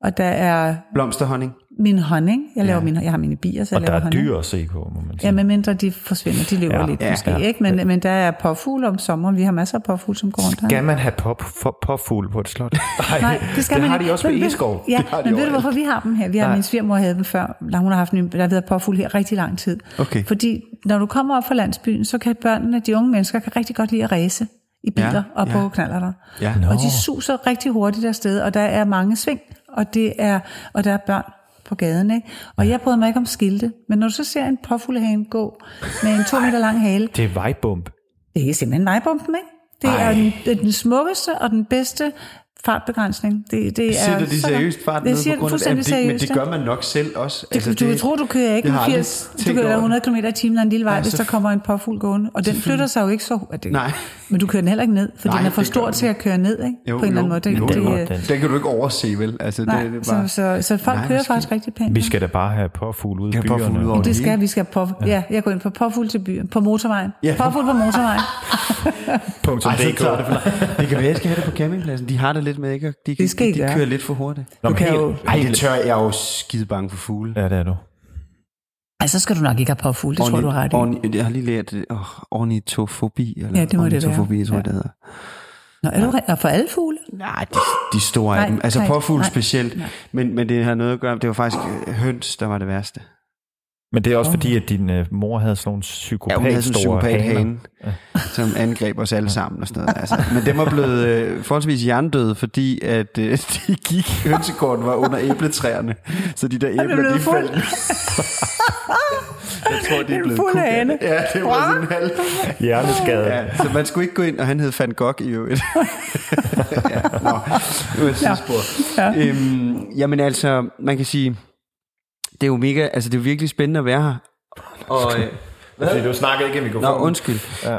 [SPEAKER 6] Og der er
[SPEAKER 3] blomsterhonning.
[SPEAKER 6] min honning. Jeg, laver ja. min, jeg har mine bier, så
[SPEAKER 2] Og
[SPEAKER 6] jeg
[SPEAKER 2] der
[SPEAKER 6] laver
[SPEAKER 2] er
[SPEAKER 6] honning.
[SPEAKER 2] dyr at se på, må man sige.
[SPEAKER 6] Ja, men mindre de forsvinder, de lever
[SPEAKER 2] Ja,
[SPEAKER 6] ja, lidt
[SPEAKER 2] ja,
[SPEAKER 6] ja, måske,
[SPEAKER 2] ja.
[SPEAKER 6] ja. ikke? Men, men der er påfugle om sommeren, vi har masser af påfugle, som går rundt her.
[SPEAKER 2] Skal man have pop, for, popfugl på et slot?
[SPEAKER 6] Nej, det skal
[SPEAKER 2] det
[SPEAKER 6] man
[SPEAKER 2] har
[SPEAKER 6] ikke.
[SPEAKER 2] de også
[SPEAKER 6] Men
[SPEAKER 2] ved
[SPEAKER 6] ved-
[SPEAKER 2] Eskov.
[SPEAKER 6] Ja,
[SPEAKER 2] Det har de
[SPEAKER 6] men ved du,
[SPEAKER 2] overalt.
[SPEAKER 6] hvorfor vi har dem her? Vi har min svigermor havde dem før. Nå, Hun har haft en, der har været påfugl her rigtig lang tid.
[SPEAKER 3] Okay.
[SPEAKER 6] Fordi når du kommer op fra landsbyen, så kan børnene, de unge mennesker, kan rigtig godt lide at ræse i biler
[SPEAKER 3] Ja,
[SPEAKER 6] ja, og på
[SPEAKER 3] ja.
[SPEAKER 6] ja. knallerter.
[SPEAKER 3] Ja.
[SPEAKER 6] Og de suser rigtig hurtigt afsted, og der er mange sving, og, det er, og der er børn på gaden, ikke? Og jeg bryder mig ikke om skilte, men når du så ser en påfuglehane gå med en to meter lang hale,
[SPEAKER 2] Det er vejbump.
[SPEAKER 6] det er simpelthen vejbomben, ikke? Det Ej. er den, det er den smukkeste og den bedste fartbegrænsning. Det, det er
[SPEAKER 3] Sætter de
[SPEAKER 6] sådan-
[SPEAKER 3] seriøst fart
[SPEAKER 6] Det
[SPEAKER 3] ned på
[SPEAKER 6] siger det
[SPEAKER 3] grund af Jamen,
[SPEAKER 6] fuldstændig
[SPEAKER 3] det, men
[SPEAKER 6] seriøst.
[SPEAKER 3] det
[SPEAKER 6] ikke?
[SPEAKER 3] gør man nok selv også.
[SPEAKER 6] det, altså, du vil tro, du kører ikke
[SPEAKER 3] jeg har
[SPEAKER 6] med
[SPEAKER 3] aldrig
[SPEAKER 6] 80, du
[SPEAKER 3] tænkt
[SPEAKER 6] kører
[SPEAKER 3] over
[SPEAKER 6] 100 km i timen ad en lille vej,
[SPEAKER 3] Nej,
[SPEAKER 6] hvis der
[SPEAKER 3] selvfø-
[SPEAKER 6] kommer en påfugl gående. Og den flytter sig jo ikke så hurtigt. Det-
[SPEAKER 3] Nej.
[SPEAKER 6] Men du kører den heller ikke ned, fordi
[SPEAKER 3] Nej,
[SPEAKER 6] den er for
[SPEAKER 3] det gør
[SPEAKER 6] stor
[SPEAKER 3] den.
[SPEAKER 6] til at køre ned, ikke?
[SPEAKER 3] Jo,
[SPEAKER 6] på en eller
[SPEAKER 3] jo,
[SPEAKER 6] anden måde.
[SPEAKER 3] jo,
[SPEAKER 6] det,
[SPEAKER 2] jo.
[SPEAKER 6] øh,
[SPEAKER 2] Den-
[SPEAKER 3] Den kan du ikke overse, vel? Altså,
[SPEAKER 6] nej,
[SPEAKER 3] det, det er
[SPEAKER 6] så,
[SPEAKER 3] bare...
[SPEAKER 6] så, så folk
[SPEAKER 3] Nej,
[SPEAKER 6] kører
[SPEAKER 3] hvor skal-
[SPEAKER 6] faktisk rigtig pænt.
[SPEAKER 2] Vi skal da bare have påfugl ude i
[SPEAKER 3] Ja, påfugl
[SPEAKER 2] byerne.
[SPEAKER 3] ude over-
[SPEAKER 6] det skal, vi skal på, ja, jeg går ind på påfugl til byen, på motorvejen.
[SPEAKER 3] Ja.
[SPEAKER 6] Ja. Påfugl på motorvejen.
[SPEAKER 2] Punktum
[SPEAKER 3] Ej, så
[SPEAKER 2] DK.
[SPEAKER 3] tager det, for- det kan være, jeg skal have det på campingpladsen. De har det lidt med, ikke? Og De,
[SPEAKER 6] Det skal
[SPEAKER 3] de,
[SPEAKER 6] I
[SPEAKER 3] de
[SPEAKER 6] gøre.
[SPEAKER 3] kører lidt for hurtigt.
[SPEAKER 2] Nå, men
[SPEAKER 6] kan
[SPEAKER 2] helt-
[SPEAKER 6] jo-
[SPEAKER 3] Ej, det tør jeg. Jeg er jo skide bange for fugle.
[SPEAKER 2] Ja, det er du.
[SPEAKER 6] Altså, så skal du nok ikke have påfugl, det tror jeg, du har ret i.
[SPEAKER 3] Orni, jeg har lige lært det. Oh, ornitofobi, eller
[SPEAKER 6] Ja, det må det være.
[SPEAKER 3] ornitofobi, tror jeg, det hedder.
[SPEAKER 6] Nå, er du, og for alle fugle?
[SPEAKER 3] Nej, de, de store af
[SPEAKER 6] Nej,
[SPEAKER 3] dem. Altså
[SPEAKER 6] nej,
[SPEAKER 3] påfugl
[SPEAKER 6] nej,
[SPEAKER 3] specielt. Men, men det har noget at gøre med, det var faktisk øh, høns, der var det værste.
[SPEAKER 2] Men det er også fordi, at din øh, mor havde sådan nogle
[SPEAKER 3] Ja, hun havde
[SPEAKER 2] psykopat
[SPEAKER 3] sådan en
[SPEAKER 2] store
[SPEAKER 3] psykopat
[SPEAKER 2] haner.
[SPEAKER 3] hane, som angreb os alle sammen og sådan noget. Altså. Men dem var blevet øh, forholdsvis hjernedøde, fordi at øh, de gik, hønsekorten var under æbletræerne. Så de der æbler, de
[SPEAKER 6] blevet
[SPEAKER 3] faldt.
[SPEAKER 6] fuld.
[SPEAKER 3] Jeg tror, de er
[SPEAKER 6] En
[SPEAKER 3] blevet
[SPEAKER 6] fuld
[SPEAKER 3] kugt.
[SPEAKER 6] hane.
[SPEAKER 3] Ja, det var sådan en halv.
[SPEAKER 2] Hjerneskade.
[SPEAKER 3] Ja, så man skulle ikke gå ind, og han hed Van Gogh i øvrigt. ja, nå, nu er jeg ja. øhm, Jamen altså, man kan sige, det er jo mega, altså det er jo virkelig spændende at være her. Og, øh,
[SPEAKER 2] Fordi du snakker ikke i
[SPEAKER 3] Nå,
[SPEAKER 2] mikrofonen.
[SPEAKER 3] undskyld. Ja.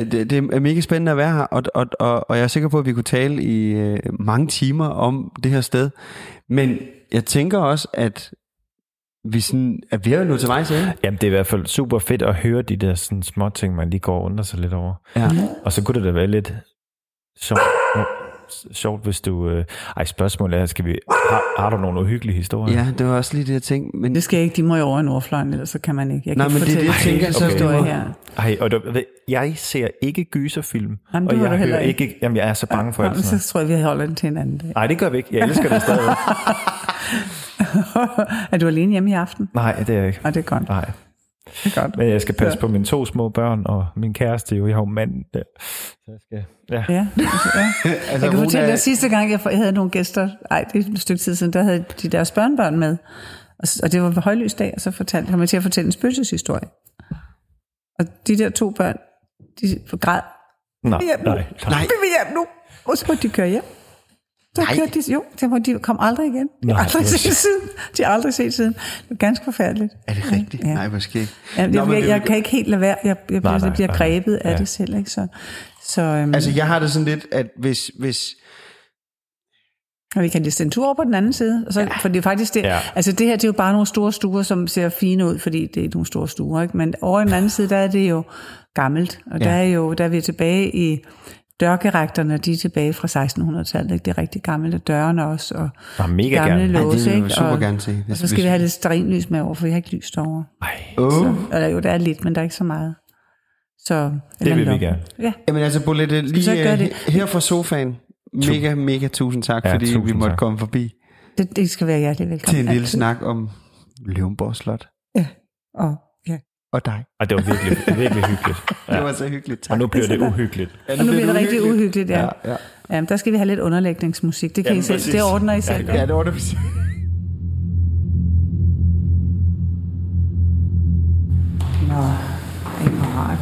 [SPEAKER 3] Øh, det, det er mega spændende at være her, og, og, og, og jeg er sikker på, at vi kunne tale i øh, mange timer om det her sted. Men jeg tænker også, at vi sådan, at vi er jo nået til vejs ende.
[SPEAKER 2] Jamen, det er i hvert fald super fedt at høre de der sådan, små ting, man lige går og undrer sig lidt over.
[SPEAKER 3] Ja.
[SPEAKER 2] Og så kunne det da være lidt sjovt, oh, sjovt hvis du... Øh, ej, spørgsmålet er, skal vi, har, har du nogle uhyggelige historier?
[SPEAKER 3] ja, det var også lige det, jeg tænkte. Men
[SPEAKER 6] Det skal jeg ikke, de må jo over i Nordfløjen, ellers så kan man ikke. Jeg kan
[SPEAKER 3] Nej,
[SPEAKER 6] ikke
[SPEAKER 3] men det er
[SPEAKER 6] fortælle
[SPEAKER 3] det, jeg tænker,
[SPEAKER 2] så
[SPEAKER 6] historie
[SPEAKER 3] det må-
[SPEAKER 6] her.
[SPEAKER 2] Ej, og der, jeg ser ikke gyserfilm,
[SPEAKER 6] Jamen, det
[SPEAKER 2] og
[SPEAKER 6] gør
[SPEAKER 2] jeg
[SPEAKER 6] du heller
[SPEAKER 2] ikke. Jamen, jeg er så bange for alt
[SPEAKER 6] Nå, men
[SPEAKER 2] sådan
[SPEAKER 6] så tror jeg, vi holder den til en anden dag.
[SPEAKER 2] Nej, det gør vi ikke. Jeg elsker det stadig.
[SPEAKER 6] er du alene hjemme i aften?
[SPEAKER 2] Nej, det er jeg ikke.
[SPEAKER 6] Og det er godt.
[SPEAKER 2] Nej,
[SPEAKER 6] Det er godt.
[SPEAKER 2] men jeg skal passe på mine to små børn og min kæreste. Jo, jeg har jo mand. Der. Så jeg skal, ja.
[SPEAKER 6] Ja, altså, ja. altså, jeg kan
[SPEAKER 3] hun
[SPEAKER 6] fortælle
[SPEAKER 3] er-
[SPEAKER 6] dig, at sidste gang, jeg for- jeg havde nogle gæster, nej, det er et stykke tid siden, der havde de deres børnebørn med, og, s- og det var på højlys dag, og så fortalte, kom jeg til at fortælle en spøgelseshistorie. Og de der to børn, de græd.
[SPEAKER 2] Nej,
[SPEAKER 6] Hjem nu.
[SPEAKER 2] nej, nej.
[SPEAKER 6] Vi vil hjem nu! Og så måtte de køre hjem. Så kørte de, jo, så måtte de kom aldrig igen. De har
[SPEAKER 2] Nej,
[SPEAKER 6] aldrig
[SPEAKER 2] hvor
[SPEAKER 6] set
[SPEAKER 2] sjovt.
[SPEAKER 6] siden. De har aldrig set siden. Det var ganske forfærdeligt.
[SPEAKER 3] er det rigtigt? Ja.
[SPEAKER 6] Ja.
[SPEAKER 3] Nej, måske ikke.
[SPEAKER 6] Ja,
[SPEAKER 3] Nå,
[SPEAKER 6] jeg,
[SPEAKER 3] men
[SPEAKER 6] jeg,
[SPEAKER 3] det er
[SPEAKER 6] jeg
[SPEAKER 3] jo-
[SPEAKER 6] kan ikke helt lade være. Jeg, jeg, nej,
[SPEAKER 2] nej,
[SPEAKER 6] jeg bliver
[SPEAKER 2] nej.
[SPEAKER 6] grebet af
[SPEAKER 2] Ja.
[SPEAKER 6] det selv. Ikke? Så, så øhm,
[SPEAKER 3] Altså,
[SPEAKER 6] altså,
[SPEAKER 3] jeg har det sådan lidt, at hvis, hvis,
[SPEAKER 6] vi kan lige sende en tur over på den anden side. Og så, ja. For det er faktisk det.
[SPEAKER 2] Ja.
[SPEAKER 6] Ja. Altså det her, det er jo bare nogle store stuer, som ser fine ud, fordi det er nogle store stuer. Ikke? Men over i den anden side, der er det jo gammelt. Og ja. der er jo, der er vi tilbage i dørgerægterne, de er tilbage fra 1600-tallet. Ikke? Det er rigtig gammelt, og dørene også, og
[SPEAKER 2] Nå, mega
[SPEAKER 6] gamle
[SPEAKER 2] gerne.
[SPEAKER 3] Ej, det vil
[SPEAKER 6] låse.
[SPEAKER 3] jeg
[SPEAKER 6] ikke?
[SPEAKER 3] super
[SPEAKER 6] og,
[SPEAKER 3] gerne se.
[SPEAKER 6] og
[SPEAKER 3] Hvis-
[SPEAKER 6] så skal
[SPEAKER 3] hvis-
[SPEAKER 6] vi have lidt sterinlys med over, for vi har ikke lys derovre.
[SPEAKER 3] Åh.
[SPEAKER 6] Eller jo, der er lidt, men der er ikke så meget. Så,
[SPEAKER 2] Det vil vi
[SPEAKER 6] Eller-
[SPEAKER 2] gerne.
[SPEAKER 6] Ja.
[SPEAKER 3] Jamen altså, Bolette,
[SPEAKER 6] så
[SPEAKER 3] lige
[SPEAKER 6] ikke gøre
[SPEAKER 3] øh,
[SPEAKER 6] det?
[SPEAKER 3] her fra sofaen, mega, mega tusind tak,
[SPEAKER 2] Ja,
[SPEAKER 3] fordi vi
[SPEAKER 2] tusind
[SPEAKER 3] måtte
[SPEAKER 2] tak.
[SPEAKER 3] komme forbi
[SPEAKER 6] Det, det skal være hjertelig velkommen.
[SPEAKER 3] til en lille
[SPEAKER 6] Altid.
[SPEAKER 3] snak om Løvenborg Slot
[SPEAKER 6] Og, ja.
[SPEAKER 3] og dig.
[SPEAKER 2] Og det var virkelig, virkelig hyggeligt.
[SPEAKER 3] Det
[SPEAKER 2] Ja.
[SPEAKER 3] var så hyggeligt. Tak.
[SPEAKER 2] Og nu bliver det uhyggeligt.
[SPEAKER 3] Ja,
[SPEAKER 6] Og nu bliver det rigtig uhyggeligt, ja.
[SPEAKER 3] Ja,
[SPEAKER 6] ja,
[SPEAKER 3] ja.
[SPEAKER 6] ja. der skal vi have lidt underlægningsmusik. Det, kan
[SPEAKER 2] Jamen,
[SPEAKER 6] I selv,
[SPEAKER 2] præcis.
[SPEAKER 6] det ordner I selv.
[SPEAKER 2] det
[SPEAKER 6] Ja,
[SPEAKER 2] gør vi.
[SPEAKER 3] Ja, det var det.
[SPEAKER 6] Nå, ikke noget rart.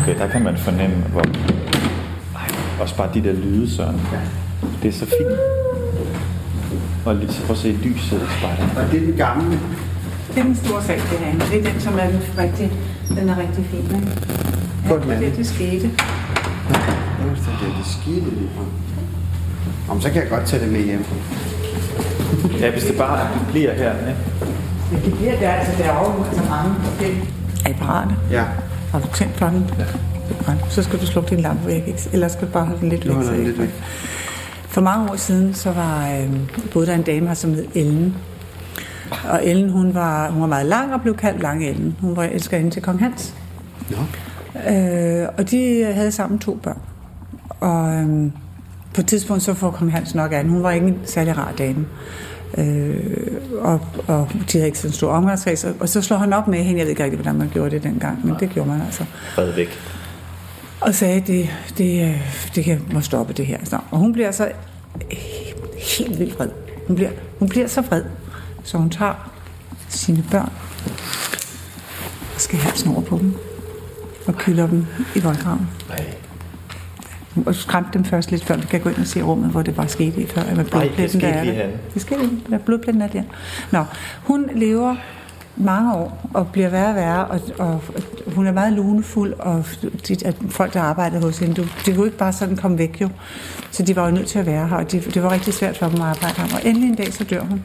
[SPEAKER 2] Okay, der kan man fornemme, hvor... Ej,
[SPEAKER 7] Også bare de der lyde, Søren. Det er så fint. Og lige så prøv at se lyset i spejlet.
[SPEAKER 3] Og det er den gamle.
[SPEAKER 6] Det er den store sag, det her. Det er den, som er den rigtig, den er rigtig fin. Ikke?
[SPEAKER 3] På den
[SPEAKER 6] Ja, det, er
[SPEAKER 3] anden.
[SPEAKER 6] det, det skete.
[SPEAKER 3] Jeg vidste, at det er det skide lige fra. Om så kan jeg godt tage det med hjem.
[SPEAKER 7] Ja, hvis det bare bliver her, ikke?
[SPEAKER 6] Men det bliver der, altså derovre, altså mange. Okay. Er I parate?
[SPEAKER 3] Ja,
[SPEAKER 6] Har du tændt for den? Ja. Så skal du slukke din lampe væk, ikke? eller skal du bare holde den lidt
[SPEAKER 3] nu
[SPEAKER 6] væk.
[SPEAKER 3] holder
[SPEAKER 6] så
[SPEAKER 3] jeg den
[SPEAKER 6] I-
[SPEAKER 3] lidt væk.
[SPEAKER 6] For mange år siden, så var øh, boede der en dame her, som hed Ellen. Og Ellen, hun var, hun var meget lang og blev kaldt Lang Ellen. Hun var elskerinde til kong Hans. Nå. Øh, og de havde sammen to børn. Og øh, på et tidspunkt, så får kong Hans nok af hende. Hun var ikke en særlig rar dame. Øh, og, og de havde ikke sådan en stor omgangskreds. Og, og så slår han op med hende. Jeg ved ikke rigtig, hvordan man gjorde det dengang, men det gjorde man altså
[SPEAKER 7] Red væk.
[SPEAKER 6] og sagde, det, det, øh, det kan, må stoppe det her. Så, og hun bliver så øh, helt vildt vred. Hun bliver, hun bliver så vred, så hun tager sine børn og skal halsen over på dem og kylder dem i voldgraven. Og skræmte dem først lidt, før vi kan gå ind og se rummet, hvor det bare skete i, før at med blodpletten, der
[SPEAKER 7] skete
[SPEAKER 6] er
[SPEAKER 7] lige
[SPEAKER 6] der.
[SPEAKER 7] herinde.
[SPEAKER 6] Det skete lige med blodpletten er der. Nå, hun lever mange år og bliver værre og værre, og, og, og hun er meget lunefuld, og de, at folk, der arbejdede hos hende, du, det kunne ikke bare sådan komme væk jo. Så de var jo nødt til at være her, og det, det var rigtig svært for dem at arbejde her. Og endelig en dag, så dør hun.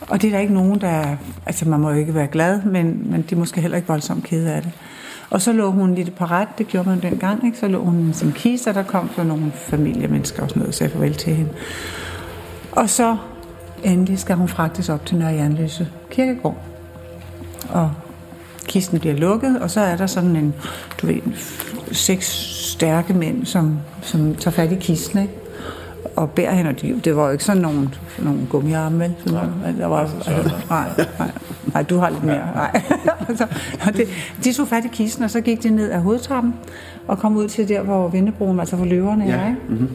[SPEAKER 6] Og det er der ikke nogen, der... Altså, man må jo ikke være glad, men, men de er måske heller ikke voldsomt kede af det. Og så lå hun lidt på ret, det gjorde man dengang, ikke? Så lå hun i sin kiste, og der kom så nogle familiemennesker og sådan noget, og sagde farvel til hende. Og så endelig skal hun fragtes op til Nørre Jernløse Kirkegård. Og kisten bliver lukket, og så er der sådan en, du ved, en f- seks stærke mænd, som, som tager fat i kisten, ikke? og bærer hende, og de, det var jo ikke sådan nogle, nogle gummiarme, vel? Sådan nej, der var, altså, nej, nej, nej, du har lidt mere, nej. altså, og det, de tog fat i kisten, og så gik de ned ad hovedtrappen, og kom ud til der, hvor vindebroen, altså hvor løverne ja. er, ikke?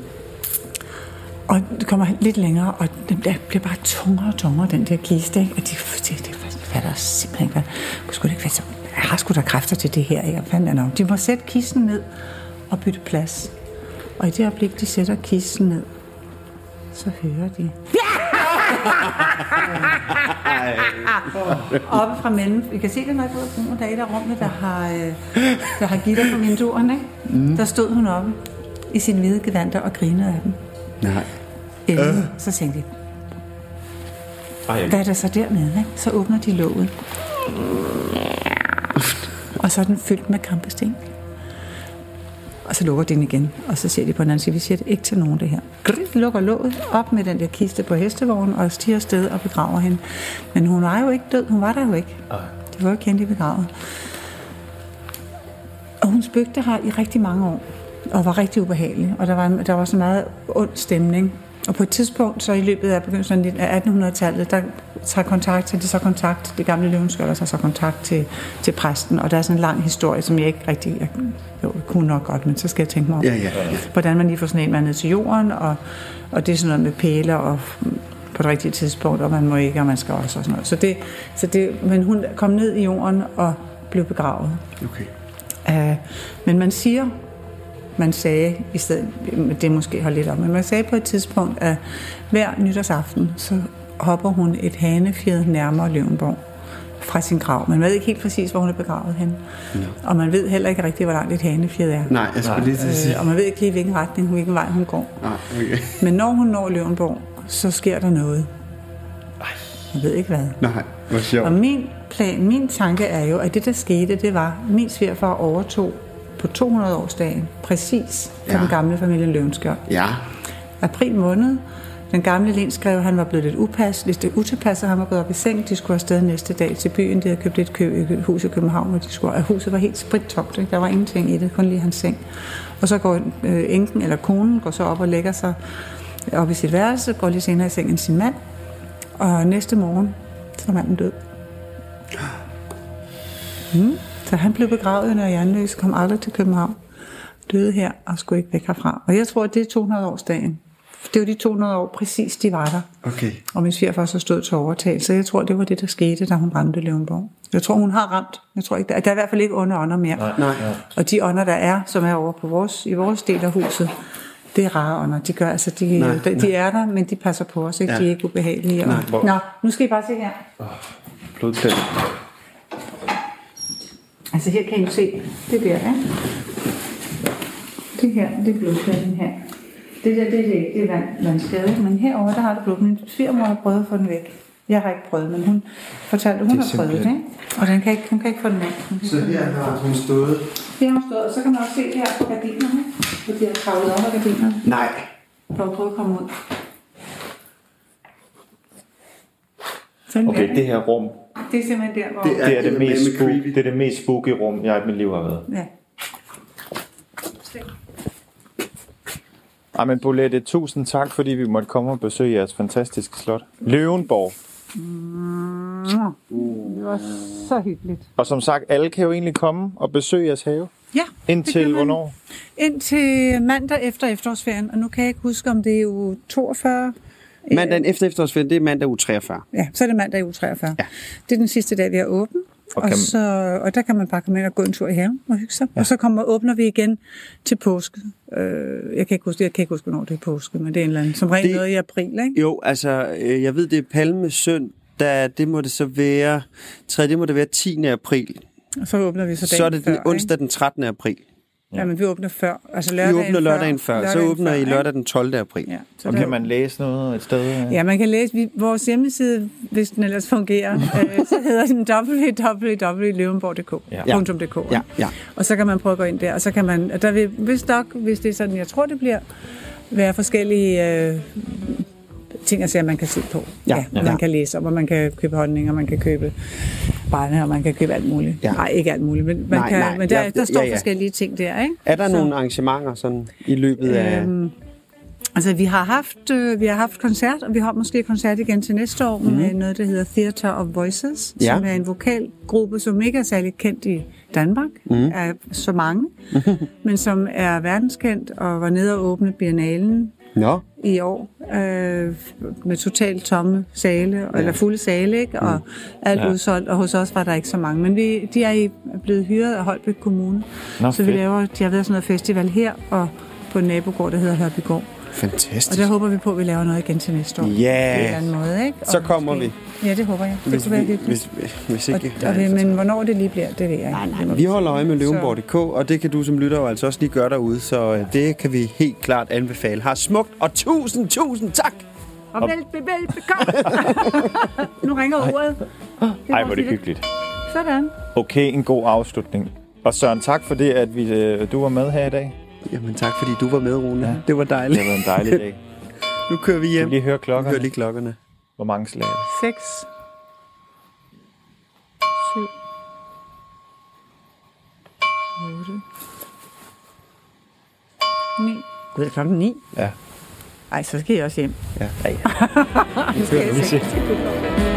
[SPEAKER 6] Og det kommer lidt længere, og den der bliver bare tungere og tungere, den der kiste. Ikke? Og de siger, det fatter jeg simpelthen ikke. hvad- Det Skulle det ikke være så? Jeg har sgu da kræfter til det her. Ikke? Og Fanden er det om. De må sætte kisten ned og bytte plads. Og i det øjeblik, de sætter kisten ned, så hører de... Oppe fra mellem... I kan se det, når jeg går ud af der er et af rummene, der har, øh, der har gitter på vinduerne. Ikke? Mm. Der stod hun oppe i sin hvide gevanter og grinede af dem.
[SPEAKER 3] Nej.
[SPEAKER 6] Øh. Så tænkte jeg, hvad er der så dernede? Ikke? Så åbner de låget. Og så er den fyldt med kampesten. Og så lukker de den igen. Og så siger de på den anden side, vi siger det ikke til nogen det her. Grrr, lukker låget op med den der kiste på hestevognen og stiger afsted og begraver hende. Men hun var jo ikke død. Hun var der jo ikke. Det var jo ikke hende, de begravede. Og hun spøgte her i rigtig mange år, og var rigtig ubehagelig, og der var, der var så meget ond stemning. Og på et tidspunkt, så i løbet af begyndelsen af 1800-tallet, der tager kontakt til, de så kontakt, det gamle løvenskjolder tager så kontakt til, til præsten, og der er sådan en lang historie, som jeg ikke rigtig, jeg, jo, jeg kunne nok godt, men så skal jeg tænke mig om,
[SPEAKER 3] Ja, ja, ja.
[SPEAKER 6] hvordan man lige får sådan en mand ned til jorden, og, og det er sådan noget med pæler og på det rigtige tidspunkt, og man må ikke, og man skal også og sådan noget. Så det, så det, men hun kom ned i jorden og blev begravet.
[SPEAKER 3] Okay.
[SPEAKER 6] Uh, men man siger, man sagde, i stedet, det måske har lidt op, men man sagde på et tidspunkt, at hver nytårsaften, så hopper hun et hanefjed nærmere Løvenborg fra sin grav. Man ved ikke helt præcis, hvor hun er begravet henne. Ja. Og man ved heller ikke rigtig, hvor langt et hanefjed er.
[SPEAKER 3] Nej, jeg skulle lige til at sige.
[SPEAKER 6] Øh, og man ved ikke lige, hvilken retning, hvilken vej hun går.
[SPEAKER 3] Nej, okay.
[SPEAKER 6] Men når hun når Løvenborg, så sker der noget. Jeg ved ikke hvad.
[SPEAKER 3] Nej, hvor sjovt.
[SPEAKER 6] Og min plan, min tanke er jo, at det der skete, det var, at min svigerfar overtog på 200-årsdagen, præcis for
[SPEAKER 3] Ja.
[SPEAKER 6] ja. den gamle familie Løvenskjold.
[SPEAKER 3] Ja.
[SPEAKER 6] April måned, den gamle lenskrev, han var blevet lidt upas, lidt utilpas, og han var gået op i seng. De skulle afsted næste dag til byen. De havde købt et, kø, et hus i København, og de skulle, og huset var helt sprittomt. Ikke? Der var ingenting i det, kun lige hans seng. Og så går øh, enken eller konen går så op og lægger sig op i sit værelse, går lige senere i seng end sin mand. Og næste morgen, så er manden død. Så han blev begravet under jernløs, kom aldrig til København, døde her og skulle ikke væk herfra. Og jeg tror, at det er 200-årsdagen det var de 200 år præcis, de var der.
[SPEAKER 8] Okay.
[SPEAKER 6] Og min svigerfar så stod til overtagelse. Jeg tror, det var det, der skete, da hun ramte Løvenborg. Jeg tror, hun har ramt. Jeg tror ikke, der, der er i hvert fald ikke under ånder mere. Nej, nej. Og de ånder, der er, som er over på vores, i vores del af huset, det er rare ånder. De gør altså, de, nej, de, de er der, men de passer på os, ikke? Ja. De er ikke ubehagelige. Nej, og, Nå, nu skal I bare se her.
[SPEAKER 9] Blodplet.
[SPEAKER 6] Altså her kan I jo se, det der, ikke? Det her, det er blodpladen her. Det der, det, er det, det er vand, vandskade. Men herover der har det blod. Min svigermor har prøvet at få den væk. Jeg har ikke prøvet, men hun fortalte, at hun har prøvet det, ikke? Og den kan ikke, hun kan ikke få den væk. Hun kan
[SPEAKER 8] Så her har hun stået.
[SPEAKER 6] Her har hun stået, og så kan man også se her på gardinerne, hvor de har kravlet op af gardinerne,
[SPEAKER 8] Nej.
[SPEAKER 6] for at prøve at komme ud. Sådan
[SPEAKER 2] Okay,
[SPEAKER 6] der,
[SPEAKER 2] det
[SPEAKER 6] ikke?
[SPEAKER 2] her rum,
[SPEAKER 6] det er simpelthen der, hvor...
[SPEAKER 2] det er det,
[SPEAKER 8] eddermame
[SPEAKER 2] mest, spook,
[SPEAKER 8] creepy.
[SPEAKER 2] det er det mest spooky rum, jeg i mit liv har været.
[SPEAKER 6] Ja.
[SPEAKER 2] Ej, men Bolette, tusind tak, fordi vi måtte komme og besøge jeres fantastiske slot. Løvenborg.
[SPEAKER 6] Det var så hyggeligt.
[SPEAKER 2] Og som sagt, alle kan jo egentlig komme og besøge jeres have.
[SPEAKER 6] Ja, det kan
[SPEAKER 2] Indtil
[SPEAKER 6] man.
[SPEAKER 2] hvornår?
[SPEAKER 6] Indtil mandag efter efterårsferien, og nu kan jeg ikke huske, om det er uge 42.
[SPEAKER 3] Mandagen efter efterårsferien, det er mandag u 43.
[SPEAKER 6] Ja, så er det mandag i uge 43. Ja. Det er den sidste dag, vi har åben. Og, og,
[SPEAKER 2] kan-
[SPEAKER 6] så, og der kan man bare komme ind og gå en tur i haven og hygge sig. Ja. Og så kommer, åbner vi igen til påske. Øh, jeg, kan ikke huske, jeg kan ikke huske, hvornår det er påske, men det er en eller anden, som regel
[SPEAKER 3] Det-
[SPEAKER 6] det... noget i april, ikke?
[SPEAKER 3] Jo, altså, øh, jeg ved, det er Palme søndag, det må det så være, 3, det må det være 10. april.
[SPEAKER 6] Og så åbner vi så dagen
[SPEAKER 3] Så er det
[SPEAKER 6] før,
[SPEAKER 3] den onsdag den 13. april.
[SPEAKER 6] Ikke? Ja, men vi åbner før. Altså
[SPEAKER 3] Vi
[SPEAKER 6] lørdagen
[SPEAKER 3] åbner lørdagen før, så
[SPEAKER 6] lørdagen
[SPEAKER 3] åbner I
[SPEAKER 6] ikke?
[SPEAKER 3] lørdag den 12. april.
[SPEAKER 6] Ja, så
[SPEAKER 2] Og
[SPEAKER 6] der-
[SPEAKER 2] kan man læse noget et sted?
[SPEAKER 6] Ja, man kan læse vi, vores hjemmeside, hvis den ellers fungerer. øh, så hedder den www.løvenborg.dk. Ja.
[SPEAKER 3] Ja, ja.
[SPEAKER 6] Og så kan man prøve at gå ind der, og så kan man, og der vil vist nok, hvis det er sådan, jeg tror det bliver, være forskellige øh, ting at se, man kan se på.
[SPEAKER 3] Ja, ja.
[SPEAKER 6] man kan læse om, og man kan købe honning, og man kan købe brænde, og man kan købe alt muligt.
[SPEAKER 3] Ja.
[SPEAKER 6] Ja. Nej, ikke alt muligt, men, man
[SPEAKER 3] Nej,
[SPEAKER 6] kan,
[SPEAKER 3] nej,
[SPEAKER 6] men der,
[SPEAKER 3] ja,
[SPEAKER 6] der står
[SPEAKER 3] ja, ja.
[SPEAKER 6] forskellige ting der, ikke?
[SPEAKER 3] Er der nogle arrangementer sådan i løbet af...
[SPEAKER 6] Altså, vi har haft, øh, vi har haft koncert, og vi har måske koncert igen til næste år mm. med noget, der hedder Theater of Voices,
[SPEAKER 3] Ja.
[SPEAKER 6] ja. som er en vokalgruppe, som ikke er særlig kendt i Danmark mm. af så mange, men som er verdenskendt og var nede og åbne Biennalen
[SPEAKER 3] Nå,
[SPEAKER 6] i år øh, med totalt tomme sale, ja. eller fulde sale, ikke? og alt ja. udsolgt, og hos os var der ikke så mange. Men vi, de er i- er blevet hyret af Holbæk Kommune,
[SPEAKER 2] Nå,
[SPEAKER 6] Nå, så vi
[SPEAKER 2] fedt.
[SPEAKER 6] laver, de har været sådan noget festival her, og på en nabogård, der hedder Hørbygård. Og
[SPEAKER 3] fantastisk.
[SPEAKER 6] der håber vi på, at vi laver noget igen til næste år.
[SPEAKER 3] Ja.
[SPEAKER 6] På en eller anden måde, ikke? Og
[SPEAKER 3] Så kommer
[SPEAKER 6] måske- Ja, det håber jeg. Det
[SPEAKER 3] Hvis,
[SPEAKER 6] kunne være
[SPEAKER 3] vi,
[SPEAKER 6] hyggeligt.
[SPEAKER 3] hvis, hvis ikke...
[SPEAKER 6] Og, og, det- men hvornår det lige bliver, det ved jeg ikke. Nej, nej.
[SPEAKER 3] Vi holder øje med løvenborg.dk, og det kan du som lytter jo altså også lige gøre derude, så øh, det kan vi helt klart anbefale. Har smukt, og tusind, tusind tak!
[SPEAKER 6] Og vel, vel, vel, kom! nu ringer ordet.
[SPEAKER 2] Ej, hvor er det
[SPEAKER 6] vores-
[SPEAKER 2] hyggeligt.
[SPEAKER 6] Sådan.
[SPEAKER 2] Okay, en god afslutning. Og Søren, tak for det, at vi, øh, du var med her i dag.
[SPEAKER 3] Jamen tak, fordi du var med, Rune. Ja. Det var
[SPEAKER 2] Det
[SPEAKER 3] dejligt.
[SPEAKER 2] har været en dejlig dag.
[SPEAKER 3] Nu kører vi
[SPEAKER 2] Kan
[SPEAKER 3] hjem.
[SPEAKER 2] vi lige høre
[SPEAKER 3] Vi hører
[SPEAKER 2] klokkerne?
[SPEAKER 3] lige klokkerne.
[SPEAKER 2] Hvor mange slag? er det?
[SPEAKER 6] 6. 7. 8. 9. Det er klokken 9.
[SPEAKER 2] Ja.
[SPEAKER 6] Ej, så skal jeg også hjem.
[SPEAKER 2] Ja. Ej.
[SPEAKER 6] Nu skal jeg se.